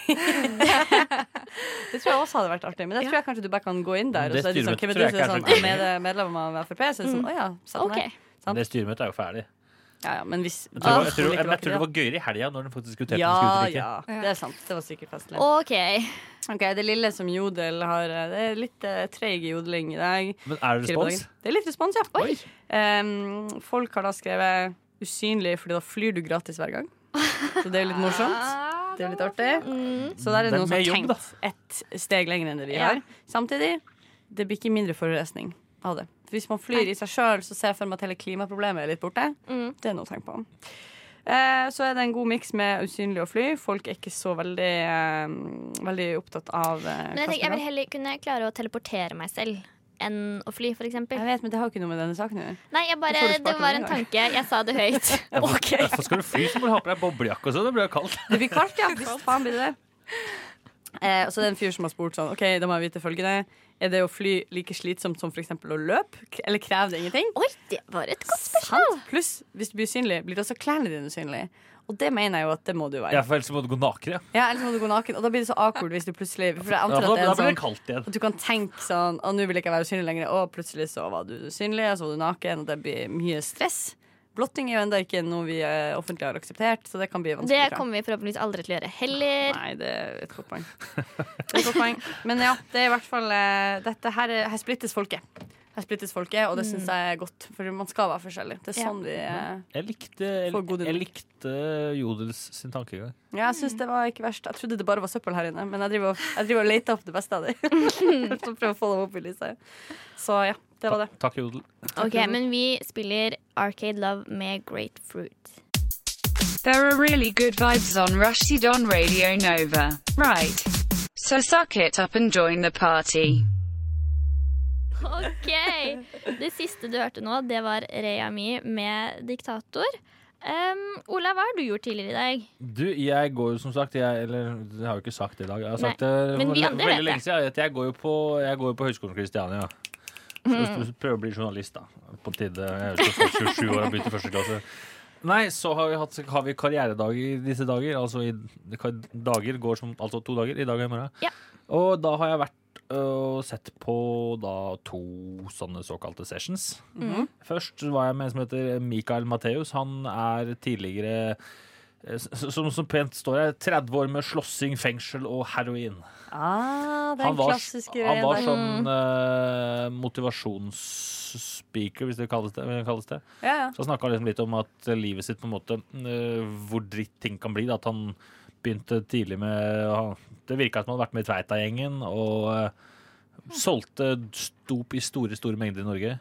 Speaker 6: Det tror jeg også hadde vært artig, men det tror jeg kanskje du bare kan gå inn der. Og
Speaker 1: Det
Speaker 6: så er det sånn,
Speaker 1: styremøtet
Speaker 6: hvem
Speaker 1: tror
Speaker 6: er du
Speaker 1: jeg
Speaker 6: som
Speaker 1: ikke er så
Speaker 6: er sånn,
Speaker 1: gøy.
Speaker 6: er med Medlem av Frp? Så er det sånn, å ja, satt han
Speaker 5: Ok,
Speaker 6: der. sant.
Speaker 1: Det styremøtet er jo ferdig.
Speaker 6: Ja, ja, men hvis
Speaker 1: Jeg tror,
Speaker 6: Ah,
Speaker 1: jeg tror,
Speaker 6: like
Speaker 1: jeg, jeg tror det
Speaker 6: ikke
Speaker 1: var gøyere i helga når den faktisk
Speaker 6: det.
Speaker 1: diskuterte
Speaker 6: ja,
Speaker 1: om den skulle ut
Speaker 6: ja,
Speaker 1: eller ikke.
Speaker 6: det er sant. Det var sikkert festlig.
Speaker 5: ok
Speaker 6: Ok, Det lille som jodel har eh, Det er litt eh, treig jodling i dag.
Speaker 1: Men er det
Speaker 6: Fire på dagen.
Speaker 1: respons?
Speaker 6: Det er litt respons, ja.
Speaker 1: Oi.
Speaker 6: Em, folk har da skrevet 'usynlig', fordi da flyr du gratis hver gang. Så det er jo litt
Speaker 5: Ah,
Speaker 6: morsomt. Det er jo litt artig.
Speaker 5: Mm.
Speaker 6: Så der er
Speaker 1: Det er
Speaker 6: det noen som har
Speaker 1: mer jobb,
Speaker 6: tenkt et steg lenger enn det vi
Speaker 5: Ja.
Speaker 6: har. Samtidig, det blir ikke mindre forurensning av det. For hvis man flyr i seg sjøl, så ser jeg for meg at hele klimaproblemet er litt borte.
Speaker 5: Mm.
Speaker 6: Det er noe å tenke på. Eh, så er det en god miks med usynlig og fly. Folk er ikke så veldig, eh, veldig opptatt av eh,
Speaker 5: Men jeg, tenker, jeg
Speaker 6: hva som
Speaker 5: vil heller kunne klare å teleportere meg selv enn å fly, f.eks.
Speaker 6: Jeg vet, men det har jo ikke noe med denne saken å gjøre.
Speaker 5: Nei, jeg bare,
Speaker 6: Da får du
Speaker 5: det
Speaker 6: sparken
Speaker 5: var
Speaker 6: med
Speaker 5: en
Speaker 6: en gang.
Speaker 5: tanke. Jeg sa det høyt.
Speaker 6: Ok.
Speaker 1: Hvorfor skal du fly, så må du ha på deg boblejakke og sånn. Det blir jo kaldt.
Speaker 6: Det blir kaldt, ja. Visst faen blir det det. Eh, og så er det en fyr som har spurt sånn OK, da må jeg vite følgende. Er det å fly like slitsomt som f.eks. å løpe? K- Eller krever det ingenting?
Speaker 5: Oi, det var et godt
Speaker 6: Sant. Pluss, hvis du blir usynlig, blir det også klærne dine usynlige. Og det mener jeg jo at det må du være.
Speaker 1: Ja, for ellers må du gå naken. Ja.
Speaker 6: Ja, ellers må du gå naken. Og da blir det så awkward hvis du plutselig For jeg
Speaker 1: Ja,
Speaker 6: antar
Speaker 1: for da,
Speaker 6: at det
Speaker 1: da
Speaker 6: er en
Speaker 1: blir det
Speaker 6: sånn
Speaker 1: kaldt igjen.
Speaker 6: at du kan tenke sånn Å, nå vil jeg ikke være usynlig lenger. Og plutselig så var du usynlig, og så var du naken, og det blir mye stress. Blotting er jo ennå ikke noe vi eh, offentlig har akseptert, så det kan bli vanskelig.
Speaker 5: Det
Speaker 6: tror jeg.
Speaker 5: kommer vi forhåpentligvis aldri til å gjøre heller.
Speaker 6: Nei, det er et godt poeng. Det er Et godt poeng. Men ja, det er i hvert fall eh, Dette her, er- her splittes folket. Her splittes folket, og det syns jeg er godt, for man skal være forskjellig. Det er sånn vi eh,
Speaker 1: Jeg likte, jeg,
Speaker 6: Får god
Speaker 1: jeg
Speaker 6: dynamikk.
Speaker 1: likte Jodels sin tankegang.
Speaker 6: Ja, jeg syns det var ikke verst. Jeg trodde det bare var søppel her inne, men jeg driver og, jeg driver og leter opp det beste av det. For å prøve å få dem opp i lyset. Så ja, det var det.
Speaker 1: Takk, Jodel.
Speaker 5: Ok, Men vi spiller Arcade Love med Grapefruit.
Speaker 7: There are really good vibes on Rushdie Don Radio Nova. Right. So suck it up and join the party.
Speaker 5: Ok! Det siste du hørte nå, det var Rea Mi med Diktator. Um, Ola, hva har du gjort tidligere i dag?
Speaker 1: Du, jeg går jo som sagt jeg, Eller jeg har jo ikke sagt det i dag. Jeg har
Speaker 5: Nei,
Speaker 1: sagt det
Speaker 5: men
Speaker 1: for
Speaker 5: vi
Speaker 1: le-
Speaker 5: andre vet
Speaker 1: veldig
Speaker 5: det.
Speaker 1: lenge siden. At jeg går jo på, jeg går jo på Høgskolen Kristiania. Så
Speaker 5: Mm.
Speaker 1: jeg prøver å bli journalist, da. På tide. Jeg er jo snart 27 år og begynte i første klasse. Nei, så har vi, hatt, har vi karrieredag i disse dager. Altså i ka- dager går som Altså to dager. I dag og i morgen.
Speaker 5: Ja.
Speaker 1: Og da har jeg vært ø, og sett på da to sånne såkalte sessions.
Speaker 5: Mm.
Speaker 1: Først var jeg med en som heter Mikael Matheus. Han er tidligere eh, s- Som, som pent står her, 30 år med slåssing, fengsel og heroin.
Speaker 6: Ah, den
Speaker 1: Han var,
Speaker 6: klassiske
Speaker 1: han var
Speaker 6: greia
Speaker 10: Mm.
Speaker 6: der.
Speaker 1: sånn eh, motivasjonsspeaker, hvis det kalles det. Hvis det kalles det.
Speaker 6: Ja, ja.
Speaker 1: Så snakka han liksom litt om at livet sitt på en måte eh, Hvor dritt ting kan bli. Da. At han begynte tidlig med han- Det virka som han hadde vært med i Tveita-gjengen og eh, solgte dop i store, store mengder i Norge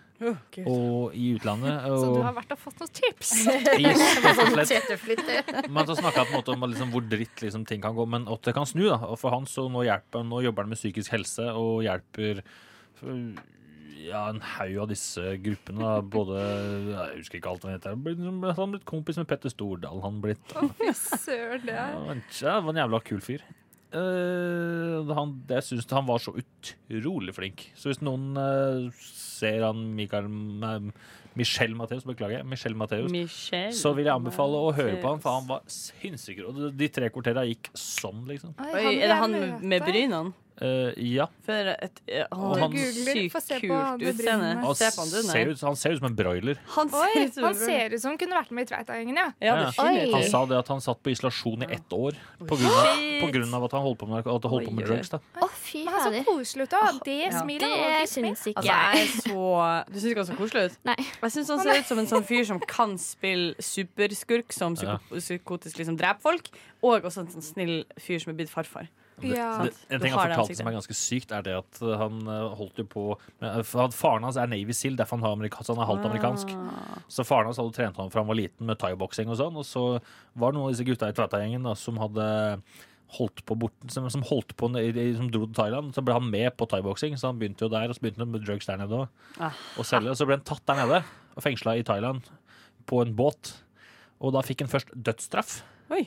Speaker 1: og i utlandet. Og,
Speaker 10: Så du har vært og fått noen tips.
Speaker 1: Yes, rett og slett. Men så snakka han på en måte om liksom hvor dritt liksom ting kan gå, men at det kan snu. da Og for han så nå, hjelper, han- nå jobber han med psykisk helse og hjelper øh, ja, en haug av disse gruppene. Da. Både Jeg husker ikke alt han heter. Blitt- Han har blitt kompis med Petter Stordal. Han blitt
Speaker 10: Søren, det er
Speaker 1: ja, men tja, det var en jævla kul fyr. Eh, han, jeg syns han var så utrolig flink. Så hvis noen eh, ser han Mikael nei, Michelle Matheus, beklager jeg. Michelle Matheus.
Speaker 6: Michelle
Speaker 1: Så vil jeg anbefale å høre på han, for han var sinnssyk. Og de tre kvartera gikk sånn, liksom.
Speaker 6: Oi, er det han med, med brynene?
Speaker 1: Eh, ja.
Speaker 6: For et, eh,
Speaker 1: Og han-
Speaker 6: han har et
Speaker 10: Googler, få
Speaker 6: sykt
Speaker 10: se på han
Speaker 6: kult
Speaker 10: med
Speaker 6: utseende.
Speaker 10: brynene.
Speaker 1: Han
Speaker 6: Se på han, du,
Speaker 1: ser, ut, han ser ut som en broiler.
Speaker 6: Han
Speaker 10: Oi,
Speaker 6: ser ut som
Speaker 10: han ser ut som han kunne vært med i Tveita-gjengen, ja.
Speaker 6: Ja, definitivt.
Speaker 1: Han sa det at han satt på isolasjon i ett år på grunn av, på grunn av at han holdt på med, narko- at han holdt på med
Speaker 6: Oi, oi.
Speaker 1: drugs. Da.
Speaker 5: Å, fy
Speaker 10: Men altså, han så
Speaker 5: fader.
Speaker 10: koselig ut òg. Det smilet var
Speaker 5: Det
Speaker 10: litt
Speaker 5: syns ikke
Speaker 6: Altså,
Speaker 5: jeg.
Speaker 6: jeg er så Du syns ikke han så koselig ut?
Speaker 5: Nei.
Speaker 6: Jeg syns han ser ut som en sånn fyr som kan spille superskurk, som
Speaker 1: Ja.
Speaker 6: psyko psykotisk liksom dreper folk, og også en sånn snill fyr som er blitt farfar.
Speaker 1: Det,
Speaker 10: Ja.
Speaker 1: det, en
Speaker 6: Ah. Du
Speaker 1: ting
Speaker 6: har
Speaker 1: han
Speaker 6: det
Speaker 1: fortalte
Speaker 6: ansiktet.
Speaker 1: som er ganske sykt, er det at eh, han eh, holdt jo på med, eh, for at Faren hans er Navy Seal, derfor han, har amerika, så han er halvt amerikansk.
Speaker 6: Ah.
Speaker 1: Så faren hans hadde trent han fra han var liten med thaiboksing og sånn. Og så var det noen av disse gutta i Tveita-gjengen da, som hadde holdt på bort, som, som holdt på i, i, som dro til Thailand. Så ble han med på thaiboksing, så han begynte jo der. Og så begynte han med drugs der nede òg.
Speaker 6: Ah.
Speaker 1: Og selge. Og så ble han tatt der nede og fengsla i Thailand på en båt. Og da fikk han først dødsstraff.
Speaker 6: Oi.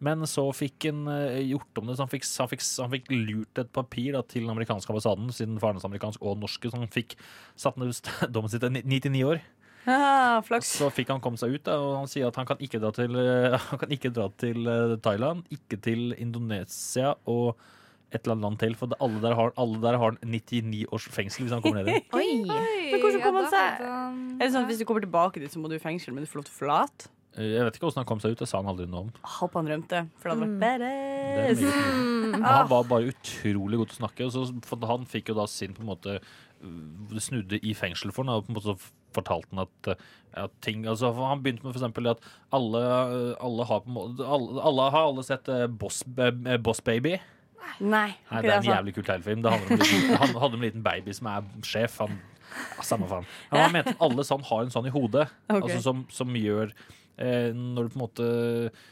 Speaker 1: Men så fikk han eh, gjort om det, så han fikk, han fikk, han fikk lurt et papir da, til den amerikanske ambassaden, siden faren hans er amerikansk og norske, så han fikk satt ned dommen sin til 99 år.
Speaker 6: Ah, flaks.
Speaker 1: Så fikk han komme seg ut, da, og han sier at han kan ikke dra til, eh, han kan ikke dra til eh, Thailand, ikke til Indonesia og et eller annet land til. For det- alle der har, alle der har en 99 års fengsel hvis han kommer ned dit.
Speaker 6: Men hvordan kom han seg- Er det sånn at
Speaker 10: seg
Speaker 6: Hvis du kommer tilbake dit, så må du i fengsel, men du får lov til å forlate?
Speaker 1: Eh, Jeg vet ikke hvordan han kom seg ut, det sa han aldri noe om.
Speaker 6: Jeg Håper han rømte, for det
Speaker 10: Mm.
Speaker 6: hadde vært
Speaker 1: Det er sånn, ah.
Speaker 6: badass.
Speaker 1: meget mye. Men han var bare utrolig god til å snakke, og så for han fikk jo da sin på en måte øh, snudde i fengsel for han, og på en måte så fortalte han at, øh, at ting altså for Han begynte med for eksempel at alle, øh, alle har på en måte alle, alle har alle sett eh, Boss, eh, boss Baby.
Speaker 6: Nei,
Speaker 1: Nei, det
Speaker 6: ikke
Speaker 1: er en
Speaker 6: altså.
Speaker 1: jævlig kul tegnefilm. Det handler om en liten, han handler om en liten baby som er sjef. Han, ja, samme faen. Men han mente at alle sånn har en sånn i hodet,
Speaker 6: Ok.
Speaker 1: altså som, som gjør eh, når du på en måte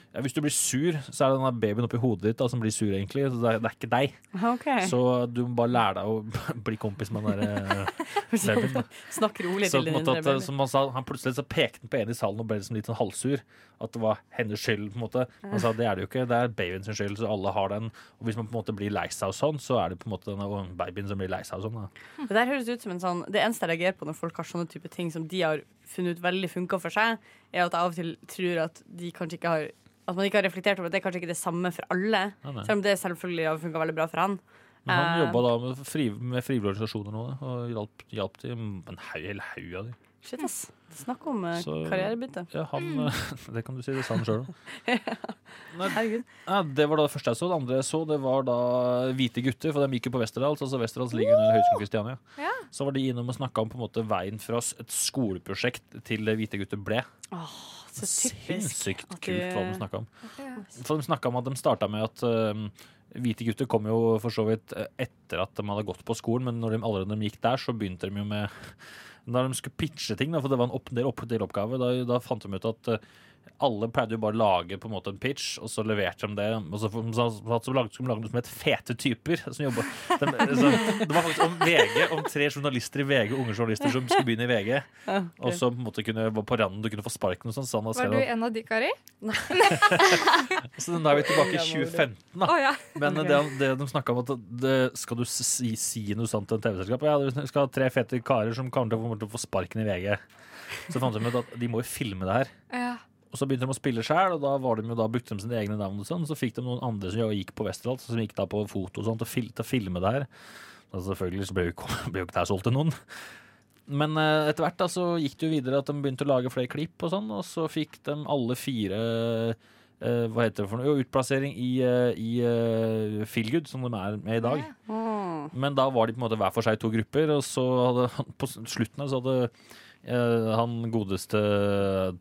Speaker 1: ja, hvis du blir sur, så er det den der babyen oppi hodet ditt da, som blir sur, egentlig. Så det er, det er ikke deg.
Speaker 6: Ok.
Speaker 1: Så du må bare lære deg å bli kompis med den der eh, babyen. da.
Speaker 6: Snakk rolig
Speaker 1: Så på
Speaker 6: til
Speaker 1: en
Speaker 6: din
Speaker 1: måte
Speaker 6: indre
Speaker 1: at, eh,
Speaker 6: baby.
Speaker 1: som han sa, han plutselig så pekte han på en i salen og ble liksom litt sånn halvsur. At det var hennes skyld, på en måte. Han sa det er det jo ikke, det er babyen sin skyld, så alle har den. Og hvis man på en måte blir lei seg og sånn, så er det på en måte denne babyen som blir lei seg og sånn. Da.
Speaker 6: Det der høres ut som en sånn Det eneste jeg reagerer på når folk har sånne type ting som de har funnet ut veldig funka for seg, er at jeg av og til tror at de kanskje ikke har At man ikke har reflektert over at det er kanskje ikke det samme for alle.
Speaker 1: Ja, nei.
Speaker 6: selv om det selvfølgelig har funka veldig bra for han.
Speaker 1: Men han
Speaker 6: Eh,
Speaker 1: jobba da med, fri, med frivillige organisasjoner nå, da, og hjalp, hjalp til en haug hel haug av dem.
Speaker 6: Shit, ass. Snakk om eh,
Speaker 1: Så-
Speaker 6: karrierebytte.
Speaker 1: Ja, han, eh, det kan du si, det sa han sjøl òg.
Speaker 6: Herregud.
Speaker 1: Ja, det var da det første jeg så. Det andre jeg så, det var da Hvite gutter, for de gikk jo på Westerdals. Altså Westerdals ligger under Høgskolen Kristiania.
Speaker 10: Ja.
Speaker 1: Så var de innom og snakka om på en måte veien fra s- et skoleprosjekt til det Hvite gutter ble.
Speaker 6: Så typisk.
Speaker 1: Sinnssykt
Speaker 6: at de-
Speaker 1: kult hva de snakka om. For de snakka om at de starta med at øhm, Hvite gutter kom jo for så vidt eh, etter at de hadde gått på skolen, men når de, allerede når de gikk der, så begynte de jo med Da de skulle pitche ting, da, for det var en opp, del, opp, del oppgave, da, da fant de ut at eh, alle pleide jo bare å lage på en måte en pitch, og så leverte de det. Og så, så, så, så lagde, skulle de lage noe som het Fete typer. Som jobba- de, så, det var faktisk om VG, om tre journalister i VG, unge journalister som skulle begynne i VG. Og så på en måte kunne, var på randen du kunne få sparken og sånn. Så, han da
Speaker 10: Var
Speaker 1: skrev
Speaker 10: du
Speaker 1: at-
Speaker 10: en av de, Kari?
Speaker 1: så da er vi tilbake i 2015, da.
Speaker 10: Å ja.
Speaker 1: Men eh, det, det de snakka om, at det, skal du si, si noe sant til en TV-selskap? Ja, vi skal ha tre fete karer som kommer til å få- til å få sparken i VG. Så fant de ut at de må jo filme det her.
Speaker 10: ja.
Speaker 1: Og så begynte de å spille sjøl, og da, var de jo da brukte de sine egne navn. og sånn, Så fikk de noen andre som jo gikk på Westerdals, som gikk da på foto og sånt, og fil, til å filme det her. Da selvfølgelig så ble jo ikke- ble jo ikke det her solgt til noen. Men eh, etter hvert da, så gikk det jo videre at de begynte å lage flere klipp, og sånn, og så fikk de alle fire eh, hva heter det for noe? Jo, utplassering i, eh, i eh, Feelgood, som de er med i dag.
Speaker 6: Mm.
Speaker 1: Men da var de på en måte hver for seg i to grupper, og så hadde han, på slutten her så hadde eh, han godeste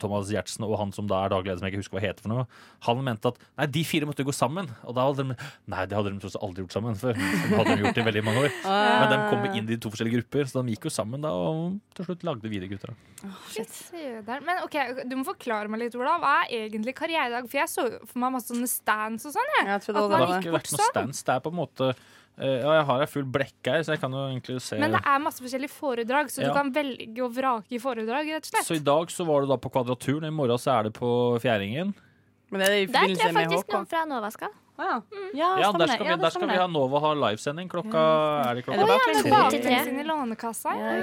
Speaker 1: Thomas Gjertsen og han som da er dagleder, som jeg ikke husker hva heter for noe, han mente at nei, de fire måtte gå sammen. Og da hadde de Nei, det hadde de tross alt aldri gjort sammen før. Det hadde de gjort i veldig mange år. Men de kom inn i to forskjellige grupper, så de gikk jo sammen da, og til slutt lagde videre gutter. Da.
Speaker 10: Shit. Søderen. Men ok, du må forklare meg litt, Ola. Hva er egentlig karrieredag? For jeg så for meg masse sånne stands og sånn. jeg.
Speaker 6: Jeg trodde
Speaker 10: At man
Speaker 6: det var
Speaker 1: Det har
Speaker 6: det.
Speaker 1: ikke vært noe stands. Det er på en måte eh, Ja, jeg har ei full blekke her, så jeg kan jo egentlig se
Speaker 10: Men det er masse forskjellige foredrag, så
Speaker 1: Ja.
Speaker 10: du kan velge og vrake i foredrag, rett og slett.
Speaker 1: Så i dag så var det da på Kvadraturen, i morgen så er det på Fjæringen.
Speaker 6: Men det er i
Speaker 5: Der tror
Speaker 6: forbindelse
Speaker 5: jeg
Speaker 6: med
Speaker 5: faktisk
Speaker 6: HK.
Speaker 5: noen fra Nova skal.
Speaker 6: Å, ja. Ja,
Speaker 1: Ja,
Speaker 6: stemmer
Speaker 1: der
Speaker 6: det.
Speaker 1: skal, vi, der
Speaker 6: Ja, det
Speaker 1: skal
Speaker 6: stemmer
Speaker 1: vi
Speaker 6: det.
Speaker 1: ha Nova har livesending klokka Er det
Speaker 6: Er det
Speaker 1: klokka
Speaker 6: bare
Speaker 10: Så
Speaker 6: tre?
Speaker 10: baker
Speaker 5: tre.
Speaker 10: den sin i lånekassa.
Speaker 6: Ja,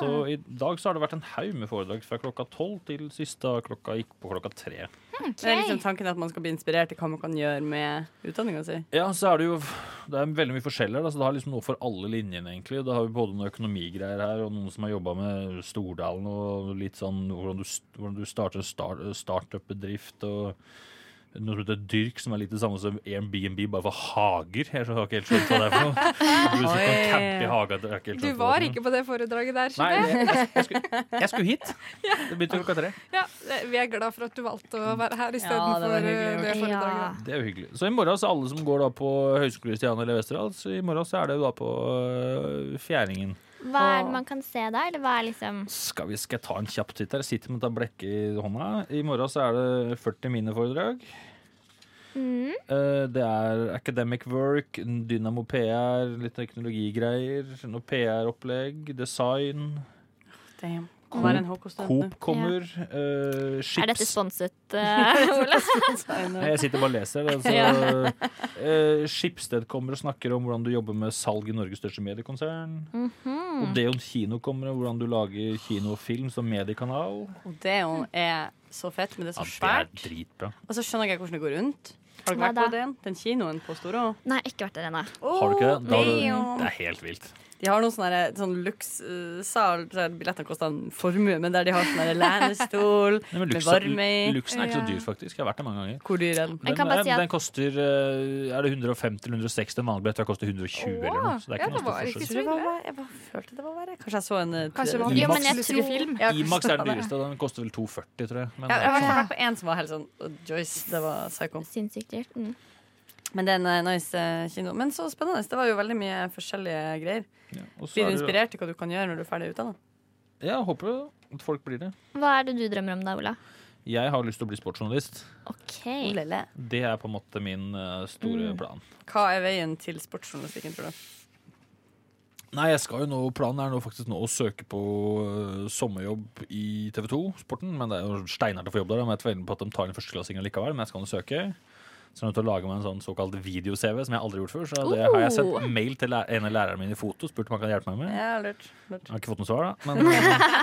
Speaker 1: Så i dag så har det vært en haug med foredrag fra klokka tolv til siste klokka gikk på klokka tre.
Speaker 6: Det er liksom tanken at man skal bli inspirert til hva man kan gjøre med utdanninga si.
Speaker 1: Ja, så er det jo Det er veldig mye forskjeller. Da, så det har liksom noe for alle linjene, egentlig. Da har vi både noen økonomigreier her, og noen som har jobba med Stordalen, og litt sånn hvordan du, hvordan du starter en start, startup-bedrift, og noe som heter Dyrk, som er litt det samme som Airbnb, bare for hager. Jeg har ikke helt skjønt hva det er for noe. Du som kan
Speaker 6: Oi.
Speaker 1: campe i haga, det er ikke helt
Speaker 10: Du
Speaker 1: skjønt hva det er for
Speaker 10: var
Speaker 1: noe.
Speaker 10: ikke på det foredraget der,
Speaker 1: Nei,
Speaker 10: skjønner jeg.
Speaker 1: jeg, jeg, jeg, skulle, jeg skulle hit. Det begynte klokka tre.
Speaker 10: Ja, det- vi er glad for at du valgte å være her
Speaker 6: Ja, det
Speaker 10: istedenfor
Speaker 6: var
Speaker 10: ja,
Speaker 6: hyggelig.
Speaker 10: eh, det foredraget. da.
Speaker 1: Det er jo hyggelig. Så i morgen så alle som går da på Høgskolen Kristiania eller Westerdals, i morgen så er det jo da på øh, Fjæringen.
Speaker 5: Hva er det man kan se der? Eller hva er liksom
Speaker 1: Skal vi skal jeg ta en kjapp titt her? Jeg Sitter med dette blekket i hånda. I morgen så er det 40 miniforedrag.
Speaker 5: mm.
Speaker 1: Eh, Det er academic work, dynamo PR, litt teknologigreier, noe PR-opplegg, design.
Speaker 6: Damn. Å være en HK-student
Speaker 1: Coop kommer. eh,
Speaker 5: Er dette
Speaker 1: Chips
Speaker 5: sponset, eh, Ola?
Speaker 1: Nei, Jeg sitter bare og leser. det, Altså, Eh, Skipsted kommer og snakker om hvordan du jobber med salg i Norges største mediekonsern.
Speaker 5: Mhm.
Speaker 1: Og Deon kino kommer og hvordan du lager kino og film som mediekanal.
Speaker 6: Og det jo er så fett, men det er så
Speaker 1: Ja,
Speaker 6: svært.
Speaker 1: det er dritbra.
Speaker 6: Og så skjønner jeg ikke hvordan det går rundt. Har du
Speaker 5: Hva
Speaker 6: vært på
Speaker 5: da?
Speaker 6: den? Den kinoen på Storå?
Speaker 5: Nei, ikke vært der ennå.
Speaker 1: Har du ikke det? Da har du-
Speaker 6: damn.
Speaker 1: det er helt vilt.
Speaker 6: De har noen sånne her- sånn lukssal der billettene koster en formue, men der de har sånn her lænestol
Speaker 1: Nei, men
Speaker 6: med
Speaker 1: luksen,
Speaker 6: varme i.
Speaker 1: luksen er ikke så
Speaker 10: Ja.
Speaker 1: dyr, faktisk. Jeg har vært der mange ganger.
Speaker 6: Hvor dyr er den?
Speaker 5: Jeg
Speaker 1: Den,
Speaker 5: kan bare
Speaker 1: er-
Speaker 5: si at-
Speaker 1: den koster eh, Er det 150-160 en vanlig billett? Den koster 120 eller noe. Så det er ikke
Speaker 10: Ja, det
Speaker 1: noe
Speaker 10: var
Speaker 1: stor
Speaker 10: ikke
Speaker 1: forskjell.
Speaker 10: så-
Speaker 6: Tror det var- var- Jeg bare følte det var verre. Kanskje jeg så en eh,
Speaker 10: Kanskje det var
Speaker 1: I
Speaker 10: en
Speaker 1: maks-
Speaker 10: eksklusiv film.
Speaker 6: Ja,
Speaker 1: Imax er den
Speaker 6: kanskje det var det.
Speaker 1: dyreste. og Den koster vel 240, tror jeg. Men
Speaker 6: Ja,
Speaker 1: det
Speaker 6: jeg
Speaker 1: er
Speaker 6: har
Speaker 1: ikke
Speaker 6: vært på en som var helt sånn «Å, Joyce, det var psycho.
Speaker 5: Sinnssykt dyrt. Mm.
Speaker 6: Men det er en eh, nice eh, kino. Men så spennende. Det var jo veldig mye forskjellige greier.
Speaker 1: så- ja, og så
Speaker 6: Blir
Speaker 1: er
Speaker 6: du
Speaker 1: det-
Speaker 6: inspirert til hva du kan gjøre når du er ferdig utdanna?
Speaker 1: Ja, jeg håper jo at folk blir det.
Speaker 5: Hva er det du drømmer om da, Ola?
Speaker 1: Jeg har lyst til å bli sportsjournalist.
Speaker 5: Ok.
Speaker 6: Lille.
Speaker 1: Det er på en måte min eh, store
Speaker 6: Mm.
Speaker 1: plan.
Speaker 6: Hva er veien til sportsjournalistikken, tror du?
Speaker 1: Nei, jeg skal jo nå, planen er nå faktisk nå å søke på øh, sommerjobb i TV 2 Sporten. Men det er jo steinhardt å få jobb der. da, Men jeg tviler på at de tar en førsteklassing likevel. Men jeg skal nå søke. Så jeg er nødt til å lage meg en sånn såkalt video-CV, som jeg aldri har gjort før. Så det har jeg sendt mail til læ- en av lærerne mine i foto, spurt om han kan hjelpe meg med.
Speaker 6: Ja, lurt. lurt.
Speaker 1: Jeg har ikke fått noe svar, da. Men, øh,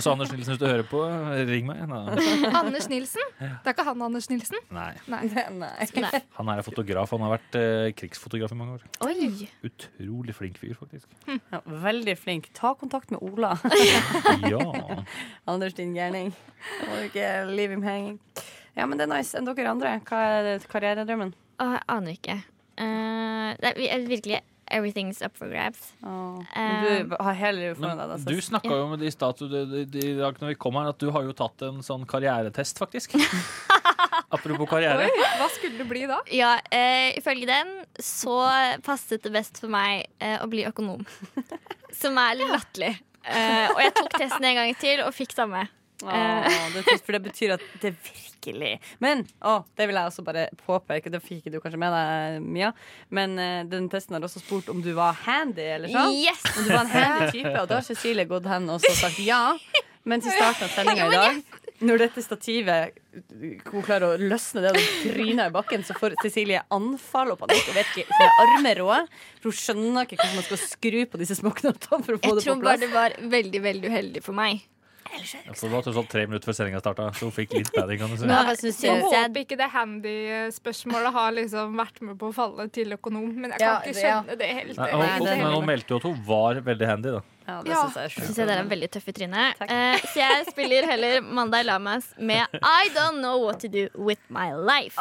Speaker 1: så Anders Nilsen, hvis du hører på, ring meg. Nei.
Speaker 10: Anders Nilsen? Det er ikke han Anders Nilsen?
Speaker 1: Nei.
Speaker 10: Nei.
Speaker 6: Nei.
Speaker 5: Nei.
Speaker 1: Han er fotograf. Han har vært øh, krigsfotograf i mange år.
Speaker 5: Oi.
Speaker 1: Utrolig flink fyr, faktisk.
Speaker 6: Ja, veldig flink. Ta kontakt med Ola.
Speaker 1: Ja.
Speaker 6: Anders, din gærning. Må du ikke leave him hanging. Ja, men det er nice. Enn dere andre? Hva er karrieredrømmen?
Speaker 5: Å, Ah, jeg aner ikke. Eh, det er vi- er virkelig everything's up for grabs. Eh,
Speaker 6: Åh, Men du har hele livet foran deg.
Speaker 1: Men
Speaker 6: da,
Speaker 1: du
Speaker 6: så-
Speaker 1: snakka jo med de i stad du- de- de- de- i dag når vi kom her, at du har jo tatt en sånn karrieretest, faktisk. Apropos karriere.
Speaker 10: Oi, hva skulle det bli da?
Speaker 5: Ja, eh, ifølge den så passet det best for meg eh, å bli økonom. Som er litt latterlig. Eh, og jeg tok testen en gang til og fikk samme.
Speaker 6: Åh, det er trist, for det betyr at det er virkelig Men åh, det vil jeg også bare påpeke, det fikk du kanskje med deg, Mia, men eh, den testen har også spurt om du var handy, eller sånn.
Speaker 5: Yes!
Speaker 6: Om du var en handy type, og da har Cecilie gått hen og så sagt ja. Men til starten av sendinga i dag, når dette stativet Hun klarer å løsne det og det tryner i bakken, så får Cecilie anfall og panikk. Og vet ikke, hun er armerå. For hun skjønner ikke hvordan man skal skru på disse små knottene for å få
Speaker 5: Jeg
Speaker 6: det på
Speaker 5: tror bare
Speaker 6: plass.
Speaker 5: det var veldig, veldig uheldig for meg.
Speaker 1: For det var tross alt sånn tre minutter før sendinga starta, så hun fikk litt padding. Kan du si.
Speaker 5: Ja, jeg synes
Speaker 10: Jeg
Speaker 5: jeg-
Speaker 10: håper ikke det handy-spørsmålet har liksom vært med på å falle til økonom, men jeg kan
Speaker 6: Ja,
Speaker 10: ikke
Speaker 6: det, ja.
Speaker 10: skjønne det helt.
Speaker 1: Nei, hun,
Speaker 6: det er
Speaker 1: men
Speaker 6: helt-
Speaker 1: hun meldte jo at hun var veldig handy, da.
Speaker 6: Ja, det
Speaker 10: Ja.
Speaker 6: synes jeg er
Speaker 5: Synes
Speaker 6: sjukt.
Speaker 5: jeg dere er veldig tøffe i trynet.
Speaker 6: Takk.
Speaker 5: Eh, så jeg spiller heller Mandag Lamas med I Don't Know What To Do With My Life.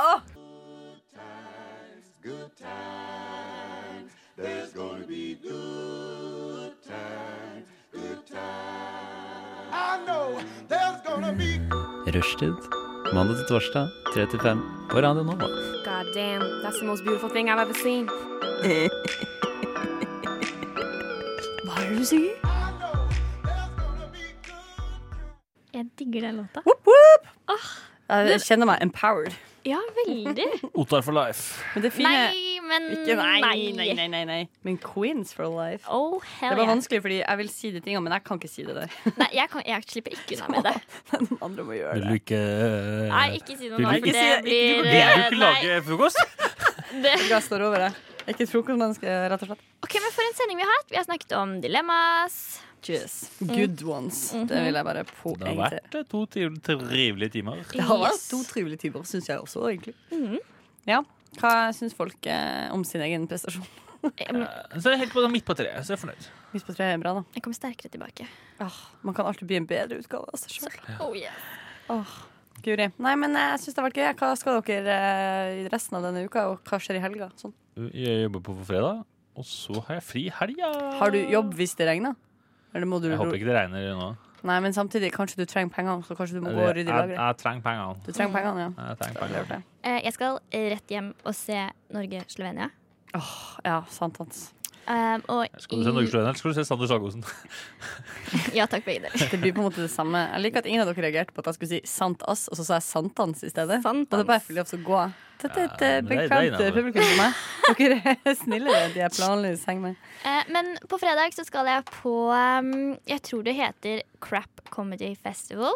Speaker 2: Rushtid. Mandag til torsdag, 3 til 5 på Radio Nova.
Speaker 8: God damn, that's the most beautiful thing I've ever seen.
Speaker 6: Hva er det du sier?
Speaker 5: Jeg digger den låta.
Speaker 6: Whoop, whoop. Jeg kjenner meg empowered.
Speaker 5: Ja, veldig.
Speaker 1: Otar for life.
Speaker 6: Men det fine
Speaker 5: Nei, men
Speaker 6: ikke, nei, nei, nei, nei, nei. Men Queens for life.
Speaker 5: Oh,
Speaker 6: Det
Speaker 5: hell
Speaker 6: var
Speaker 5: yeah.
Speaker 6: vanskelig, fordi jeg vil si de tingene, men jeg kan ikke si det der.
Speaker 5: Nei, jeg, kan, jeg slipper ikke unna med det.
Speaker 6: Den andre må gjøre
Speaker 1: Vil
Speaker 6: det.
Speaker 1: du ikke eh,
Speaker 5: Nei, ikke si noe
Speaker 1: Vil
Speaker 5: nå,
Speaker 1: du ikke
Speaker 5: for det
Speaker 6: si-
Speaker 5: blir
Speaker 1: Vil
Speaker 5: eh,
Speaker 1: du ikke
Speaker 5: nei,
Speaker 1: lage frokost?
Speaker 5: det.
Speaker 6: Jeg står over det. Jeg er ikke et frokostmenneske, rett og slett.
Speaker 5: Ok, men For en sending vi har hatt. Vi har snakket om dilemmas.
Speaker 6: Good ones. Det vil jeg bare
Speaker 1: Det har
Speaker 6: poengtere.
Speaker 1: vært eh, to tri- trivelige timer.
Speaker 6: Det har vært
Speaker 5: Yes.
Speaker 6: to trivelige timer, syns jeg også, egentlig. Ja. Hva syns folk eh, om sin egen prestasjon?
Speaker 1: Så jeg er helt på midt på treet, så jeg er fornøyd.
Speaker 6: Hvis på tre er bra, da.
Speaker 5: Jeg kommer sterkere tilbake.
Speaker 6: Man kan alltid bli en bedre utgave av seg sjøl.
Speaker 5: Oh, yeah.
Speaker 6: Guri. Nei, men eh, jeg syns det har vært gøy. Hva skal dere eh, i resten av denne uka, og hva skjer i helga? Sånn.
Speaker 1: Jeg jobber på fredag, og så har jeg fri i helga.
Speaker 6: Har du jobb hvis det regner? Eller må du
Speaker 1: Jeg håper ikke det regner nå.
Speaker 6: Nei, men samtidig, kanskje du trenger pengene, så kanskje du må gå og
Speaker 1: Jeg,
Speaker 6: rydde i
Speaker 1: jeg,
Speaker 6: lageret.
Speaker 1: jeg trenger pengene.
Speaker 6: Du trenger pengene, ja.
Speaker 1: Jeg trenger
Speaker 6: Jeg
Speaker 1: pengene.
Speaker 6: hørte det.
Speaker 5: Eh, Jeg skal rett hjem og se Norge-Slovenia.
Speaker 6: Ja, sant, Hans.
Speaker 5: Um, og
Speaker 1: Skal du se Norge eller skal du se Sander Sagosen?
Speaker 5: Ja takk, begge dere.
Speaker 6: Det blir på en måte det samme. Jeg liker at ingen av dere reagerte på at jeg skulle si 'sant ass', og så sa jeg 'santans' i stedet.
Speaker 5: Santans.
Speaker 6: Og det er bare jeg får lov til å gå. Dette er et eh,
Speaker 1: Ja, men det er- det er
Speaker 6: bekvemt eh,
Speaker 1: innenfor.
Speaker 6: publikum for meg. Dere er snillere enn de jeg planlegger å henge med.
Speaker 5: Eh, Men på fredag så skal jeg på um, Jeg tror det heter Crap Comedy Festival.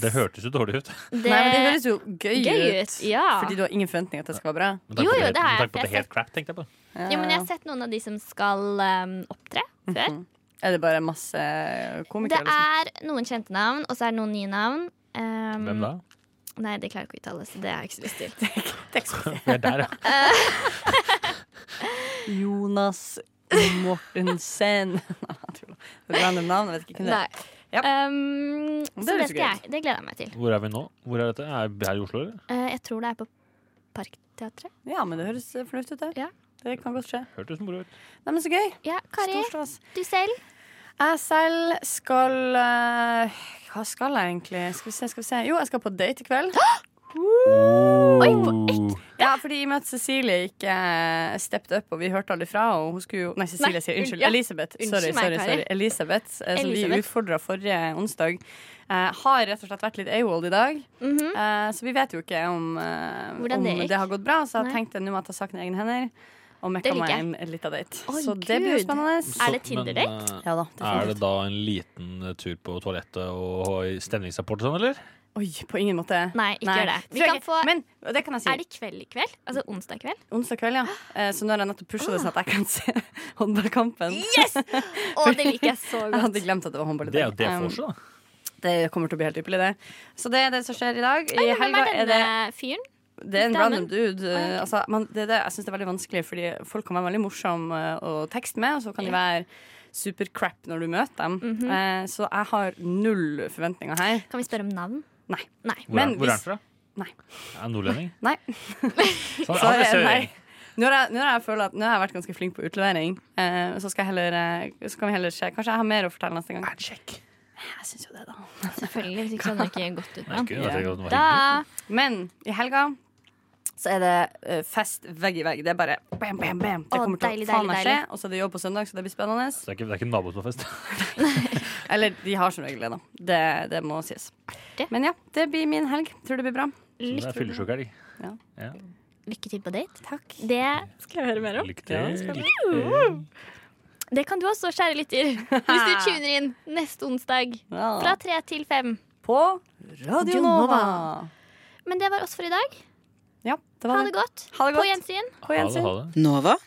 Speaker 1: Det hørtes jo dårlig ut.
Speaker 6: Nei, men det høres jo gøy,
Speaker 5: gøy
Speaker 6: ut.
Speaker 5: ut, ja.
Speaker 6: Fordi du har ingen forventning at det skal være bra.
Speaker 1: Med tanke
Speaker 5: Jo,
Speaker 1: på
Speaker 5: jo,
Speaker 1: det,
Speaker 5: det har
Speaker 1: med
Speaker 5: jeg,
Speaker 1: tanke på
Speaker 5: for
Speaker 1: at det
Speaker 5: jeg
Speaker 1: er helt crap, tenkte jeg på.
Speaker 5: Jo, men
Speaker 6: Eh.
Speaker 5: jeg har sett noen av de som skal um, opptre før.
Speaker 6: Er det bare masse
Speaker 5: Det
Speaker 6: komikere? liksom?
Speaker 5: er noen kjente navn, og så er det noen nye navn. Um,
Speaker 1: Hvem da?
Speaker 5: Nei, det klarer jeg ikke å uttale, så det har jeg ikke så lyst til.
Speaker 1: Vi er der, ja.
Speaker 6: Jonas Mortensen. Nei, jeg tuller. Det er et random navn, jeg vet ikke hvem det er.
Speaker 5: Nei.
Speaker 6: Ja.
Speaker 5: Um,
Speaker 6: Det
Speaker 5: så det,
Speaker 6: høres jo
Speaker 5: skal
Speaker 6: gøy ut.
Speaker 5: jeg, det gleder jeg meg til.
Speaker 1: Hvor er vi nå? Hvor er dette? Er vi her i Oslo, eller?
Speaker 5: Eh, jeg tror det er på Parkteatret.
Speaker 6: Ja, men det høres eh, fornuftig ut, det.
Speaker 5: Ja.
Speaker 6: Det kan godt skje.
Speaker 1: Hørtes moro ut.
Speaker 6: Nei, men så gøy.
Speaker 5: Ja, Kari,
Speaker 6: Stor stas.
Speaker 5: du selv?
Speaker 6: Jeg selv skal eh, Hva skal jeg egentlig? Skal vi se, skal vi se. Jo, jeg skal på date i kveld. Woo!
Speaker 1: Oh.
Speaker 6: Oi, på ett? Ja, fordi i og med at Cecilie ikke eh, stepped up, og vi hørte aldri fra og hun skulle jo, Nei, Cecilie
Speaker 5: Nei,
Speaker 6: sier unnskyld.
Speaker 5: unn- ja.
Speaker 6: Elisabeth.
Speaker 5: Unnskyld
Speaker 6: sorry,
Speaker 5: meg,
Speaker 6: sorry,
Speaker 5: Kari.
Speaker 6: sorry. Elisabeth, eh, som vi
Speaker 5: Elisabeth.
Speaker 6: utfordra forrige onsdag, eh, har rett og slett vært litt AWOL i dag.
Speaker 5: Mhm.
Speaker 6: Eh, så vi vet jo ikke om, eh,
Speaker 5: Mm. Hvordan
Speaker 6: om
Speaker 5: det gikk.
Speaker 6: det, har gått bra, så jeg
Speaker 5: Nei.
Speaker 6: tenkte nå må jeg ta saken i egne hender. Og
Speaker 5: Det
Speaker 6: mekka
Speaker 5: liker
Speaker 6: meg
Speaker 5: jeg.
Speaker 6: en, en liten date.
Speaker 5: Oi,
Speaker 6: så det blir jo
Speaker 5: Gud.
Speaker 6: spennende.
Speaker 5: Er det Tinder-date?
Speaker 1: Men, eh,
Speaker 6: Ja da,
Speaker 1: Er det
Speaker 6: definitivt.
Speaker 1: da en liten eh, tur på toalettet og og stemningsrapport og sånn, eller?
Speaker 6: Oi, på ingen måte.
Speaker 5: Nei, ikke gjør det. Vi
Speaker 6: Tror jeg
Speaker 5: kan
Speaker 6: ikke.
Speaker 5: få-
Speaker 6: Men det kan jeg si.
Speaker 5: Er det kveld i kveld? Altså onsdag kveld?
Speaker 6: Onsdag kveld, ja. Eh, Så nå har jeg nettopp pusha det sånn at jeg kan se håndballkampen.
Speaker 5: Yes! Å, det liker jeg så
Speaker 6: Jeg
Speaker 5: godt.
Speaker 6: hadde glemt at det var håndball i
Speaker 1: Det er jo
Speaker 6: dag.
Speaker 1: det
Speaker 6: Um,
Speaker 1: for seg, da.
Speaker 6: det kommer til å bli helt ypperlig, det. Så det er det som skjer i dag. I
Speaker 5: Oi, Hvem
Speaker 6: helga
Speaker 5: er
Speaker 6: er det
Speaker 5: denne fyren?
Speaker 6: Det er en
Speaker 5: damen?
Speaker 6: random dude.
Speaker 5: Å,
Speaker 6: eh,
Speaker 5: ja, ok.
Speaker 6: altså, men det, er det, jeg syns det er veldig vanskelig, fordi folk kan være veldig morsomme eh, å tekste med, og så kan de være supercrap når du møter dem.
Speaker 5: Mhm.
Speaker 6: Eh, Så jeg har null forventninger her.
Speaker 5: Kan vi spørre om navn?
Speaker 6: Nei.
Speaker 5: Nei.
Speaker 1: Hvor er,
Speaker 6: men
Speaker 1: hvor er
Speaker 6: hvis-
Speaker 1: han fra?
Speaker 6: Nei.
Speaker 1: Er han nordlending? Sånn.
Speaker 6: Nei.
Speaker 1: Så
Speaker 6: Så,
Speaker 1: han er
Speaker 6: eh,
Speaker 1: søring.
Speaker 6: nei. Nå har, jeg, nå, har jeg følt at, nå har jeg vært ganske flink på utlevering. eh, så, skal jeg heller, eh, så kan vi heller se. Kanskje jeg har mer å fortelle neste gang. Jeg synes jo det da
Speaker 5: Selvfølgelig. Hvis ikke så hadde det ikke gått ut
Speaker 1: Nei,
Speaker 5: med
Speaker 1: gud, jeg tenkte at den var
Speaker 5: Da
Speaker 1: hyggelig.
Speaker 6: Men i helga så er det eh, fest vegg i vegg. Det er bare bam, bam, bam. Det
Speaker 5: Å,
Speaker 6: kommer til
Speaker 5: deilig,
Speaker 6: å faen meg
Speaker 5: deilig,
Speaker 6: skje. Og så er det jobb på søndag, så det blir spennende.
Speaker 1: Så det er ikke, det er ikke naboen som har fest.
Speaker 6: Eller de har som regel det, da. Det, det må sies.
Speaker 5: Artig.
Speaker 6: Men ja, det blir min helg. Tror det blir bra.
Speaker 1: Det er
Speaker 5: lykke,
Speaker 1: fyllesjuk helg.
Speaker 6: Ja.
Speaker 1: Ja.
Speaker 5: lykke til på date.
Speaker 6: Takk.
Speaker 5: Det,
Speaker 6: Skal jeg høre mer
Speaker 1: Lykke til.
Speaker 5: det kan du også, kjære lytter. Hvis du tuner inn neste onsdag fra tre til fem.
Speaker 6: På Radio Nova.
Speaker 5: Men det var oss for i dag.
Speaker 6: Ja, det
Speaker 5: Ha
Speaker 6: var
Speaker 5: det
Speaker 6: det.
Speaker 5: godt.
Speaker 6: Ha det
Speaker 5: På
Speaker 6: godt.
Speaker 5: gjensyn.
Speaker 6: På
Speaker 1: Ha det,
Speaker 6: gjensyn.
Speaker 1: ha det.
Speaker 3: Nova.